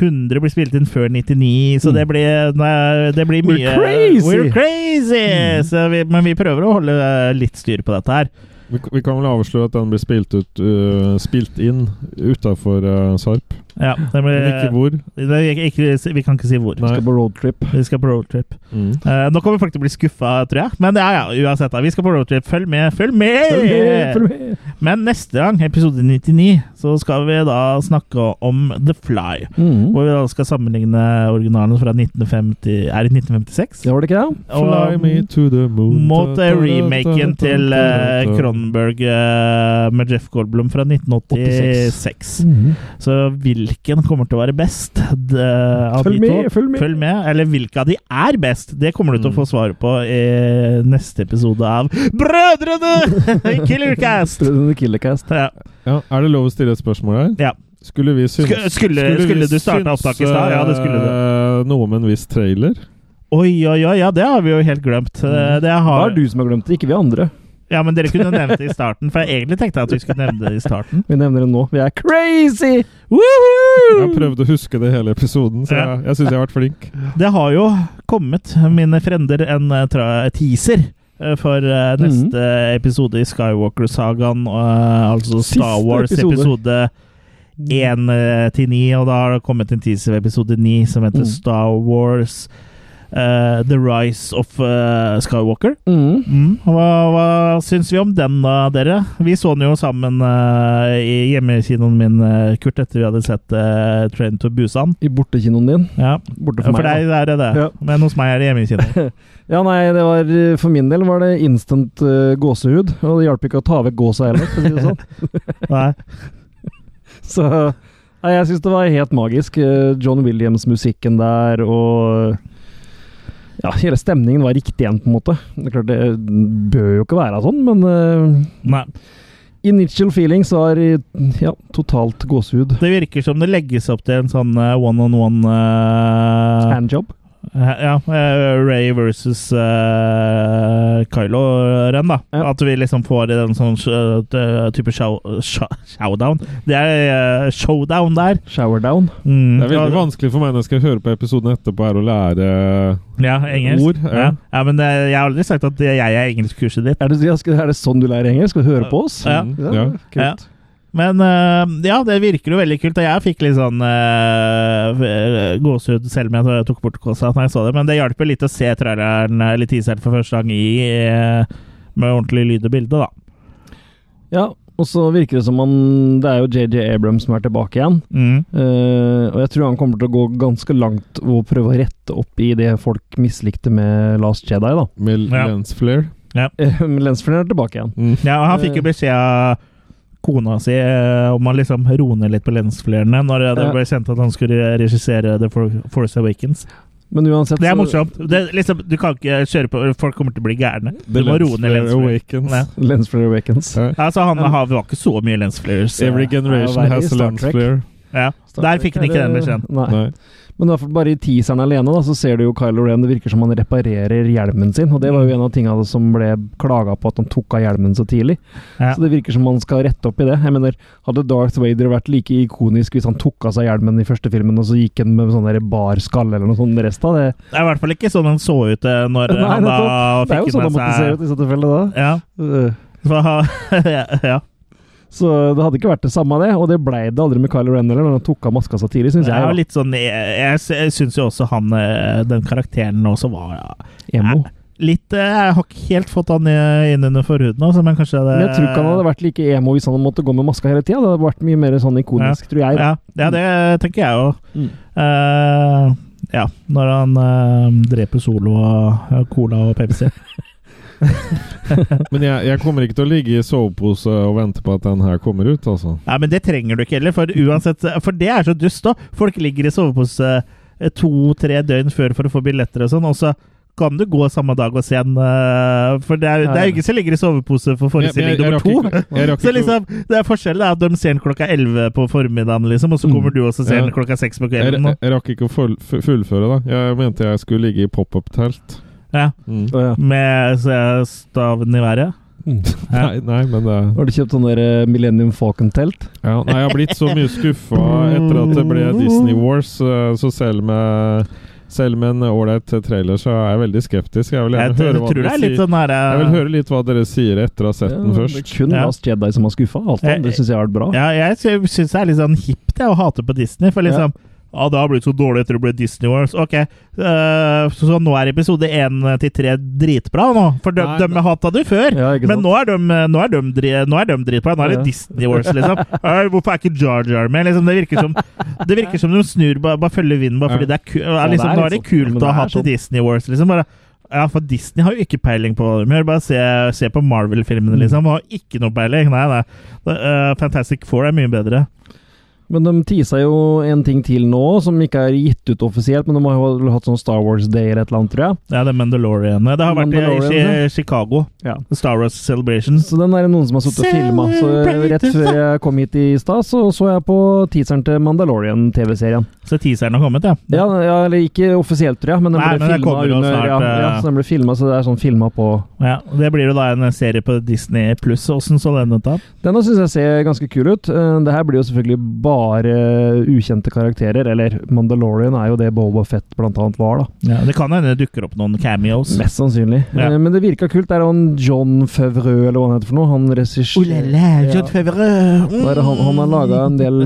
S1: 100 blir spilt inn før 99, så det blir, nei, det blir
S3: We're
S1: mye
S3: crazy!
S1: We're crazy! Så vi, men vi prøver å holde eh, litt styr på dette her.
S2: Vi, vi kan vel avsløre at den blir spilt, ut, øh, spilt inn utafor Sarp.
S1: Ja, det blir,
S2: Men ikke hvor.
S1: det, ikke, ikke, vi kan ikke si hvor.
S2: Nei.
S3: Skal på roadtrip.
S1: Vi skal på roadtrip.
S2: Mm.
S1: Eh, nå kommer folk til å bli skuffa, tror jeg. Men ja, ja, uansett, da. Vi skal på roadtrip. Følg med! Følg med!
S3: Følg med, følg med.
S1: Men neste gang, episode 99, så skal vi da snakke om The Fly.
S3: Mhm.
S1: Hvor vi da skal sammenligne originalen fra 1950 Er det 1956?
S3: Ja, var det ikke det?
S2: Fly
S1: Og,
S2: me to the moon
S1: mot eh, remaken til eh, Cronenberg eh, med Jeff Goldblom fra 1986. Så hvilken kommer til å være best d- av
S3: Følg
S1: de
S3: med, Mm.
S1: to?
S3: følg med.
S1: Følg med. Eller hvilke av de er best? Det kommer du til å få svar på i neste episode av
S3: *laughs*
S1: Brødrene i Killercast!
S3: The Killercast.
S1: Ja.
S2: Ja, er det lov å stille et spørsmål her?
S1: Ja.
S2: Skulle vi synes
S1: Skulle- skulle-
S2: vi
S1: skulle du starte opptaket i stad? Ja, det skulle du. Mm.
S2: øh, Noe om en viss trailer?
S1: Oi, oi, oi, ja, det har vi jo helt glemt. Eh, Det
S3: Det
S1: har
S3: er du som Mm. har glemt det, ikke vi andre.
S1: Ja, men dere kunne nevnt det i starten, for jeg egentlig tenkte at vi skulle nevne det i starten.
S3: Vi nevner det nå. Vi er crazy!
S2: Jeg
S1: Woohoo!
S2: har prøvd å huske det hele episoden, så
S1: Ja. Mm.
S2: jeg, jeg syns jeg har vært flink.
S1: Det har jo kommet, mine frender, en eh, tra teaser eh, for eh, neste episode i Skywalker-sagaen. eh, altså Star
S3: Mhm. Siste
S1: Wars
S3: episode. Mhm.
S1: episode 1 eh, til 9, og da har det kommet en teaser ved episode 9 som heter
S3: Mm.
S1: Star Wars eh, The Rise of eh, Skywalker.
S3: Mhm.
S1: Mm. Hva, hva syns vi om den, da, dere? Vi så den jo sammen eh, i hjemmekinoen min, eh, Kurt, etter vi hadde sett eh, Train to Busan.
S3: I bortekinoen din.
S1: Ja.
S3: Borte
S1: Ja,
S3: for,
S1: for
S3: meg.
S1: deg er det det,
S3: Ja.
S1: men hos meg er det hjemmekino.
S3: da. Ja, nei, det var, for min del var det instant eh, gåsehud, og det hjalp ikke å ta vekk gåsa heller, for å si det *laughs* sånn.
S1: Nei.
S3: Så nei, jeg syns det var helt magisk. Eh, John Williams-musikken der og ja, Hele stemningen var riktig igjen, på en måte. Det er klart, det bør jo ikke være sånn, men eh,
S1: Nei.
S3: Initial feelings var i- ja, totalt gåsehud.
S1: Det virker som det legges opp til en sånn eh, one-on-one eh,
S3: Handjob.
S1: he- Ja, Ray versus eh, Kylo-renn, da.
S3: Ja.
S1: At vi liksom får en sånn eh, type show, show, showdown. Det er eh, showdown der.
S3: Showerdown.
S1: Mm.
S2: Det er veldig
S1: Ja,
S2: vanskelig for meg når jeg skal høre på episoden etterpå, her å lære eh,
S1: Ja, engelsk.
S2: ord.
S1: ja. ja, men det, jeg har aldri sagt at jeg er engelskkurset ditt.
S3: Er det, ja, skal- er det sånn du lærer engelsk? Skal du høre på oss?
S1: Ja.
S2: Mm, ja.
S3: Kult.
S1: Men eh, ja, det virker jo veldig kult. Og jeg fikk litt sånn uh, gåsehud selv om jeg tok bort kåsa når jeg så det. Men det hjalp jo litt å se traileren eh, eller teaseren for første gang i eh, med ordentlig lyd og bilde, da.
S3: Ja, og så virker det som han Det er jo JJ Abrams som er tilbake igjen.
S1: Mm.
S3: Eh, og jeg tror han kommer til å gå ganske langt og prøve å rette opp i det folk mislikte med Last Jedi, da. Eh,
S2: med
S1: Ja.
S2: lens flare. Mm.
S1: Ja.
S3: Men Lensflaren er tilbake igjen.
S1: Ja, og han fikk jo beskjed av kona si eh, om å liksom roe ned litt på lensflerene når eh, det
S3: Ja.
S1: ble sendt at han skulle regissere The For- Force Awakens.
S3: Men uansett
S1: Det er
S3: så-
S1: morsomt. Det, er liksom, du kan ikke kjøre på Folk kommer til å bli gærne. Du
S2: The
S1: må roe ned
S2: Lensflare
S1: lensflerene.
S2: Awakens.
S1: Ja.
S3: Lensflare Awakens.
S2: Ja.
S1: Altså, han har var ikke så mye lensflares. eh,
S2: Every generation
S3: Nei,
S2: has a
S3: Star Trek.
S2: Lensflare.
S1: Ja. Der fikk han ikke den beskjeden.
S3: Nei.
S2: Nei.
S3: Men i hvert fall bare i teaseren alene da, så ser du jo Kylo Ren, det virker som han reparerer hjelmen sin. Og det var jo en av tingene som ble klaga på, at han tok av hjelmen så tidlig.
S1: Ja.
S3: Så det virker som han skal rette opp i det. Jeg mener, Hadde Darth Vader vært like ikonisk hvis han tok av seg hjelmen i første filmen, og så gikk han med sånn der bar skalle eller noe sånt resten av det?
S1: Det er i hvert fall ikke sånn han så ut eh, når
S3: Nei,
S1: han da
S3: nettopp. Det er
S1: fikk
S3: jo sånn han
S1: med
S3: måtte se
S1: seg
S3: ut i så tilfelle da.
S1: Ja.
S3: Uh,
S1: Så, han- *laughs* ja.
S3: Så det hadde ikke vært det samme, det. Og det blei det aldri med Kylo Ren heller, når han tok av maska så tidlig, syns
S1: Det
S3: jeg.
S1: er
S3: da.
S1: jo litt sånn Jeg, jeg, sy- jeg syns jo også han eh, Den karakteren også var ja,
S3: Emo.
S1: litt eh, Jeg har ikke helt fått han eh, inn under forhuden, altså, men kanskje det
S3: Men jeg tror ikke han hadde vært like emo hvis han hadde måttet gå med maska hele tida. Det hadde vært mye mer sånn ikonisk, tror jeg. da.
S1: ja, ja, det tenker jeg jo.
S3: Mm.
S1: Eh, ja, når han eh, dreper Solo og eh, Cola og Pepsi.
S2: Men jeg, jeg kommer ikke til å ligge i sovepose og vente på at den her kommer ut, altså.
S1: Nei, men det trenger du ikke heller, for uansett For det er så dust, da. Folk ligger i sovepose eh, to-tre døgn før for å få billetter og sånn, og så kan du gå samme dag og se en eh, For det er, det er jo ingen som ligger i sovepose for
S2: Jeg, jeg,
S1: forestilling
S2: jeg,
S1: nummer
S2: rakk
S1: to.
S2: ikke, jeg rakk
S1: *laughs* Så
S2: ikke,
S1: liksom, det er forskjellen er at de ser den klokka 11 på formiddagen, liksom, og så kommer du også og ser
S2: Mm. Ja.
S1: den klokka 6 på
S2: jeg,
S1: kvelden.
S2: jeg,
S1: da.
S2: rakk ikke å full, fu- fullføre, da. Jeg mente jeg skulle ligge i pop-up-telt.
S1: Ja,
S2: Mm.
S3: Å, ja.
S1: med så, staven i været.
S2: *laughs* Nei, nei, men det
S3: Har du kjøpt sånn der eh, Millennium Falcon-telt?
S2: ja, Nei, jeg har blitt så mye skuffa etter at det ble Disney Wars, eh, så selv med selv med en ålreit trailer så er jeg veldig skeptisk. Jeg vil
S1: Jeg
S2: gjerne
S1: tror
S2: høre hva
S1: det
S2: dere
S1: er litt
S2: sier.
S1: sånn her
S2: Jeg vil høre litt hva dere sier etter å ha sett
S3: Ja,
S2: den
S3: det
S2: først.
S3: er kun
S1: Ja.
S3: Last Jedi som har skuffa. Alt
S1: Jeg-
S3: annet syns jeg har vært bra.
S1: Ja, jeg sy- syns det er litt sånn hipt jeg, å hate på Disney, for liksom Ja, det har blitt så dårlig etter det ble Disney Wars. Ok, eh, så, så nå er episode 1 til 3 dritbra nå? For de,
S2: Nei,
S1: de hata du før,
S3: Ja, ikke sant?
S1: men nå er, de, nå, er de, dri- nå er de dritbra. Nå er det
S3: Ja.
S1: Disney Wars,
S3: *laughs*
S1: liksom. Eh, Hvorfor er ikke Jar Jar med? Liksom, det, virker som, det virker som de snur, bare, bare følger vinden bare fordi det er, ku, eh, liksom, Nå er det
S3: det er litt sånn. Ja, men
S1: kult
S3: det
S1: å
S3: er
S1: ha til
S3: sånn.
S1: Disney Wars, liksom. Bare, ja, for Disney har jo ikke peiling på det. Bare se, se på Marvel-filmene,
S3: Mm.
S1: liksom. Har ikke noe peiling. Nei, nei. Eh, Fantastic Four er mye bedre.
S3: Men de teasa jo en ting til nå, som ikke er gitt ut offisielt, men de har jo hatt sånn Star Wars Day eller et eller annet, tror jeg.
S1: Ja, det er Mandalorian. Det har vært i, i,
S3: Mandalorian,
S1: i Chicago.
S3: Ja.
S1: Star Wars Celebrations.
S3: Så den er det noen som har sittet og filma. Så rett før jeg kom hit i stad, så så jeg på teaseren til Mandalorian-TV-serien.
S1: Så teaseren har kommet, ja.
S3: Ja, ja, eller ikke offisielt, tror jeg, men den
S1: Nei,
S3: ble
S1: men den
S3: filma
S1: kommer jo
S3: under
S1: snart,
S3: ja, ja,
S1: eh.
S3: så den ble filmet, så det er sånn filma på
S1: ja. Det blir jo da en serie på Disney pluss. Åssen så den ut, da?
S3: Denne syns jeg ser ganske kul ut. Eh, Det her blir jo selvfølgelig bare eh, ukjente karakterer, eller Mandalorian er jo det Boba Fett blant annet var, da.
S1: Ja, det kan hende det dukker opp noen cameos.
S3: Mest sannsynlig.
S1: Ja.
S3: Eh, Men det virka kult. Det er han John Favreau, eller hva han heter for noe. Han regisserer John Mm. Han, han har laga en del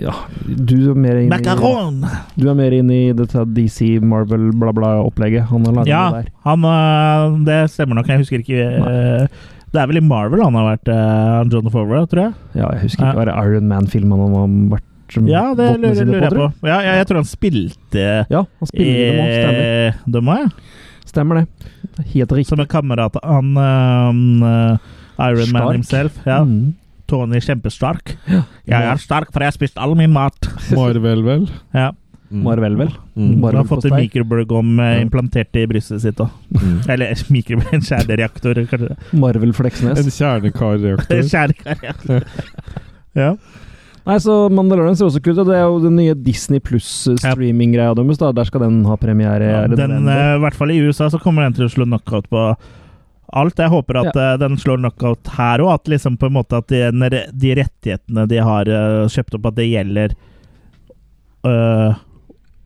S3: Ja, du er mer inn i
S1: Macaron!
S3: Du er mer inne i dette DC, Marvel, bla, bla-opplegget. Han har laget
S1: Ja,
S3: det der.
S1: han øh, Det stemmer nok, jeg husker ikke øh, Det er vel i Marvel han har vært, øh, John Favreau, tror jeg.
S3: Ja, jeg husker ikke hva det er Iron Man-filmen han har vært som
S1: Ja, det
S3: vottene
S1: lurer,
S3: Mm. sine
S1: lurer jeg
S3: tror
S1: på. Ja, ja, jeg tror han spilte
S3: Ja, han
S1: i
S3: spiller i dem også,
S1: Eh.
S3: stemmer.
S1: Dømma, ja.
S3: Stemmer det. Det er Helt riktig.
S1: Som en kamerat av han øhm, øh, Iron Man
S3: Stark.
S1: himself. Ja.
S3: Mm.
S1: Tony Kjempestark. Jeg er stark, for jeg har spist all min mat.
S2: Marvel, vel?
S1: Ja.
S2: Mm.
S3: Marvel, vel.
S2: Mm.
S1: Han
S3: Marvel
S1: har fått en
S3: postei.
S1: mikrobølgeovn øh,
S2: Ja.
S1: implantert i brystet sitt òg.
S2: Mm.
S1: Eller *laughs* mikrobølge, en kjernereaktor, kanskje.
S3: Marvel Fleksnes.
S2: En
S1: *laughs*
S2: kjernekarreaktor.
S1: Kjernereaktor. *laughs* Ja.
S3: Nei, så Mandalorian ser også kult ut. og Det er jo den nye Disney pluss-streaminggreia deres. da. Der skal den ha premiere.
S1: Ja,
S3: er det
S1: den,
S3: november?
S1: eh, I hvert fall i USA så kommer den til å slå knockout på alt. Jeg håper at eh, den slår knockout her òg, at liksom på en måte at de, når de rettighetene de har eh, kjøpt opp, at det gjelder eh,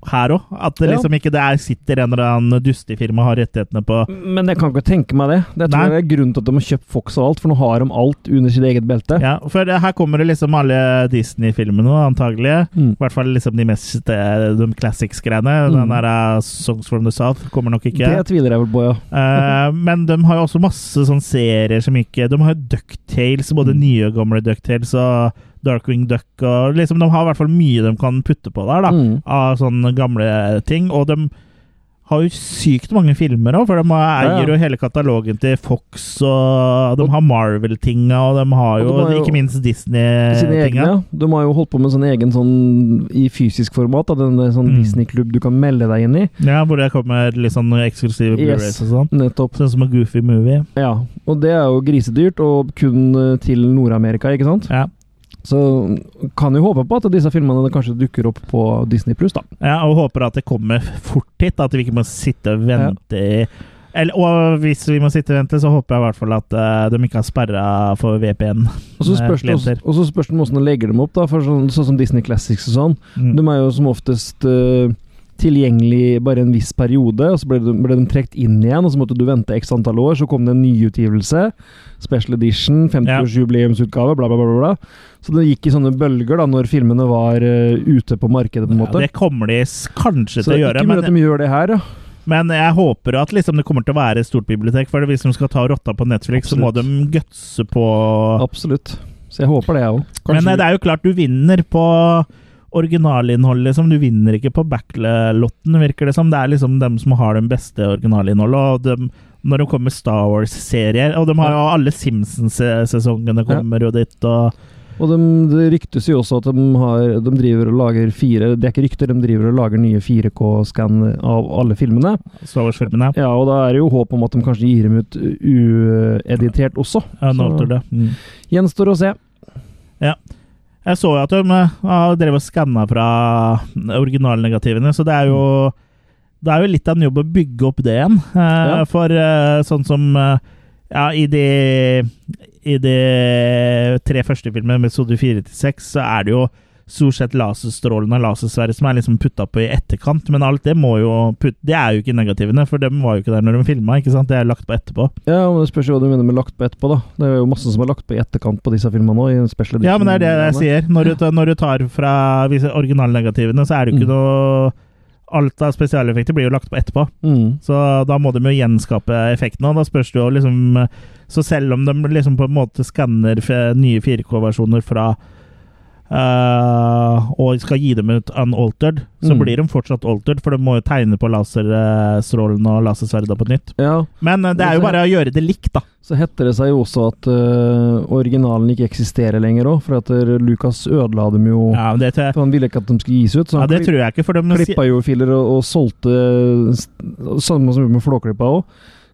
S1: her òg. At det
S3: Ja.
S1: liksom ikke det er, sitter en eller annen dustefirma og har rettighetene på
S3: Men jeg kan ikke tenke meg det. Det tror
S1: Nei.
S3: jeg er grunnen til at de har kjøpt Fox og alt, for nå har de alt under sitt eget belte.
S1: Ja, for eh, her kommer det liksom alle Disney-filmene, antagelig.
S3: Mm.
S1: I hvert fall liksom de mest eh, de classics-greiene.
S3: Mm.
S1: Den der eh, Songs from the South kommer nok ikke.
S3: Det tviler jeg vel på, ja.
S1: Eh, men de har jo også masse sånne serier som ikke De har jo Ducktales,
S3: Mm.
S1: både nye og gamle Ducktales og Darkwing Duck og liksom De har i hvert fall mye de kan putte på der, da.
S3: Mm.
S1: Av sånne gamle ting. Og de har jo sykt mange filmer òg, for de eier
S3: Ja, ja.
S1: jo hele katalogen til Fox, og de har Marvel-tinga, og de har
S3: Og
S1: jo,
S3: de har jo
S1: ikke minst Eh,
S3: Sine egne.
S1: Disney-tinga.
S3: ja. De har jo holdt på med en sånn egen sånn i fysisk format. Da, den der sånn
S1: Mm.
S3: Disney-klubb du kan melde deg inn i.
S1: Ja, hvor det kommer litt sånn eksklusive Blu-rays
S3: Yes.
S1: og sånn.
S3: Nettopp.
S1: Sånn som en goofy movie.
S3: Ja. Og det er jo grisedyrt, og kun eh, til Nord-Amerika, ikke sant?
S1: Ja.
S3: Så kan jo håpe på at disse filmene kanskje dukker opp på Disney pluss, da.
S1: Ja, og håper at det kommer fort hit, at vi ikke må sitte og vente i eller, og hvis vi må sitte og vente, så håper jeg i hvert fall at eh, de ikke har sperra for VPN.
S3: Og så
S1: Nei,
S3: spørs det også-
S1: klienter.
S3: og så spørs det om hvordan de legger dem opp, da. For sånn, sånn som Disney Classics og sånn.
S1: Mm.
S3: De er jo som oftest eh, tilgjengelig bare en viss periode, og så ble de, ble de trukket inn igjen, og så måtte du vente x antall år, så kom det en nyutgivelse, special edition, 50-årsjubileumsutgave, bla, bla, bla, bla, bla. Så det gikk i sånne bølger da, når filmene var eh, ute på markedet, på en
S1: Ja,
S3: måte.
S1: det kommer de s- kanskje til
S3: så
S1: å
S3: det er
S1: gjøre,
S3: ikke mulig
S1: men,
S3: at de gjør det her, ja.
S1: men jeg håper at liksom, det kommer til å være et stort bibliotek. For hvis de skal ta rotta på Netflix, så må
S3: Absolutt.
S1: de gutse på
S3: Absolutt. Så jeg håper det, jeg òg.
S1: Men eh, det er jo klart, du vinner på originalinnholdet, liksom. Du vinner ikke på backlotten, virker det som. Det er liksom dem som har det beste originalinnholdet. Og dem, når det kommer Star Wars-serier Og de har jo alle Simpsons-sesongene kommer jo dit, og
S3: Og de, det ryktes jo også at de, har, de driver og lager fire Det er ikke rykter, de driver og lager nye 4K-scan av alle filmene.
S1: Star Wars-filmene.
S3: Ja, og da er det jo håp om at de kanskje gir dem ut ueditert også.
S1: Ja, nå
S3: Så-
S1: tror det. Mm.
S3: Gjenstår å se.
S1: Jeg så jo at de eh, har drevet og skanna fra originalnegativene, så det er jo Det er jo litt av en jobb å bygge opp det igjen. Eh,
S3: Ja.
S1: For eh, sånn som eh, Ja, i de I de tre første filmene, med episode fire til seks, så er det jo stort sett laserstrålene og lasersverdet som er liksom putta på i etterkant, men alt det må jo putt, Det er jo ikke negativene, for dem var jo ikke der når de filma, ikke sant? Det er lagt på etterpå.
S3: Ja, men Det spørs jo hva du mener med lagt på etterpå. da. Det er jo masse som er lagt på i etterkant på disse filmene òg.
S1: Ja, men det er det jeg sier. Når du, tar- når du tar fra hvis- originalnegativene, så er det jo ikke
S3: Mm.
S1: noe Alt av spesialeffekter blir jo lagt på etterpå,
S3: Mm.
S1: så da må de jo gjenskape effektene. Og da spørs det jo liksom Så selv om de liksom på en måte skanner f- nye 4K-versjoner fra eh, og skal gi dem ut unaltered, så
S3: Mm.
S1: blir de fortsatt altered, for de må jo tegne på laserstrålene og lasersverdene på nytt.
S3: Ja,
S1: Men eh, det er jo bare å gjøre det likt, da.
S3: Så heter det seg jo også at øh, originalen ikke eksisterer lenger òg, for at øh, Lucas ødela dem jo
S1: Ja, det, tror jeg-
S3: For Han ville ikke at de skulle gis ut, så
S1: ja,
S3: han
S1: det tror jeg ikke, for de
S3: klippa jo filer og, og solgte øh, Samme som med Flåklypa òg.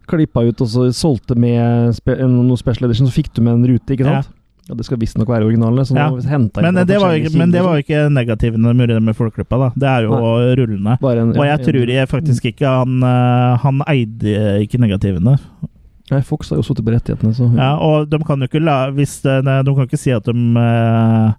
S3: Klippa ut og så solgte med spe, en, noe special edition, så fikk du med en rute, ikke sant? Ja, Det skal visstnok være originalene, så nå
S1: Ja.
S3: må vi hente inn
S1: Men
S3: fra
S1: eh, det, var jo
S3: forskjellige
S1: ikke, men det
S3: kilder,
S1: var jo ikke negativene når de gjorde det med Folkeklippa, da. Det er jo rullende.
S3: så bare en-
S1: Og
S3: ja,
S1: jeg
S3: en-
S1: tror jeg faktisk ikke han eh, Han eide ikke negativene.
S3: Mm. Nei, Fox har jo sittet på rettighetene, så
S1: Ja, og de kan jo ikke la hvis det, nei, De kan ikke si at de eh,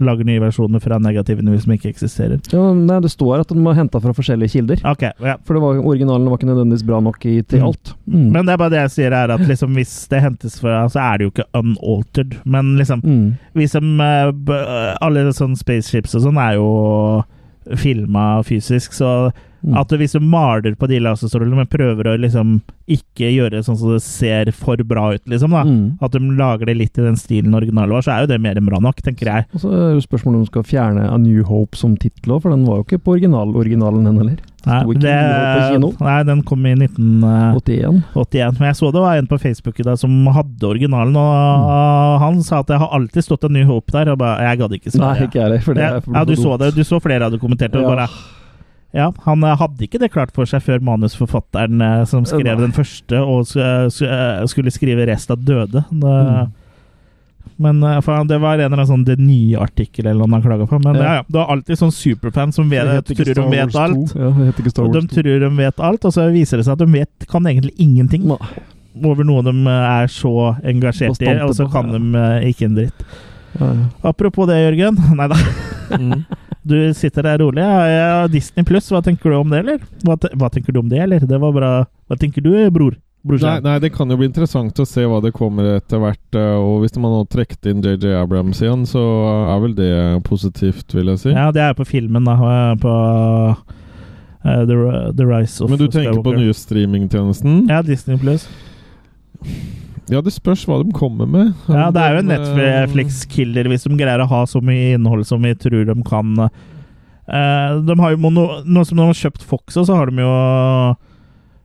S1: lager nye versjoner fra negativene hvis de ikke eksisterer.
S3: Ja, Nei, det står at den var henta fra forskjellige kilder.
S1: Ok, ja.
S3: For det var, originalen var ikke nødvendigvis bra nok i, til
S1: Mm.
S3: alt. Mm.
S1: Men det er bare det jeg sier, er at liksom, hvis det hentes fra, så er det jo ikke unaltered. Men liksom
S3: mm.
S1: vi som eh, b- eh, Alle sånne spaceships og sånn er jo filma fysisk, så
S3: Mm.
S1: at hvis du maler på de laserstrålene, men prøver å liksom ikke gjøre sånn som det ser for bra ut, liksom, da
S3: Mm.
S1: At de lager det litt i den stilen originalen var, så er jo det mer enn bra nok, tenker jeg.
S3: Og så er det jo spørsmålet om du skal fjerne A New Hope som tittel òg, for den var jo ikke på original originalen, den heller.
S1: Nei,
S3: sto ikke mye på kino.
S1: nei, den kom i 1981,
S3: 81.
S1: men jeg så det var en på Facebook i dag som hadde originalen, og han sa at det har alltid stått en ny håp der, og bare Jeg gadd ikke
S3: Mm. Nei,
S1: svare.
S3: ikke jeg heller. For det
S1: Ja,
S3: er for
S1: ja, du så det. Du så flere hadde kommentert det. og
S3: Ja.
S1: Bare, ja, han eh, hadde ikke det klart for seg før manusforfatteren eh, som skrev
S3: Nei.
S1: den første, og sk- eh, sk- eh, skulle skrive resten av døde. Det,
S3: Mm.
S1: Men eh, for han- Det var en eller annen sånn Det nye artikkel eller noe han klaga på. Men
S3: Ja.
S1: ja. Ja, det er alltid sånn superfan som vet, tror de vet alt.
S3: Ja, det heter ikke Star
S1: Og de
S3: Wars 2.
S1: tror de vet alt, og så viser det seg at de vet, kan egentlig ingenting
S3: Nei.
S1: over noe de eh, er så engasjert i,
S3: Bastante
S1: og så
S3: på,
S1: kan
S3: ja.
S1: de eh, ikke en dritt.
S3: Ja, ja.
S1: Apropos det, Jørgen. *laughs* Nei da. Du sitter der rolig. Ja, ja, Disney pluss, hva tenker du om det, eller? Hva, te hva tenker du om det, eller? Det var bra. Hva tenker du, bror?
S2: Nei,
S1: Brorsan?
S2: nei, det kan jo bli interessant å se hva det kommer etter hvert. eh, Og hvis man nå trukket inn JJ Abrams igjen, så er vel det positivt, vil jeg si.
S1: Ja, det er på filmen, da. eh, På eh, The, Ri- The Rise of
S2: Men du tenker på
S1: Skywalker.
S2: den nye streamingtjenesten?
S1: Ja, Disney pluss.
S2: Ja, det spørs hva de kommer med.
S1: Ja, det er jo en
S2: Men, eh,
S1: Netflix-killer hvis de greier å ha så mye innhold som vi tror de kan. Eh, de har jo mono, nå som de har kjøpt Fox, så har de jo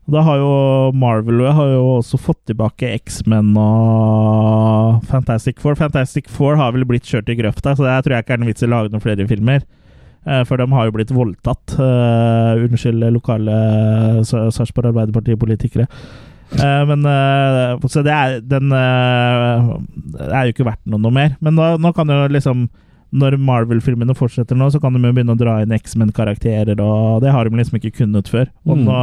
S1: Da har jo Marvel har jo også fått tilbake X-Men og Fantastic Four. Fantastic Four har vel blitt kjørt i grøfta, så det her tror jeg ikke er noen vits i å lage noen flere filmer. Eh, For de har jo blitt voldtatt. Eh, unnskyld lokale eh, Sa- Sarpsborg Arbeiderparti-politikere. Eh, men eh, Så det er, den eh, er jo ikke verdt noe, noe mer. Men da, nå kan jo liksom Når Marvel-filmene fortsetter nå, så kan de jo begynne å dra inn X-Men-karakterer, og det har de liksom ikke kunnet før. Og
S3: Mm.
S1: nå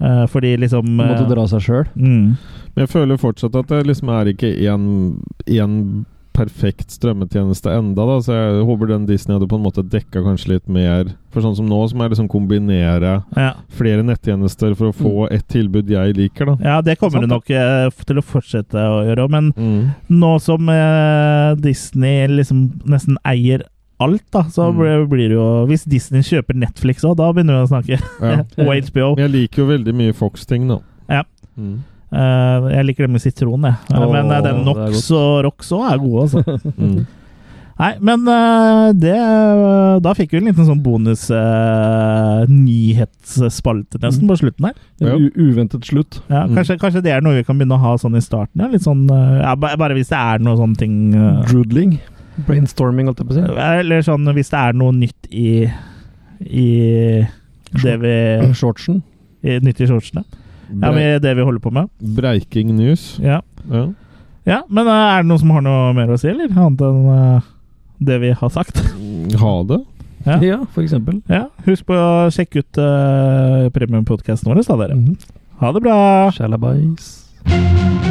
S1: eh, Fordi liksom eh,
S3: Måtte dra seg sjøl.
S1: mm,
S2: eh, Men jeg føler fortsatt at det liksom er ikke én én perfekt strømmetjeneste enda da, så jeg håper den Disney hadde på en måte dekka kanskje litt mer. For sånn som nå, så må jeg liksom kombinere
S1: ja.
S2: flere nettjenester for å få et tilbud jeg liker, da.
S1: Mm. ja, det kommer
S2: Sant,
S1: det nok eh, f- til å fortsette å gjøre, men
S2: Mm.
S1: nå som eh, Disney liksom nesten eier alt, da, så
S2: Mm.
S1: blir- blir det jo Hvis Disney kjøper Netflix òg, da begynner vi å
S3: *laughs*
S1: snakke.
S2: Ja.
S1: og HBO.
S2: Men jeg liker jo veldig mye Fox-ting, da.
S1: Ja.
S2: Mm.
S1: Eh, jeg liker det med sitron, jeg. Eh,
S3: Åh,
S1: men eh, den
S3: det er godt.
S1: Nox og Rox òg er gode,
S3: *laughs*
S1: altså.
S2: Mm.
S1: Nei, men eh, det eh, Da fikk vi en liten sånn bonus eh, nyhetsspalte
S3: Mm.
S1: nesten på slutten her.
S3: En
S2: Ja.
S3: u- uventet slutt.
S1: Ja,
S2: Mm.
S1: kanskje, kanskje det er noe vi kan begynne å ha sånn i starten? Ja, litt sånn, eh, ja, ba- bare hvis det er noe sånne ting eh,
S3: Droodling. Brainstorming, holdt jeg på å si.
S1: Eller sånn hvis det er noe nytt i I det vi
S3: Shortsen.
S1: i, Nytt i shortsene. Ja,
S2: Brei-
S1: med det vi holder på med.
S2: Breiking news.
S1: Ja.
S2: Ja.
S1: ja men eh, er det noen som har noe mer å si, eller? Annet enn eh, det vi har sagt?
S2: Ha det.
S1: Ja.
S3: Ja, for eksempel.
S1: Ja, husk på å sjekke ut uh, premiumpodkasten vår, da, dere.
S3: Mhm.
S1: Ha det bra!
S3: Shalabais.
S6: Thank